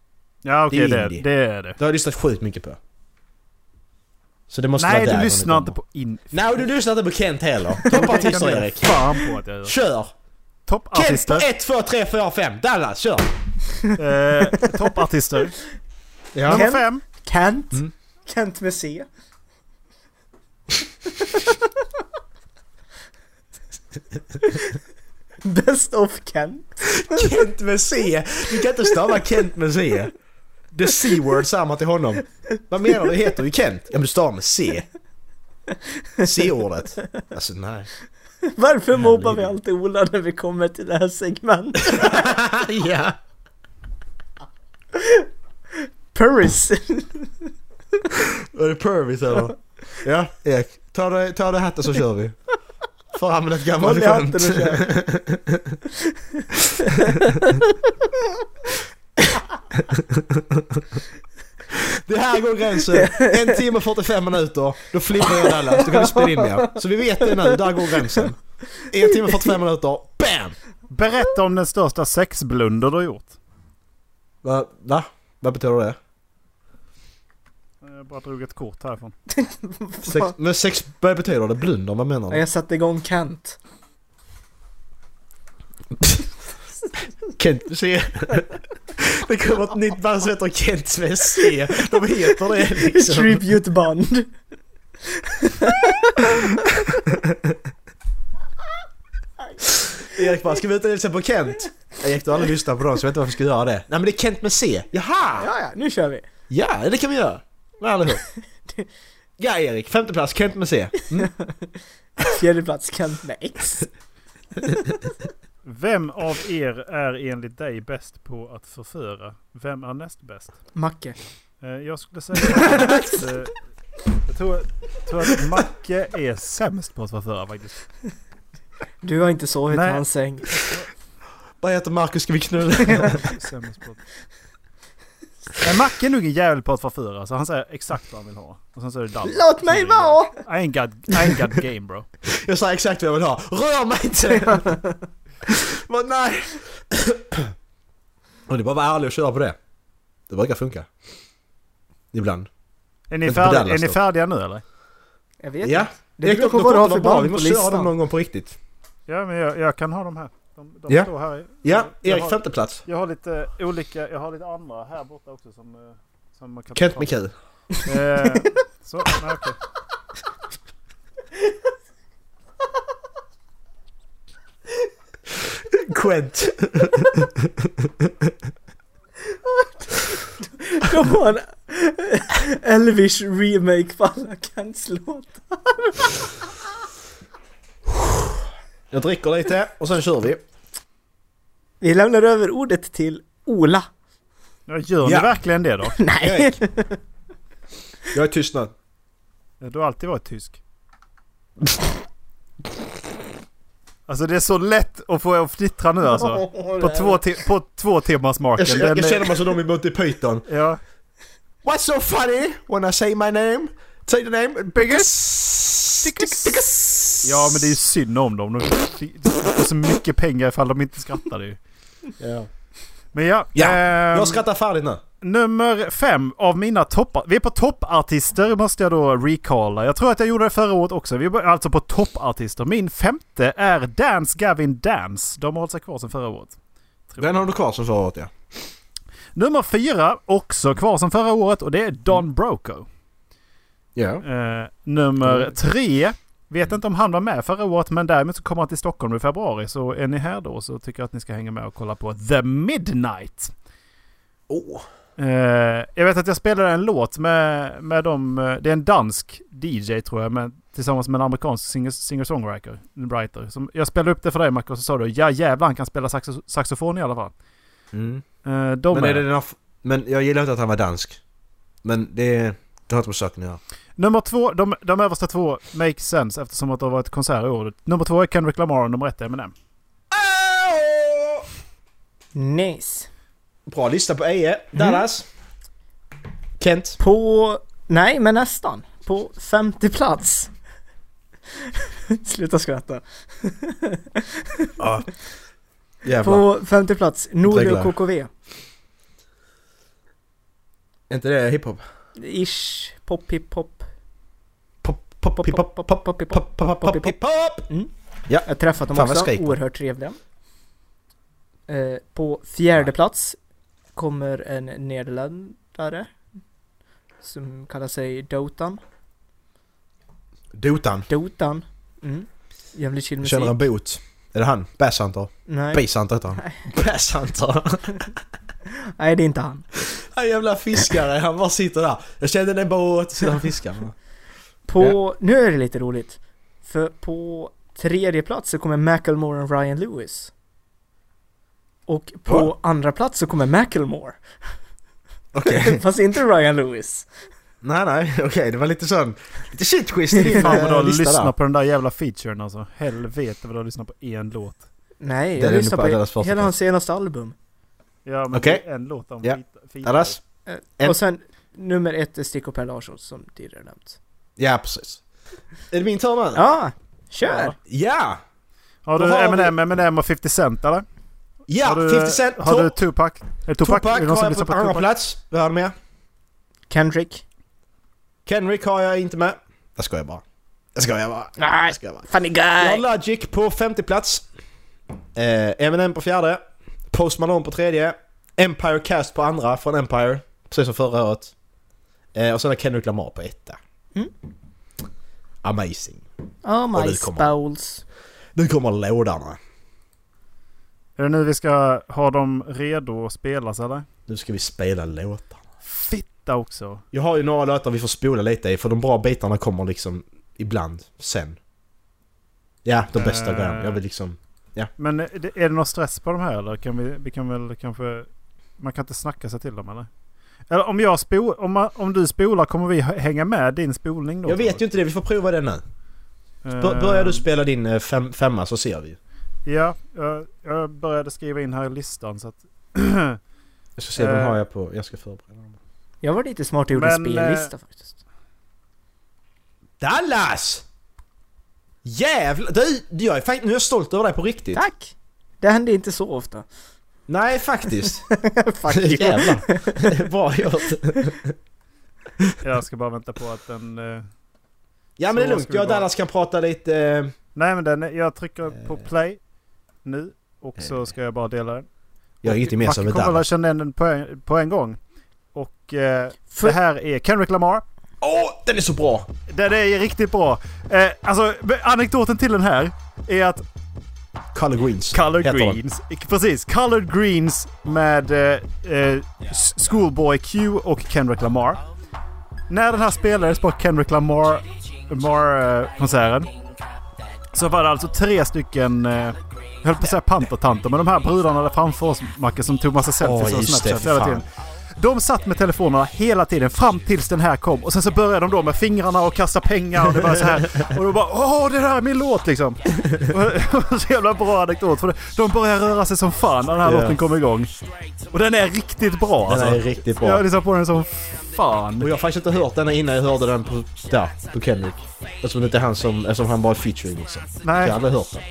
Ja okej,
Det är
det,
indie.
det är det.
Det har jag lyssnat sjukt mycket på. Så det måste
Nej,
vara där
du
den
lyssnar
kommer.
inte på indie.
Nej, och du lyssnar inte på Kent heller.
Det
Toppa
kan
tisdag
jag
Erik.
fan på att jag gör.
Kör! Kent på
Toppartister.
1, 2, 3, 4, 5. Dallas, kör!
Eh, Toppartister. Nummer
Kent?
fem.
Kent?
Mm.
Kent med C? Best of Kent?
Kent med C. Du kan inte stava Kent med C. The C-word samma till honom. Vad menar du? Det heter ju Kent. Ja men du stavar med C. C-ordet. Alltså nej.
Varför mobbar vi alltid Ola när vi kommer till det här segmentet?
Ah, ja.
Paris!
Var det pervis eller? Ja, Ek. Ta dig, ta dig hatten så kör vi. Fram med ett
Håll
gammalt
i hatten och
skämt.
kör.
Det här går gränsen. En timme och 45 minuter. Då flippar jag Dallas. Då kan vi spela in mer. Så vi vet det nu. Där går gränsen. En timme och 45 minuter. BAM!
Berätta om den största sexblunder du har gjort.
Va? Va? Vad betyder det?
Jag bara drog ett kort härifrån.
Sex, men sex, vad betyder det? Blunder? Vad menar
Ja,
du?
Jag satte igång Kent.
Kent med C. Det kommer ett nytt band som heter Kent med C. De heter det liksom.
Tribute band.
Erik bara, ska vi ut och hälsa på Kent? Erik, du har aldrig lyssnat på dem så jag vet inte varför jag ska göra det. Nej men det är Kent med C. Jaha!
Ja, ja, nu kör vi.
Ja, det kan vi göra. Men allihop. Ja Erik, femte plats Kent med C.
Fjärde plats Kent med X.
Vem av er är enligt dig bäst på att förföra? Vem är näst bäst?
Macke.
Eh, jag skulle säga att... Eh, jag tror, tror att Macke är sämst på att förföra faktiskt.
Du har inte sovit i
Nej.
hans säng.
Vad heter Marcus, ska vi knulla?
Sämst på att... Nej, Macke är nog en jävel på att förföra så han säger exakt vad han vill ha. Och sen så är det Dallas.
Låt mig vara!
I ain't got, I ain't got game bro.
Jag sa exakt vad jag vill ha. Rör mig inte! Men nej! Och det är bara att vara ärlig och köra på det. Det brukar funka. Ibland.
Är ni,
Inte på
färdiga,
Dallas
är ni
då.
färdiga nu eller?
Jag vet
Ja.
inte. Det beror på vad du har för band
Vi
på
måste köra dem
listan.
någon gång på riktigt.
Ja men jag, jag kan ha dem här. De, de
Ja.
står här. i-
Ja,
Jag
Erik
har-
femte plats.
Jag har lite eh, olika, jag har lite andra här borta också som... eh, som man kan
Kent
prata
med Q.
om. Eh, Så, nej okej.
Quent.
De har en Elvish remake på alla Kents låtar.
Jag dricker lite och sen kör vi.
Vi lämnar över ordet till Ola.
Ja, gör
Ja.
ni verkligen det då?
Nej!
Erik. Jag är tyst nu.
Du har alltid varit tysk. Alltså det är så lätt att få er att fnittra nu alltså. På två, ti- på två timmars marken.
Jag, jag,
Den
jag
är-
känner mig som de i Monty Python.
ja.
What's so funny when I say my name? Say the name. Biggest.
ja men det är ju synd om dem. De får så mycket pengar ifall de inte skrattar ju.
Ja.
Men ja.
Ja,
ehm,
Jag skrattar färdigt nu.
Nummer fem av mina toppar... Vi är på toppartister måste jag då recalla. Jag tror att jag gjorde det förra året också. Vi är alltså på toppartister. Min femte är Dance Gavin Dance. De har hållit sig kvar sedan förra året.
Den har du kvar som förra året ja. Mm.
Nummer fyra, också kvar sedan förra året, och det är Don Broco.
Ja.
Eh, nummer tre. Vet inte om han var med förra året men däremot så kommer han till Stockholm i februari. Så är ni här då så tycker jag att ni ska hänga med och kolla på The Midnight.
Åh.
Eh, jag vet att jag spelade en låt med, med dem. eh, Det är en dansk DJ tror jag men tillsammans med en amerikansk singer- singer-songwriter. writer, som, jag spelade upp det för dig Marco och så sa du ja jävlar han kan spela saxo- saxofon i alla fall.
Mm.
Eh, de
Men,
är
är det den här f- men jag gillar inte att han var dansk. Men det, det har inte med saken att göra.
Nummer två, de, de översta två make sense eftersom att det har varit konsert i år. Nummer två är Kendrick Lamar och nummer ett är Eminem.
Nice.
Bra lista på
E
Eje.
Mhm.
Dallas. Kent.
På... Nej, men nästan. På femte plats. Sluta skratta.
Ja. Jävlar.
På femte plats, Nordi och
Reglar.
KKV.
Är inte det hiphop?
Ish, pop, hip, hop.
Pop, pop,
Pop,
hiphop.
pop, pop, pop, hip, hop.
Pop, pop, pop, pop, pop.
Jag har träffat dem
Fan, vad
också,
skrik.
oerhört trevliga. Eh, på fjärde plats kommer en nederländare. Som kallar sig Dotan.
Dotan.
Dotan. Mm. Jävligt chill musik.
Känner en bot. Är det han? Basshunter?
Nej,
Basshunter heter han. Basshunter.
nej, det är inte han.
Han jävla fiskare, han bara sitter där. Jag kände en båt, sitter han och fiskar.
På, nu är det lite roligt. För på tredje plats så kommer Macklemore och Ryan Lewis. Och på
Va?
andra plats så kommer Macklemore.
Okej.
Fast inte Ryan Lewis.
Nej, nej, okej, det var lite sån... Lite shitquiz i din
Fan vad du
eh,
har
lista
lyssnat
där.
på den där jävla featuren alltså. Helvete vad du har lyssnat på en låt.
Nej,
Det är
jag
nog
lyssnar
på deras
på
första
hela
plats.
hans senaste album.
Ja men
Okej.
det är en låt om
Ja.
feat- feature.
Dallas?
Eh,
En-
Och sen nummer ett är Stick och Per Larsson som tidigare nämnt.
Ja, precis. Är det min tur nu?
Ja, kör!
Ja!
Har
Då
du
har
Eminem, Eminem och 50 Cent eller?
Ja!
har du,
50 Cent,
Har du
Tupac,
Tupac? Är Tupac?
Tupac
Tupac är det någon
har
som
jag på,
lyssnar på
andra
Tupac?
plats. Vad har du med?
Kendrick.
Kendrick har jag inte med. Jag skojar bara. Jag skojar bara.
Nej,
Jag skojar bara.
funny
Jag har
guy! Oh,
Logic på femte plats. Eh, Eminem på fjärde. Post Malone på tredje. Empire Cast på andra från Empire. Precis som förra året. Eh, och sen har Kendrick Lamar på etta.
Mm.
Amazing.
Oh
Och
my
nu kommer-
spouls.
Nu kommer lådorna.
Är det nu vi ska ha dem redo att spelas eller?
Nu ska vi spela låtar.
Fitta också.
Jag har ju några låtar vi får spola lite i för de bra bitarna kommer liksom ibland sen. Ja, de bästa
Eh.
grejerna. Jag vill liksom...
Men är det- är det någon stress på de här eller? Kan vi, vi kan väl kanske... Man kan inte snacka sig till dem eller? Eller om jag spol, om, man- om du spolar kommer vi h- hänga med din spolning då? Eh,
Jag vet ju inte det, vi får prova det nu. Bör, börjar du spela din eh, fem, femma så ser vi.
Ja, jag, jag började skriva in här i listan så att...
Jag ska se, vem
Eh.
har jag på... Jag ska förbereda dem.
Jag var lite smart och gjorde en
Men,
spellista faktiskt.
Dallas! Jävlar! Du, jag är, fakt- nu är jag stolt över dig på riktigt.
Tack! Det händer inte så ofta.
Nej, faktiskt.
Fuck you.
Jävlar. Bra gjort.
jag ska bara vänta på att den... eh,
Ja men det
Så
är lugnt,
ska vi
jag och
vara.
Dallas kan prata lite... eh,
Nej men den, är- jag trycker på play nu och så ska jag bara dela den.
Jag har inget gemensamt med
Macke kommer att
Dallas.
känna igen den på en, på en gång. Och eh,
För-
det här är Kendrick Lamar.
Åh, den är så bra!
Den är riktigt bra. Eh, alltså anekdoten till den här är att
Color Greens.
Colored
heter den.
Greens. Precis, Colored Greens med eh, eh, S- Schoolboy Q och Kendrick Lamar. När den här spelades på Kendrick Lamar, Lamar eh, konserten så var det alltså tre stycken, eh, jag höll på att säga pantertanter, men de här brudarna där framför oss Macke som tog massa selfies
Åh,
och
just det,
snapchat
för
hela
fan.
tiden. De satt med telefonerna hela tiden fram tills den här kom och sen så började de då med fingrarna och kasta pengar och det var så här. Och då bara åh det där är min låt liksom. Och så jävla bra anekdot för de börjar röra sig som fan när den här
Ja.
låten kommer igång. Och den är riktigt bra
Den
alltså.
är riktigt bra.
Jag har lyssnat på den som fan.
Och jag har faktiskt inte hört den innan jag hörde den på, där, på Kendrick. Eftersom det inte är han som, eftersom han bara är featuring liksom.
Nej.
Jag har aldrig hört den.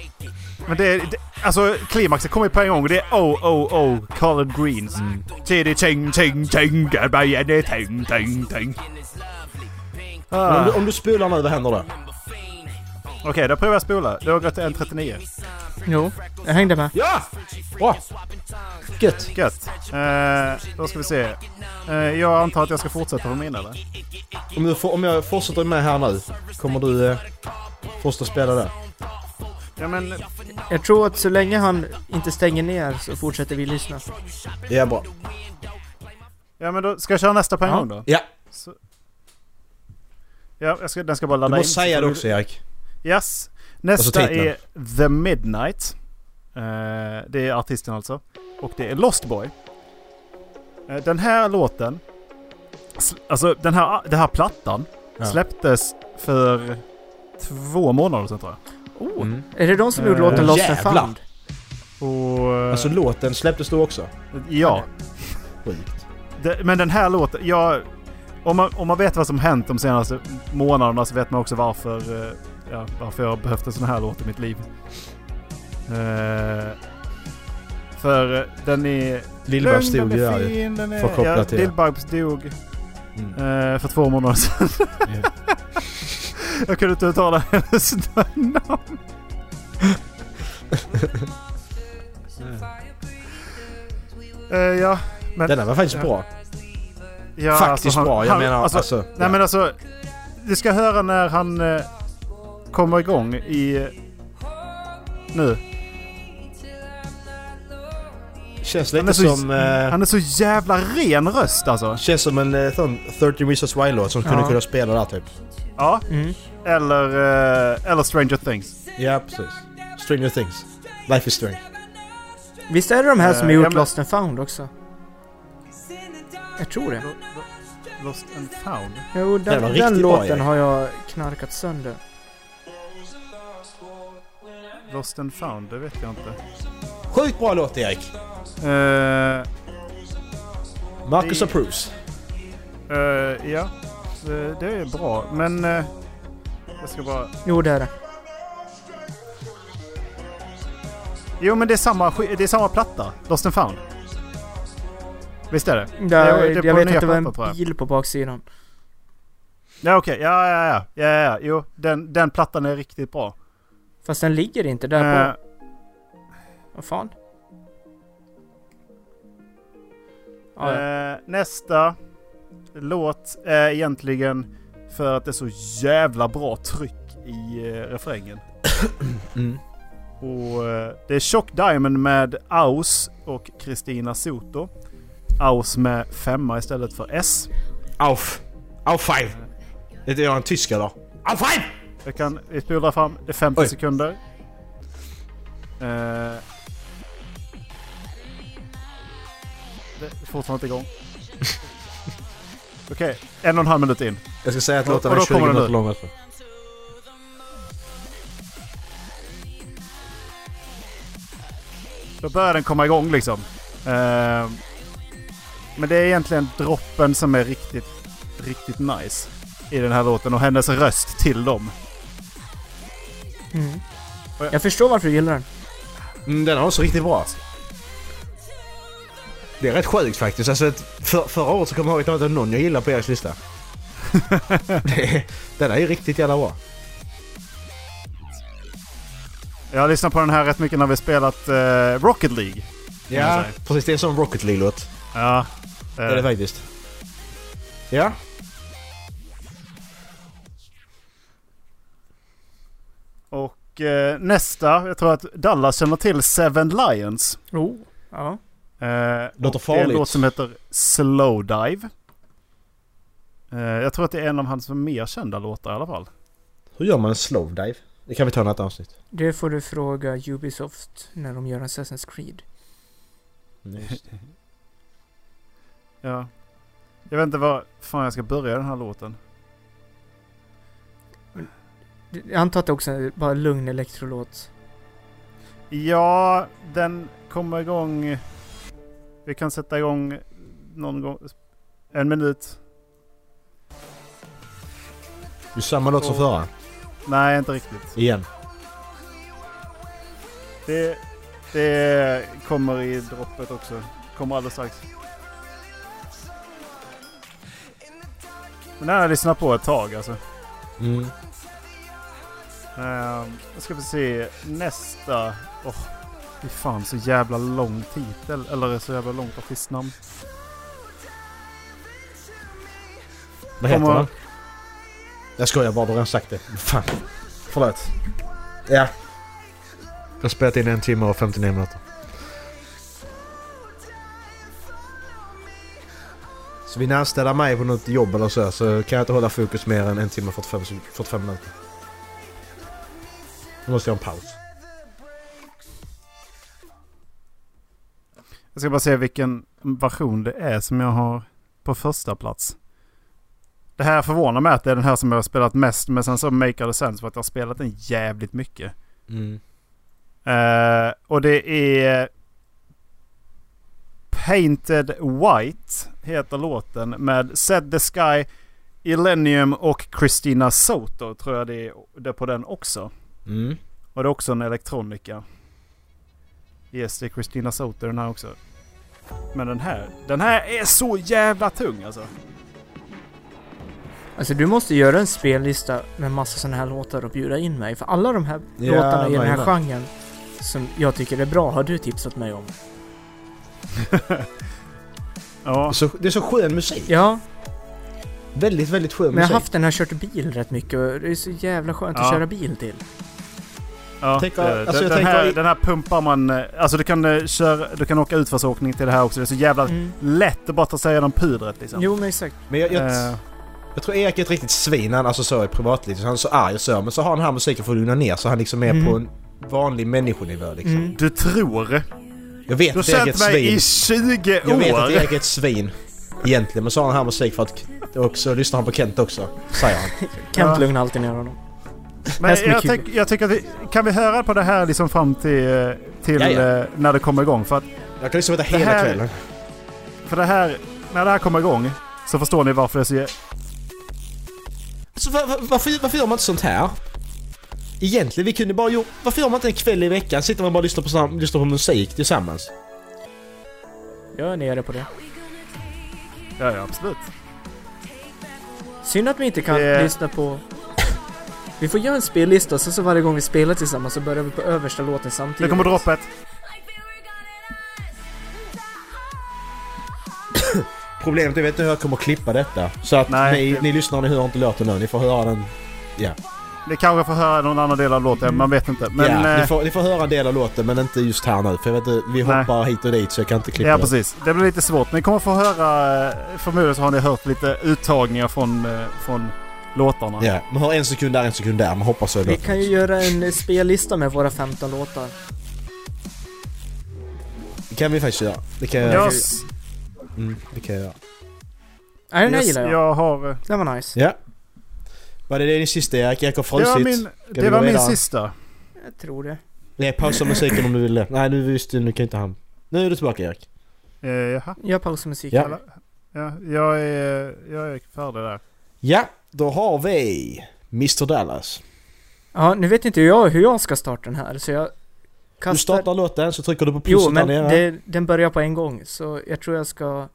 Men det, är- det alltså klimaxet kommer ju på en gång. Det är oh oh oh colored greens.
Mm.
Tiddy ting ting ting get by any ting ting ting.
Men Om,
Ah.
du, om du spolar nu, vad händer då?
Okej, då provar jag spola. Det har gått 1.39.
Jo, jag hängde med.
Ja! Bra!
Gött. Gött. Eh, då ska vi se. Eh, jag antar att jag ska fortsätta på min eller?
Om, du, får- om jag fortsätter med här nu, kommer du eh, fortsätta spela det?
Ja men,
Jag tror att så länge han inte stänger ner så fortsätter vi lyssna.
Det är bra.
ja, men då ska jag köra nästa på en
Ja.
gång då?
Ja.
Så... Ja, jag ska, den ska bara
Du
ladda in.
måste säga det
Så-
också Erik.
Yes. Nästa
Alltså titeln.
är The Midnight. Eh, det är artisten alltså. Och det är Lost Boy. Eh, den här låten, sl- alltså den här, den här plattan
Ja.
släpptes för två månader sedan tror jag.
Oh.
Mm.
Är det de som gjorde
Eh,
låten Lost and
jävlar.
found?
Och, eh,
Alltså låten släpptes då också?
ja.
Sjukt.
Det, men den här låten, jag... Om man, om man vet vad som hänt de senaste månaderna så vet man också varför, eh, ja, varför jag har behövt en sån här låt i mitt liv. Eh, för eh, den är...
Lill-Babs
Lugn,
dog ju
den är
där ju.
fin, den är-
Får koppla
ja,
till det.
Lill-Babs dog
Mm.
eh, för två månader sedan.
Ja.
jag kunde inte uttala hennes namn. Eh, ja, men...
Den här var faktiskt bra.
ja,
faktiskt
alltså, han-
bra. Jag
han-
menar alltså...
Nej
ja.
men alltså, du ska höra när han eh, kommer igång i... eh, nu.
Känns
Han är,
lite
så,
som... eh,
han är så jävla ren röst alltså.
Känns som en eh, sån 30 Reasons Why-låt som kunde
Ja.
kunna spela där typ.
Ja,
Mm.
eller, eh, eller Stranger Things.
Ja, precis. Stranger Things. Life is strange.
Visst är det de här som
Eh,
har gjort
ja, men-
Lost and found också? Jag tror det.
Lost and found.
Jo,
Det
den,
var
den
riktigt bra,
låten
Erik.
har jag knarkat sönder.
Lost and found, det vet jag inte.
Sjukt bra låt Erik!
Eh,
Marcus
Det-
approves.
eh, ja, Eh, det är bra. Men eh, jag ska bara...
Jo, det är det.
Jo men det är samma, sk- det är samma platta. Lost and found. Visst är det?
Där,
det är på
jag vet
nya
att det var
plattan, tror
en
jag.
bil på baksidan.
Ja okej, ja ja ja. ja, ja, ja. Jo, den, den plattan är riktigt bra.
Fast den ligger inte där
Eh,
på... Vad fan? Ja, ja.
eh, nästa låt är egentligen för att det är så jävla bra tryck i eh, refrängen.
Mm.
Och eh, det är Tjock Diamond med Aus och Kristina Soto. Aus med femma istället för S.
Auf! Auf five! Det är jag en tysk eller? Auf five!
Jag kan vi spolar fram, det är 50
Oj.
sekunder. Eh, det är fortfarande inte igång. Okej, en och en halv minut in.
Jag ska säga att
Och-
låten
och
är
då
20
kommer den
minuter
nu.
lång alltså. också.
Då börjar den komma igång liksom. Eh, men det är egentligen droppen som är riktigt, riktigt nice i den här låten och hennes röst till dem.
Mm. Jag förstår varför du gillar den.
Mm, den är också riktigt bra. Det är rätt sjukt faktiskt. Alltså, att för, förra året så kommer jag ihåg att det inte var någon jag gillade på Eriks lista. det, är- den är ju riktigt jävla bra.
Jag har lyssnat på den här rätt mycket när vi spelat eh, Rocket League.
Ja,
Ja.
precis. Det är en sån Rocket League-låt.
Ja.
Det är det
eh,
faktiskt. Ja.
och eh, nästa, jag tror att Dallas känner till Seven Lions.
Oh. Ja.
Eh,
Låter
och Det är en
farligt.
låt som heter Slow Dive. Eh, jag tror att det är en av hans mer kända låtar i alla fall.
Hur gör man en slow dive? Det kan vi ta i något avsnitt.
Det får du fråga Ubisoft när de gör Assassin's Creed.
Mm,
Ja. Jag vet inte var fan jag ska börja den här låten.
Jag antar att det också är bara lugn elektrolåt.
Ja, den kommer igång... Vi kan sätta igång någon gång. En minut.
Det är samma låt som förra.
Nej, inte riktigt.
Igen.
Det, det kommer i droppet också. Kommer alldeles strax. Men den har jag lyssnat på ett tag alltså.
Mm.
Ehm, Då ska vi se nästa. Åh, fy fan så jävla lång titel. Eller så jävla långt artistnamn.
Vad heter
Kommer-
den? Jag skojar bara, du har redan sagt det. Fan. Förlåt. Ja. Jag har spelat in en timme och 59 minuter. Så vill ni anställa mig på något jobb eller så, så kan jag inte hålla fokus mer än en timme och 45, sek- 45 minuter. Då måste jag ha en paus.
Jag ska bara se vilken version det är som jag har på första plats. Det här förvånar mig att det är den här som jag har spelat mest. Men sen så make det sense för att jag har spelat den jävligt mycket.
Mm.
Eh, och det är... Painted White heter låten med Set the Sky, Illenium och Christina Soto tror jag det är, det är på den också.
Mm.
Och det är också en elektronika. Yes, det är Christina Soto den här också. Men den här, den här är så jävla tung alltså.
Alltså du måste göra en spellista med massa såna här låtar och bjuda in mig. För alla de här
Ja,
låtarna i den här
jajamän.
genren som jag tycker är bra har du tipsat mig om.
Ja,
Så, det är så skön musik.
Ja,
Väldigt, väldigt skön
men jag
musik.
har haft den här kört bil rätt mycket och det är så jävla skönt
Ja.
att köra bil till.
ja.
tänker-
det-
alltså, jag
den, här,
tänker-
den här pumpar man... eh, Alltså du kan, eh, köra, du kan åka utförsåkning till det här också. Det är så jävla
Mm.
lätt att bara ta sig igenom pudret liksom.
Jo men exakt.
Men jag, jag,
Eh,
Jag tror Erik är ett riktigt svin han alltså så i privatlivet, så han är så arg och så, men så har han den här musiken för att lugna ner så han liksom är
Mm.
på en vanlig människonivå liksom.
Mm.
du tror?
Jag vet
Du har
att Erik är ett
känt mig
svin.
i 20
Jag vet att
år!
Erik är ett svin. Egentligen, men så har han den här musik för att... Och så lyssnar han på Kent också, säger han.
Kent
Ja.
lugnar alltid ner honom.
Men
Häst med
jag,
kul.
tänk, jag tycker att vi, Kan vi höra på det här liksom fram till, eh, till
Ja, ja.
eh, när det kommer igång? För att
Jag kan lyssna på det hela
här-
kvällen.
För det här, när det här kommer igång så förstår ni varför det är så... jä-
Så var, var, varför, varför gör man inte sånt här? Egentligen, vi kunde bara gjort... Varför gör man inte en kväll i veckan? Sitter man bara och lyssnar på, sam- lyssnar på musik tillsammans?
Jag är nere på det.
Ja, ja absolut.
Synd att vi inte kan
Det-
lyssna på... Vi får göra en spellista och så, så varje gång vi spelar tillsammans så börjar vi på översta låten samtidigt.
Det kommer droppet.
Problemet är, vet inte hur jag kommer att klippa detta. Så att
Nej,
ni,
det-
ni lyssnar, ni hör inte låten nu. Ni får höra den... Ja.
Ni kanske får höra någon annan del av låten, man vet inte. Men,
ja,
eh,
ni, får, ni får höra en del av låten men inte just här nu för jag vet, inte, vi
Nej.
hoppar hit och dit så jag kan inte klippa
ja
det.
precis. Det blir lite svårt. Ni kommer få höra, eh, förmodligen så har ni hört lite uttagningar från, eh, från låtarna.
Ja, man hör en sekund där, en sekund där, man hoppar så i
Vi
låten.
kan ju göra en eh, spellista med våra 15 låtar.
Det kan vi faktiskt göra. Det kan jag
Jag,
göra.
s-
Mm, det kan jag göra.
Nej, den här
jag, s-
gillar jag.
jag har... eh,
Den var nice.
Ja. Var det det din sista Erik? Erik har
Det var
frusit.
min,
vi
det
gå
var min
vidare?
sista.
Jag tror det.
Nej, pausa musiken om du vill det. Nej, nu visst nu kan inte han. Nu är du tillbaka Erik.
Eh, jaha.
Jag pausar musik.
Ja.
eller?
Ja, jag, är, jag är färdig där.
Ja, då har vi Mr Dallas.
ja, nu vet inte jag hur jag ska starta den här så jag kastar...
Du startar låten så trycker du på
Jo,
pluset där
men
nere.
det, den börjar på en gång så jag tror jag ska...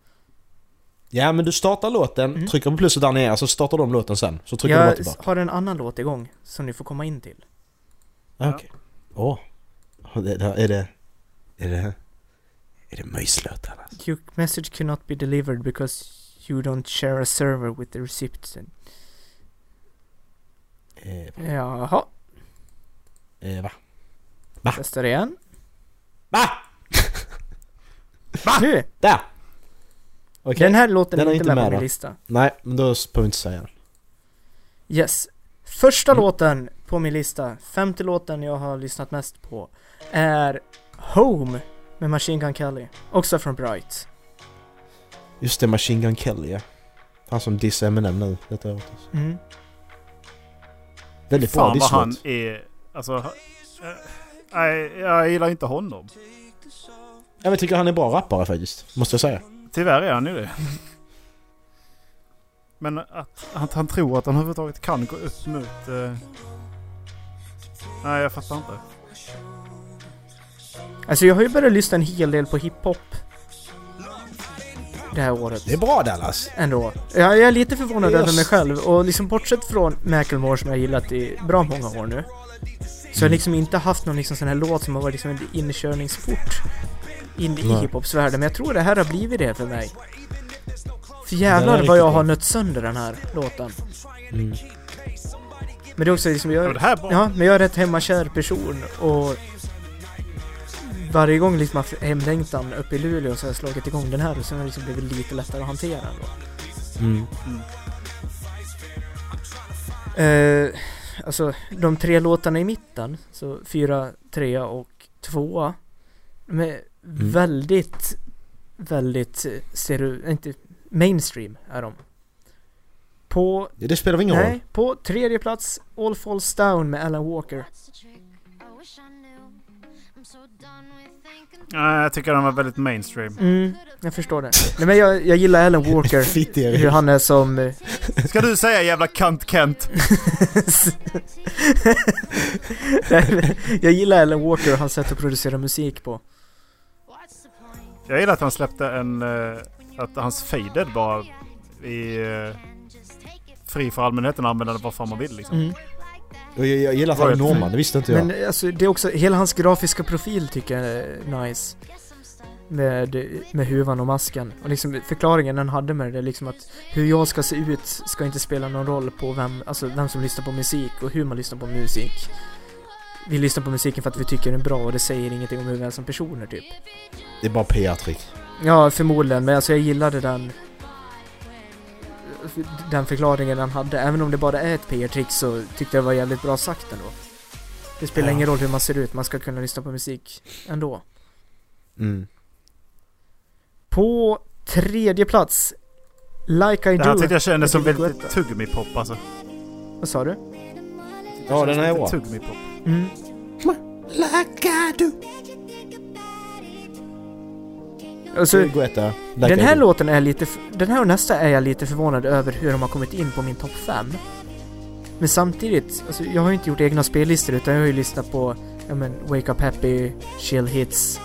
Ja, men du startar låten,
Mm.
trycker på pluset där nere så startar de låten sen. Så trycker du bara
Jag
tillbaka.
har en annan låt igång som ni får komma in till.
Ja. Okej. Åh. Har det- det- Är det... Är det... Är det alltså? möjslöt annars?
Your message cannot be delivered because you don't share a server with the recipient.
Eh,
Jaha,
eh, va?
testar igen.
Va?
Nu!
Där! Okej.
Den här låten
Den
är
är
inte
inte med
med, på min
då.
lista.
Nej, men då behöver vi inte säga den.
Yes. Första
Mm.
låten på min lista, femte låten jag har lyssnat mest på, är Home med Machine Gun Kelly. Också från Bright.
Just det, Machine Gun Kelly ja. Han som dissar Eminem nu detta året. alltså.
Mm.
Väldigt bra
Fan vad
disslåt.
han är... Alltså... eh, Nej, jag gillar inte honom.
Ja, men Jag tycker han är bra rappare faktiskt. Måste jag säga.
Tyvärr är han ju det. Men att, att han tror att han överhuvudtaget kan gå upp mot... Eh... Nej, jag fattar inte.
Alltså jag har ju börjat lyssna en hel del på hiphop. det här året.
Det är bra Dallas.
Ändå. Jag, jag är lite förvånad
Yes.
över mig själv och liksom bortsett från Macklemore som jag gillat i bra många år nu. Så
Mm.
jag har liksom inte haft någon liksom sån här låt som har varit liksom en inkörningsport in i hiphop-världen. Men jag tror det här har blivit det för mig. För
Den är
jävlar
riktigt
vad jag har
bra.
nött sönder den här låten.
Mm,
Men det är också liksom,
Ja,
jag,
men det här är bra.
Ja, men jag är rätt hemmakär person och varje gång liksom haft hemlängtan uppe i Luleå så har jag slagit igång den här och sen har det liksom blivit lite lättare att hantera ändå.
mm.
Eh, alltså, de tre låtarna i mitten, så fyra, trea och tvåa, de är väldigt, väldigt eh, stereo... inte mainstream är de. På
Ja, Det spelar väl ingen roll?
Nej, på tredje plats All Falls Down med Alan Walker.
Nej, jag tycker den var väldigt mainstream.
Mm, jag förstår det. Nej men jag, jag gillar Alan Walker.
Fitt Erik.
Hur han är som... eh,
Ska du säga jävla kant Kent?
Nej, men jag gillar Alan Walker och hans sätt att producera musik på.
Jag gillar att han släppte en... eh, att hans faded bara i... eh, fri för allmänheten att använda det vad fan man vill liksom.
Mm.
Och jag, jag gillar att han är
Var det-
norrman, det visste inte jag.
Men eh, alltså det är också, hela hans grafiska profil tycker jag är nice. Med, med huvan och masken. Och liksom förklaringen han hade med det, är liksom att hur jag ska se ut ska inte spela någon roll på vem, alltså vem som lyssnar på musik och hur man lyssnar på musik. Vi lyssnar på musiken för att vi tycker den är bra och det säger ingenting om hur vi är som personer typ.
Det är bara PR-trick.
Ja, förmodligen, men alltså jag gillade den den förklaringen han hade. Även om det bara är ett PR-trick så tyckte jag det var jävligt bra sagt ändå. Det spelar
Ja.
ingen roll hur man ser ut, man ska kunna lyssna på musik ändå.
Mm.
På tredje plats, Like I
Det här
Do.
tyckte jag kändes som
Vilket
väldigt
gott.
tuggummi-pop alltså.
Vad sa du?
Ja, den är
Lite
bra.
Tuggummi-pop.
Mm. Alltså,
Det går etta. Like
den
I
här
do.
låten är lite... f- Den här och nästa är jag lite förvånad över hur de har kommit in på min topp 5. Men samtidigt, alltså jag har ju inte gjort egna spellistor utan jag har ju lyssnat på, ja men, Wake Up Happy, Chill Hits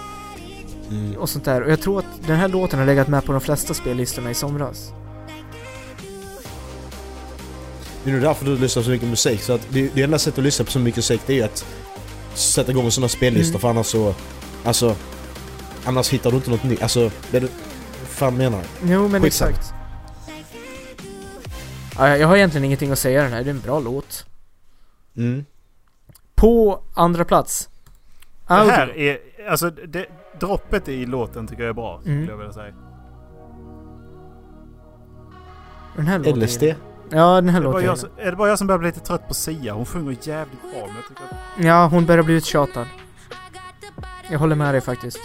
Mm.
och sånt där. Och jag tror att den här låten har legat med på de flesta spellistorna i somras.
Det är nog därför du lyssnar på så mycket musik. Så att det, det enda sättet att lyssna på så mycket musik det är att sätta igång sådana spellistor
Mm.
för annars så... Alltså... Annars hittar du inte något nytt. Alltså... Det, du- fan menar jag?
Jo men
Skitsamma.
exakt. Ja, jag har egentligen ingenting att säga den här, det är en bra låt.
Mm.
På andra plats.
Det
Audio.
här är... Alltså, det, droppet i låten tycker jag är bra, skulle
Mm.
jag vilja säga.
Den här låten.
LSD.
Ja, den här
Är det, bara
låten.
jag, som- är det bara jag som börjar bli lite trött på Sia? Hon sjunger jävligt bra, men jag tycker att...
Ja, hon börjar bli uttjatad. Jag håller med dig faktiskt.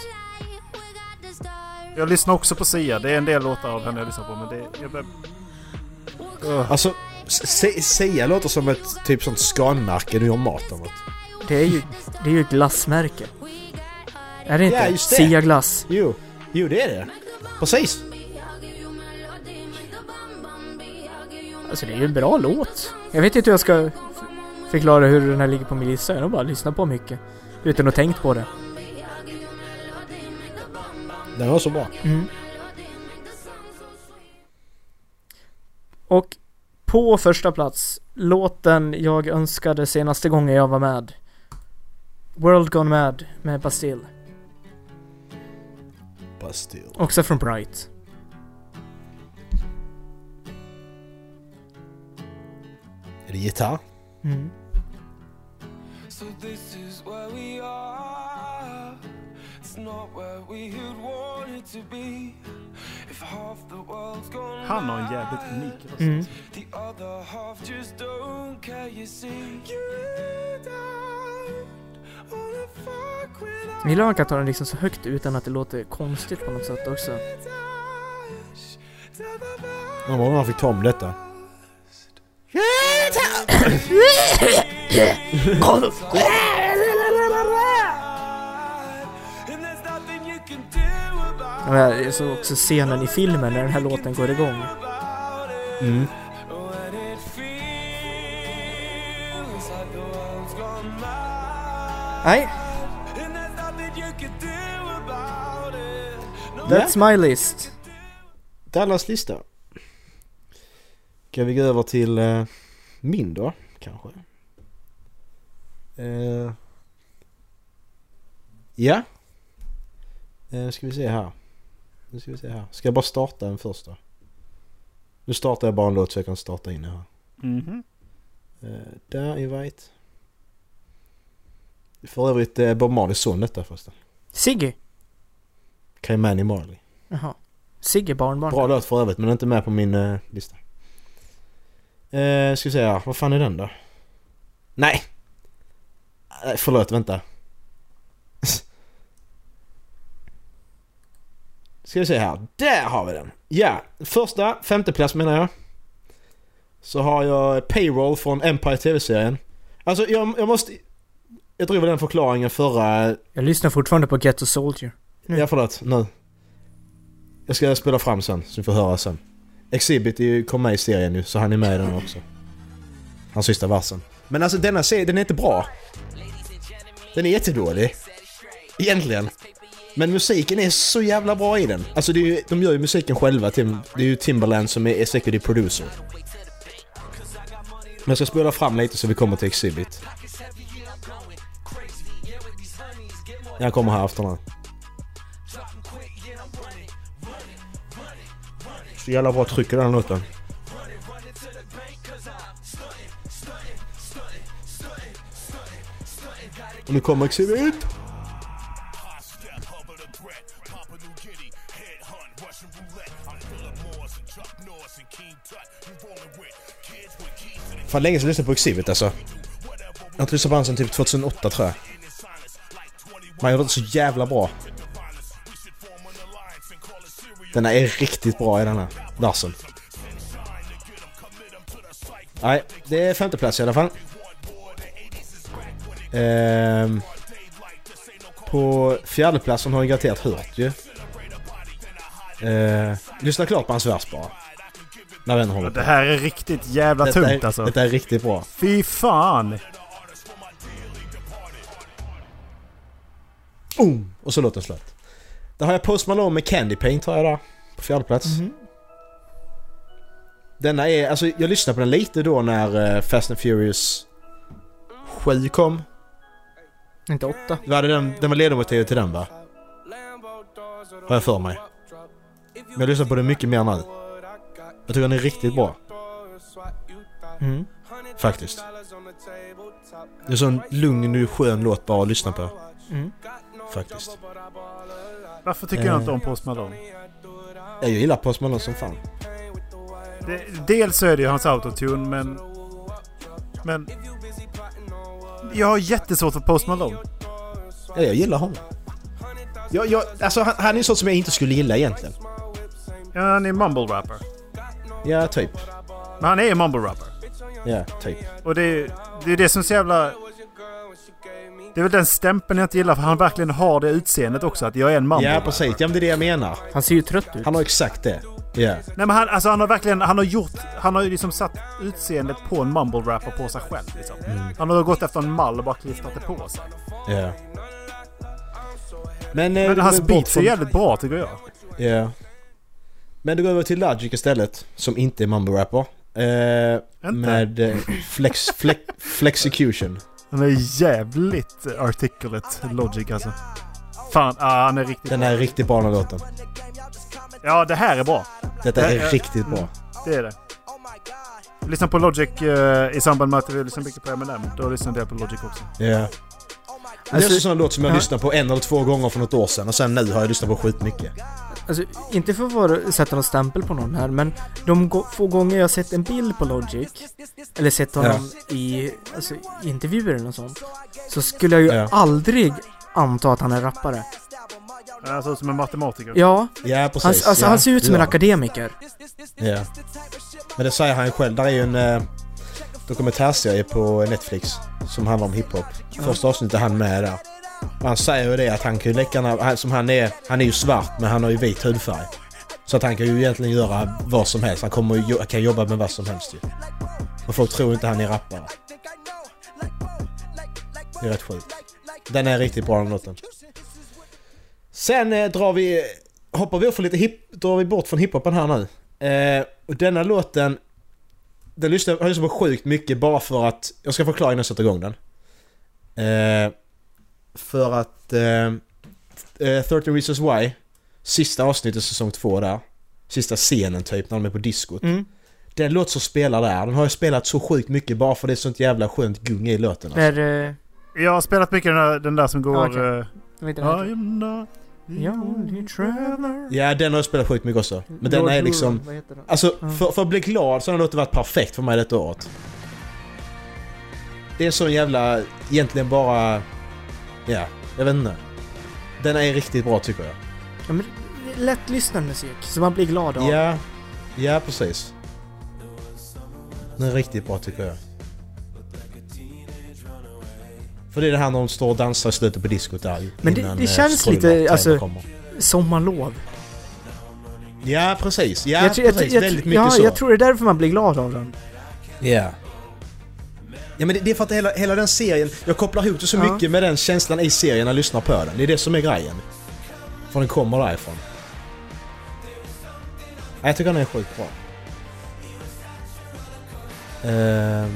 Jag lyssnar också på Sia. Det är en del låtar av henne jag lyssnar på, men det... Jag börjar... Ugh.
Alltså... Se, Sia låter som ett typ sånt skanmärke du gör mat av.
Det är ju, det är ju ett glassmärke. Är det inte?
Ja, just det.
Sia Glass.
Jo. Jo, det är det. Precis.
Alltså det är ju en bra låt. Jag vet inte hur jag ska f- förklara hur den här ligger på min lista. Jag har bara lyssnat på mycket. Utan att tänkt på det.
Den var så bra.
Mm. Och på första plats, låten jag önskade senaste gången jag var med. World Gone Mad med Bastille.
Bastille.
Också från Bright.
Är det gitarr?
Mm.
So this is where we are. It's not where we had wanted to be. If half the world's gone
Han har en jävligt unik röst. Mm.
The other half just don't care, you see. You don't wanna fuck with
Jag gillar att han tar den liksom så högt utan att det låter konstigt på något sätt också.
us. Till the
Jag undrar om han fick ta om detta.
bad. And there's nothing you can do about
Och Jag såg också scenen i filmen när den här låten går igång.
Mm.
when it feels like the world's gone mad.
Nej,
And there's nothing you can do about it.
that's my list.
Dallas lista. Kan vi gå över till eh, min då, kanske? Eh, ja. Eh, ska vi se här. Nu ska vi se här. Ska jag bara starta en först då? Nu startar jag bara en låt så jag kan starta in det här.
Mhm.
Eh, där, invite. För övrigt eh, Bob Marleys son detta förresten.
Sigge!
Kaimani Marley.
Jaha. Sigge barnbarn.
Bra låt för övrigt men inte med på min eh, lista. Eh, ska vi se här, vad fan är den då? Nej! Eh, förlåt, vänta. ska vi se här, där har vi den! Ja, första, femte plats menar jag. Så har jag Payroll från Empire TV-serien. Alltså jag, jag måste... Jag tror väl den förklaringen förra...
Jag lyssnar fortfarande på Ghetto Soldier. Mm.
Ja förlåt, nu. Jag ska spela fram sen, så vi får höra sen. Exhibit är ju- kom med i serien nu, så han är med i den också. Hans sista versen. Men alltså denna serie, den är inte bra. Den är jättedålig. Egentligen. Men musiken är så jävla bra i den. Alltså det är ju, de gör ju musiken själva. Tim, det är ju Timbaland som är executive producer. Men jag ska spela fram lite så vi kommer till Exhibit. Jag kommer här efter den här. Så jävla bra tryck i den låten. Och nu kommer Exhibit! Fan länge sedan jag lyssnade på Exhibit alltså. Jag har inte lyssnat på han sedan typ 2008 tror jag. Man gjorde det så jävla bra. Den här är riktigt bra i den här. Larsen. Nej, det är femte plats i alla fall. Ehm, på fjärde platsen har jag garanterat hört ju. Ehm, lyssna klart på hans vers bara. När den håller på.
Det här är riktigt jävla
Detta
tungt
är,
alltså.
detta är riktigt bra.
Fy fan!
Boom! Och så låter den slut. Där har jag Post Malone med Candy Paint har jag där. På fjärde plats. Denna är, alltså jag lyssnade på den lite då när eh, Fast and Furious 7 kom.
Inte åtta.
Det var, den, den var ledmotivet till den va? Har jag för mig. Men jag lyssnar på den mycket mer nu. Jag tycker den är riktigt bra.
Mm.
Faktiskt. Det är en sån lugn och skön låt bara att lyssna på.
Mm.
Faktiskt.
Varför tycker jag inte
Eh.
om Post Malone?
Jag gillar Post Malone som fan.
Det, dels så är det ju hans autotune men... Men... Jag har jättesvårt för Post Malone.
Ja, jag gillar honom. Jag, jag, alltså han, han är en sån som jag inte skulle gilla egentligen.
Ja, Han är mumble-rapper.
Ja, typ.
Men han är mumble-rapper.
Ja, typ.
Och det är det, är det som är så jävla... Det är väl den stämpeln jag inte gillar för han verkligen har det utseendet också att jag är en mumble
Ja, precis. Ja, men det är det jag menar.
Han ser ju trött ut.
Han har exakt det. Ja.
Nej men han, alltså, han har verkligen, han har gjort, han har ju liksom satt utseendet på en mumble-rapper på sig själv liksom. Han har gått efter en mall och bara klistrat det på sig.
Ja. Men, eh,
Men
det
hans
går bort
beats är
från-
jävligt bra tycker jag.
Ja. Men det går över till Logic istället, som inte är mumbo-rapper. Eh, med eh, flex, flex, flexicution.
Han är jävligt articulate Logic alltså. Fan, ah, han är riktigt
Den här är riktigt bra den här låten.
Ja, det här är bra.
Detta
Ja, ja.
är riktigt bra.
Det är det. Jag lyssnade på Logic eh, i samband med att vi lyssnade mycket på Eminem. Då lyssnade jag på Logic också.
Ja. Det är
Alltså-
också en sån låt som jag
Ja.
lyssnade på en eller två gånger för något år sedan och sen nu har jag lyssnat på skitmycket.
Alltså, inte för att vara, sätta någon stämpel på någon här, men de gå- få gånger jag sett en bild på Logic, eller sett honom i alltså, i intervjuer eller något sånt, så skulle jag ju
Ja.
aldrig anta att han är rappare.
Han ser ut Alltså, som en matematiker.
Ja,
Ja, precis.
han, alltså,
ja,
han ser ut som
ja.
en akademiker.
Ja. Men det säger han själv. Där är ju en eh, dokumentärserie på Netflix som handlar om hiphop. Första avsnittet är han med där. Och han säger ju det att han kan ju lika gärna- han, som han är, han är ju svart men han har ju vit hudfärg. Så att han kan ju egentligen göra vad som helst. Han kommer ju, jo- kan jobba med vad som helst ju. Och folk tror inte han är rappare. Det är rätt sjukt. Den är riktigt bra den låten. Sen eh, drar vi hoppar vi av för lite hip, drar vi bort från hiphopen här nu. Eh, och denna låten, den lyssnar jag lyssnar på sjukt mycket bara för att, jag ska förklara innan jag sätter igång den. Eh, för att eh, eh, 13 Reasons Why, sista avsnittet säsong 2 där, sista scenen typ när de är på diskot.
Mm.
Den låt som spelar där, den har jag spelat så sjukt mycket bara för det är sånt jävla skönt gung i låten alltså.
Där... eh,
Jag har spelat mycket den där, den där som går...
okej.
eh,
Jag vet inte vad den
I'm not the only traveler.
Ja, den har jag spelat sjukt mycket också. Men
heter.
den är
Lord
liksom...
Huron, vad heter den?
Alltså,
Ja.
för, för att bli glad så har den låten varit perfekt för mig detta året. Det är sån jävla... Egentligen bara... Ja, jag vet inte. Den är riktigt bra tycker jag.
Ja, men det är lättlyssnad musik som man blir glad av.
Ja, ja precis. Den är riktigt bra tycker jag. För det är det här när de står och dansar i slutet på diskot där.
Men det-
innan,
det
eh,
känns
Spoiler
lite,
Trailer
alltså-
kommer.
Sommarlov.
Ja, precis. Ja,
jag, tror- jag,
precis.
jag,
Väldigt mycket
ja,
så.
jag tror det är därför man blir glad av den.
Ja. Ja men det, det är för att hela, hela den serien, jag kopplar ihop det så
Ja.
mycket med den känslan i serien när jag lyssnar på den. Det är det som är grejen. För den kommer därifrån. Ja, jag tycker den är sjukt bra. Uh,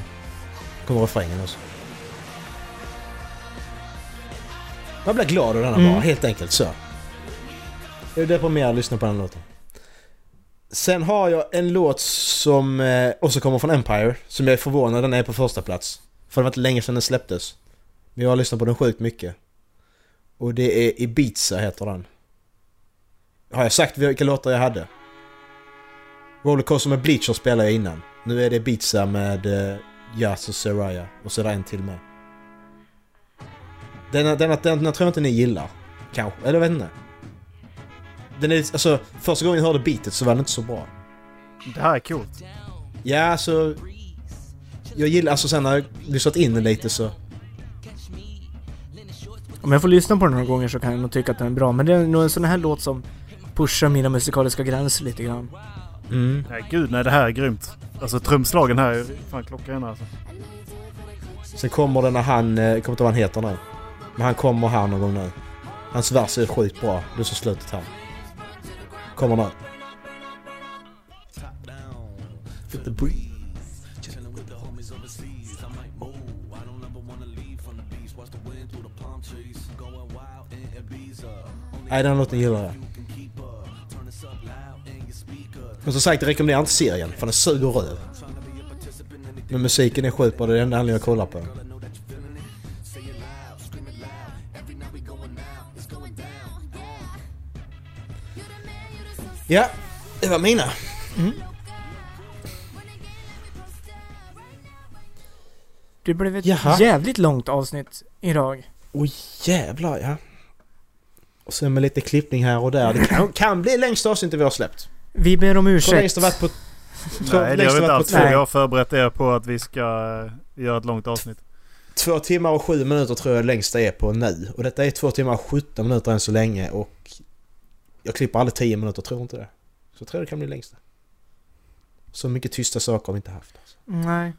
kommer refrängen också. Jag blir glad av denna
Mm.
bara, helt enkelt så. Jag är deprimerad att lyssna på den låten. Sen har jag en låt som eh, också kommer från Empire, som jag är förvånad den är på första plats. För det var inte länge sedan den släpptes. Men jag har lyssnat på den sjukt mycket. Och det är Ibiza heter den. Har jag sagt vilka låtar jag hade? Rollercoaster med Bleacher spelade jag innan. Nu är det Ibiza med eh, Yas och Soraya. Och så är det en till med. Denna, denna, denna tror jag inte ni gillar. Kanske, eller jag vet inte. Den är, alltså, första gången jag hörde beatet så var den inte så bra.
Det här är coolt.
Ja, alltså... Jag gillar, alltså sen när jag lyssnat in den lite så...
Om jag får lyssna på den några gånger så kan jag nog tycka att den är bra. Men det är nog en sån här låt som pushar mina musikaliska gränser lite grann.
Mm.
Nej, gud nej, det här är grymt. Alltså trumslagen här är fan klockrena alltså.
Sen kommer den när han, eh, jag kommer inte ihåg vad han heter nu. Men han kommer här någon gång nu. Hans vers är sjukt bra. Du som slutet här. Kommer nu. Nej, den låten gillar jag. Men som sagt, jag rekommenderar inte serien för den suger röv. Men musiken är sjukt bra, det är den enda jag kollar på. Ja, det var mina.
Det blev ett
Jaha.
jävligt långt avsnitt idag.
Oj jävlar ja. Och sen med lite klippning här och där. Det kan, kan bli längsta avsnittet vi har släppt.
Vi ber om
Så längst
ursäkt.
det varit på... så
Nej, det
längst
har vi inte
varit
alls.
på
Vi
Nej.
har förberett er på att vi ska eh, göra ett långt avsnitt.
Två timmar och sju minuter tror jag det längsta är på nu. Och detta är två timmar och 17 minuter än så länge och... Jag klipper aldrig 10 minuter, tror inte det. Så jag tror det kan bli längsta. Så mycket tysta saker har vi inte haft. Alltså.
Nej.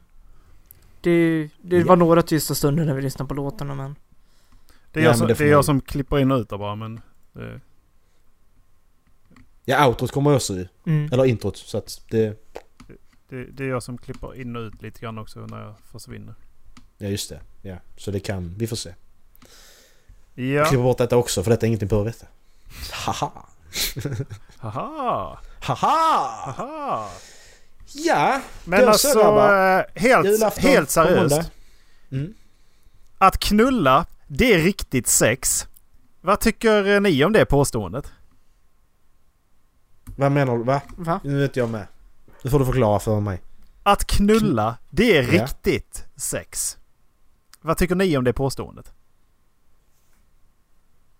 Det, det var några tysta stunder när vi lyssnade på låtarna men...
Det är,
Nej,
jag,
men
som,
det
det
får
är
man-
jag som klipper in och ut där bara men... eh,
Ja, outrot kommer också ju.
Mm.
Eller introt. Så att det...
Det, det är jag som klipper in och ut lite grann också när jag försvinner.
Ja, just det. Ja, så det kan... Vi får se.
Ja,
Jag klipper bort detta också för detta är ingenting på veta. Haha!
haha!
Haha!
Haha!
Ja! Det
Men
är
alltså,
söndag,
eh, helt,
Julafton Mm.
helt
på måndag.
seriöst. Att knulla, det är riktigt sex. Vad tycker eh, ni om det påståendet?
Vad menar du? Va?
Va?
Nu vet jag med. Nu får du förklara för mig.
Att knulla, det är
Ja.
riktigt sex. Vad tycker ni om det påståendet?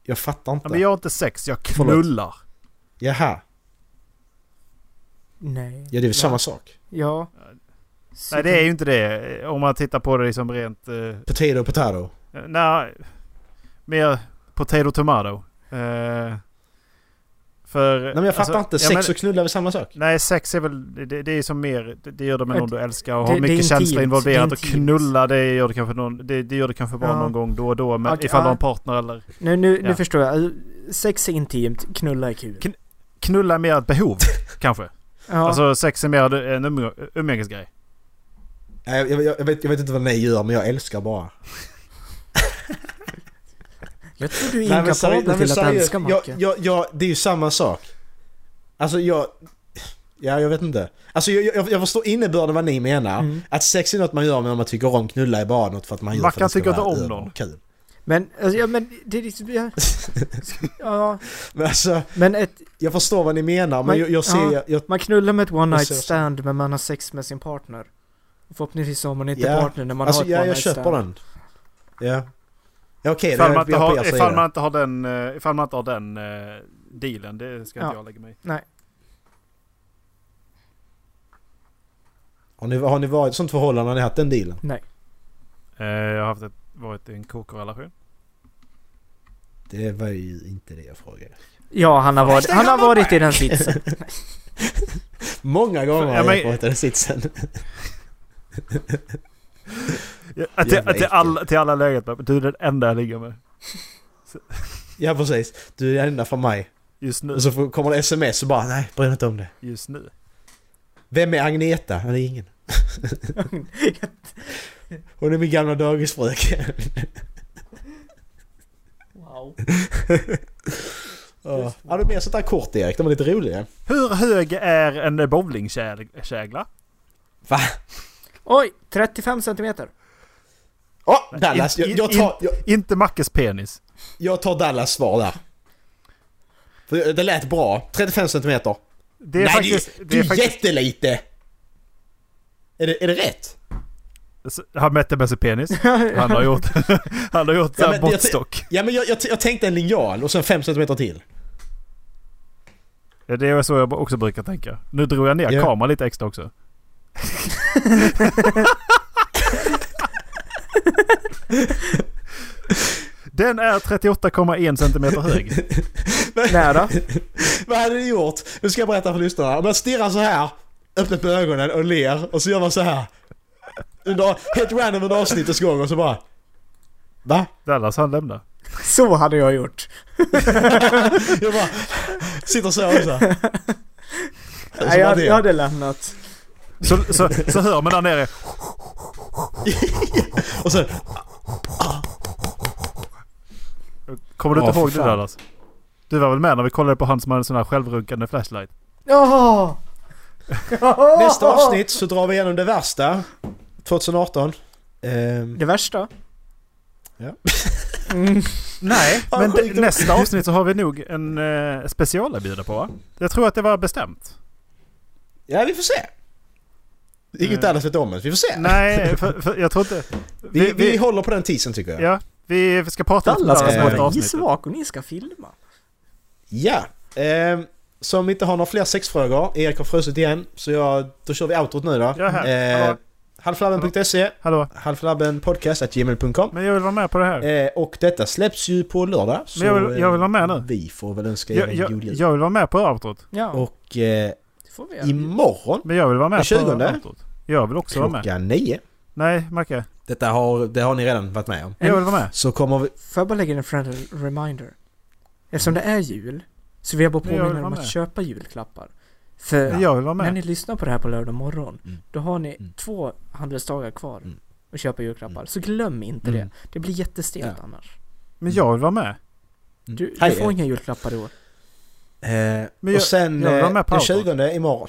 Jag fattar inte.
Ja, men jag har inte sex, jag
Förlåt.
knullar.
Jaha.
Nej.
Ja, det är väl samma sak.
Ja.
Nej, det är ju inte det. Om man tittar på det liksom rent... eh,
Potato, potato.
Nej, mer potato tomato. Eh, för... alltså,
Nej men jag fattar inte. Sex och knulla är väl samma sak?
Nej, sex är väl... Det, det är som mer... Det, det gör det med någon du älskar och
typ. Det-
har
det är
mycket
intimt,
känslor involverat.
det är
Och
intimt.
knulla, det gör det kanske, någon, det, det gör det kanske bara
Ja.
någon gång då och då. Men
Okej,
ifall du
ja.
har en partner eller...
Nu, nu, nu
Ja.
förstår jag. Sex är intimt, knulla är kul.
Kn- knulla är mer ett behov, kanske.
Ja.
Alltså sex är mer en umgå- umgängesgrej.
Jag, jag, jag, vet, jag vet inte vad ni gör, men jag älskar bara.
jag tror du är
Nej, men seri- nej,
inkapabel
men
till att
seriöst,
älska
jag,
Macke.
jag, jag, Det är ju samma sak. Alltså jag... Ja, jag vet inte. Alltså jag, jag, jag förstår innebörden vad ni menar.
Mm.
Mm.
Att sex är något man gör men man tycker om knulla är bara något för att man gör
Man
för att
kan
det ska
tycka
vara
inte om
över och
någon.
Kul.
Men, alltså, ja men det är liksom... Ja, ja
Men alltså,
men ett,
jag förstår vad ni menar men
Men-
jag, jag ser...
ja.
Jag, jag,
man knullar med ett one
Jag
night
ser så.
stand men man har sex med sin partner. Förhoppningsvis har man inte
Ja.
partner när man
alltså
har ett
ja,
one
jag
night stand.
köper den. Ja. Ja okej, det
Ifall man
är
inte
jag på er
har, ifall man
sida.
inte har den, eh, ifall man inte har den eh, dealen, det ska inte
Ja.
jag lägga mig i.
Har ni, har ni varit i ett sånt förhållande när ni haft den dealen?
Nej.
Eh, Jag har haft ett, varit i en kokorrelation.
Det var ju inte det jag frågade.
Ja, han har varit, han har varit i den sitsen.
Många gånger
Ja,
har
men-
jag varit i den sitsen.
Ja, till,
Jävla
till, alla, till alla läget. bara, Du är den enda jag ligger med
Ja precis. Du är den enda för mig.
just nu.
Och
Alltså-
så får- kommer det sms och bara nej, bry dig inte om det.
Just nu.
Vem är Agneta? Nej, det är ingen. Hon är min gamla dagisfröken.
wow.
Ja, Ja, det är mer sånt där kort Erik, de är lite roliga.
Hur hög är en bowlingkägla?
Va?
Oj, 35 centimeter.
Åh, Dallas! Jag, jag, tar, jag,
Inte Mackes penis.
jag tar Dallas svar där. För det- Det lät bra. 35 centimeter.
Det är
Nej,
faktiskt...
det, är-
Det,
det
är
är
faktiskt
jättelite! Är det, är det rätt?
han mätte med sin penis. Han har gjort, han har gjort
Ja,
ja,
men det-
måttstock.
Ja men jag, jag, jag tänkte en linjal och sen 5 centimeter till.
Ja, Det är så jag också brukar tänka. Nu drog jag ner
Ja.
kameran lite extra också. Den är 38,1 centimeter hög.
Nära.
Vad hade ni gjort? Nu ska jag berätta för lyssnarna. Om man stirrar så här, öppnar på ögonen och ler och så gör man så här. Under, helt random under avsnittets gång och så bara... Va?
Dallas han lämnar.
Så hade jag gjort.
Jag bara... Sitter så här och så här. Så
Nej,
bara
jag,
det.
jag hade lämnat.
Så, så, så hör man där nere.
Och sen...
Kommer du inte
Ja, för
ihåg det
fan.
Dallas? Du var väl med när vi kollade på han som hade en sån här självrunkande flashlight?
Jaha!
Nästa avsnitt så drar vi igenom det värsta. 2018. Ehm,
Det värsta?
Ja.
Mm.
Nej,
Ja,
men
sjukt.
det, nästa avsnitt så har vi nog en eh, special att bjuda på va? Jag tror att det var bestämt.
ja, vi får se. Inget
Eh.
annat vet om det. Vi får se.
Nej, för, för, jag tror inte...
vi, vi, håller på den teasern tycker jag.
Ja, vi ska prata lite med
Alla ska
Dallas
Eh,
om
spela
avsnittet.
gissvak och ni ska filma.
Ja. Ehm, så om vi inte har några fler sexfrågor, Erik har frusit igen, så jag, då kör vi outrot nu då.
Ja, här.
Ehm,
Hallå.
Halflabben.se,
Hallå,
halflabbenpodcast.gmail.com
men jag vill vara med på det här.
eh, Och detta släpps ju på lördag. Så
jag vill- jag vill vara med nu.
eh, Vi får väl önska er
Jag,
en
jag,
god jul.
jag vill vara med på outrot.
Ja,
Och eh,
det får vi göra.
imorgon
Men jag vill vara med
Den 20:e?
på outrot. Jag vill också vara med.
klockan nio.
Nej, Macke.
Detta har, det har ni redan varit med om.
Jag vill vara med.
Så kommer vi...
Får jag bara lägga in en friendly reminder? Eftersom det är jul, så vill jag bara
Men jag vill
påminna om
vara
att
med.
köpa julklappar. För
Jag vill vara
när
med.
ni lyssnar på det här på lördag morgon,
Mm.
då har ni
Mm.
två handelsdagar kvar
Mm.
att köpa julklappar. Så glöm inte det. Det blir jättestelt annars.
Mm.
Men jag vill vara med.
Du, du
Hej,
får inga julklappar i år.
Eh,
Men jag-
och sen
jag vill vara
eh,
med på
den
outrot.
20 imorgon.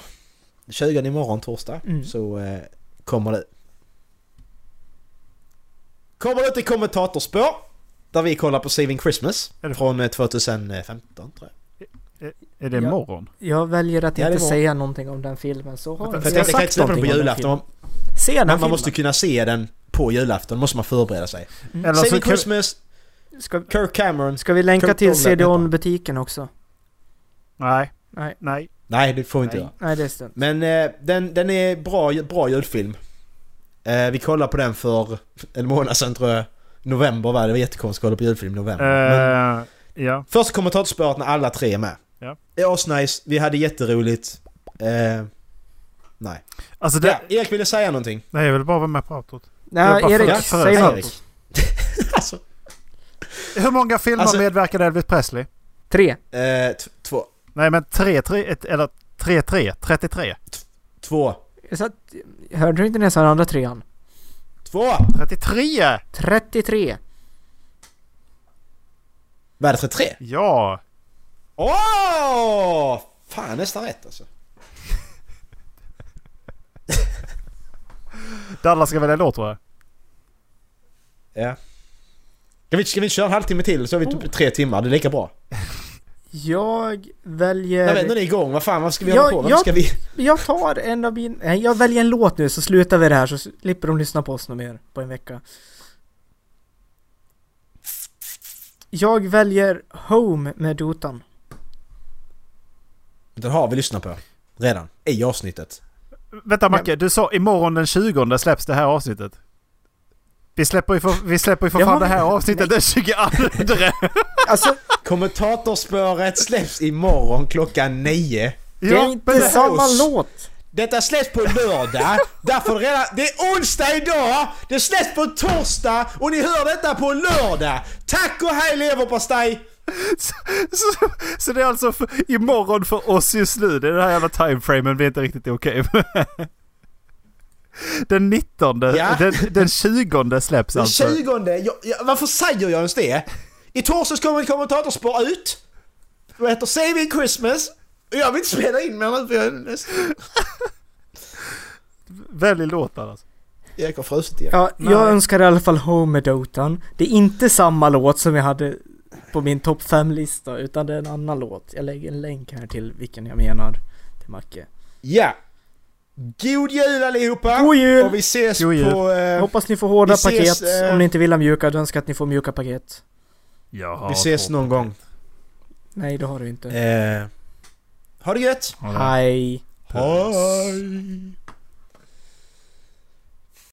20 imorgon torsdag
Mm.
så eh, kommer det... Kommer det ett kommentatorspår. Där vi kollar på Saving Christmas.
Är det-
Från eh, 2015 tror jag.
Är det
Ja. Mm.
imorgon?
Jag väljer att
Ja, det
inte
var-
säga någonting om den filmen, så har
Vänta,
För
jag,
att jag
jag
kan inte
sagt
släppa den
någonting
på
om den
julafton.
filmen.
Man,
Se den
man
filmen!
måste kunna se den på julafton. Då måste man förbereda sig.
Eller så
Saving
kan,
Christmas,
Ska,
Kirk Cameron.
ska vi länka
Kurt
till
Dolan,
CDON-butiken också?
Nej,
Nej,
nej.
Nej, det får vi inte
Nej.
göra.
nej det är stund.
Men eh, den, den är bra, bra julfilm. Eh, vi kollade på den för en månad sedan tror jag. November var det, det var jättekonstigt att kolla på julfilm i november. Men
Eh, ja.
först kommer kommentatorspåret när alla tre är med.
Ja.
Det är asnice, vi hade jätteroligt. Eh, nej.
Alltså det...
Ja, Erik ville säga någonting.
Nej, jag vill bara vara med på outrot. Jag
Nej,
bara
Erik,
frågar.
säg
Ja,
något.
Erik. alltså,
Hur många filmer
Alltså-
medverkade Elvis Presley?
Tre.
eh, t- två.
Nej men 3-3, ett- eller 3-3, 33.
Två.
Jag satt, hörde du inte när jag sa den andra trean?
Två!
33!
33!
Vad är det, 33?
Ja!
Åh! Fan, nästan rätt alltså.
Dallas ska välja låt tror jag.
Ja. Ska vi, ska vi köra en halvtimme till så är vi typ
Oh.
tre timmar, det är lika
Eh,
bra.
Jag väljer...
Nej, men nu är ni igång, vad fan vad ska vi
Ja,
hålla på med?
ja.
Ska vi...
Jag tar en av min... Nej, jag väljer en låt nu så slutar vi det här så slipper de lyssna på oss något mer på en vecka. Jag väljer Home med Dotan.
Den har vi lyssnat på redan, i avsnittet.
Vänta Macke, du sa imorgon den 20 släpps det här avsnittet. Vi släpper ju för, vi släpper ju för
Ja,
fan det här
men-
avsnittet den 22!
Alltså,
Kommentatorspåret släpps imorgon klockan nio.
det är
Ja,
inte
men-
samma
oss.
låt!
Detta släpps på lördag, därför redan... Det är onsdag idag! Det släpps på torsdag och ni hör detta på lördag! Tack och hej leverpastej!
Så, så det är alltså för, imorgon för oss just nu. Det är den här jävla timeframen vi inte riktigt är okej med. Den 19,
Ja.
den, den 20 släpps
Den
alltså.
20, jag, jag, varför säger jag ens det? I torsdags kommer ett kommentatorspår ut. Det heter Saving Christmas. Och jag vill inte spela in mer nu för jag är nästan...
Välj låt alltså.
Erik har frusit igen.
Ja, jag önskar i alla fall Home med Dotan. Det är inte samma låt som jag hade på min topp 5-lista utan det är en annan låt. Jag lägger en länk här till vilken jag menar. Till Macke.
Ja. God jul allihopa!
God jul!
Och vi ses
God jul.
på...
Jag
Eh,
hoppas ni får hårda
Vi ses,
paket.
eh,
Om ni inte vill ha mjuka, då önskar jag att ni får mjuka paket.
Jag har
vi ses
två.
någon gång.
Nej, det har du inte.
Eh, ha det gött!
Ja, det-
Hej!
Hej!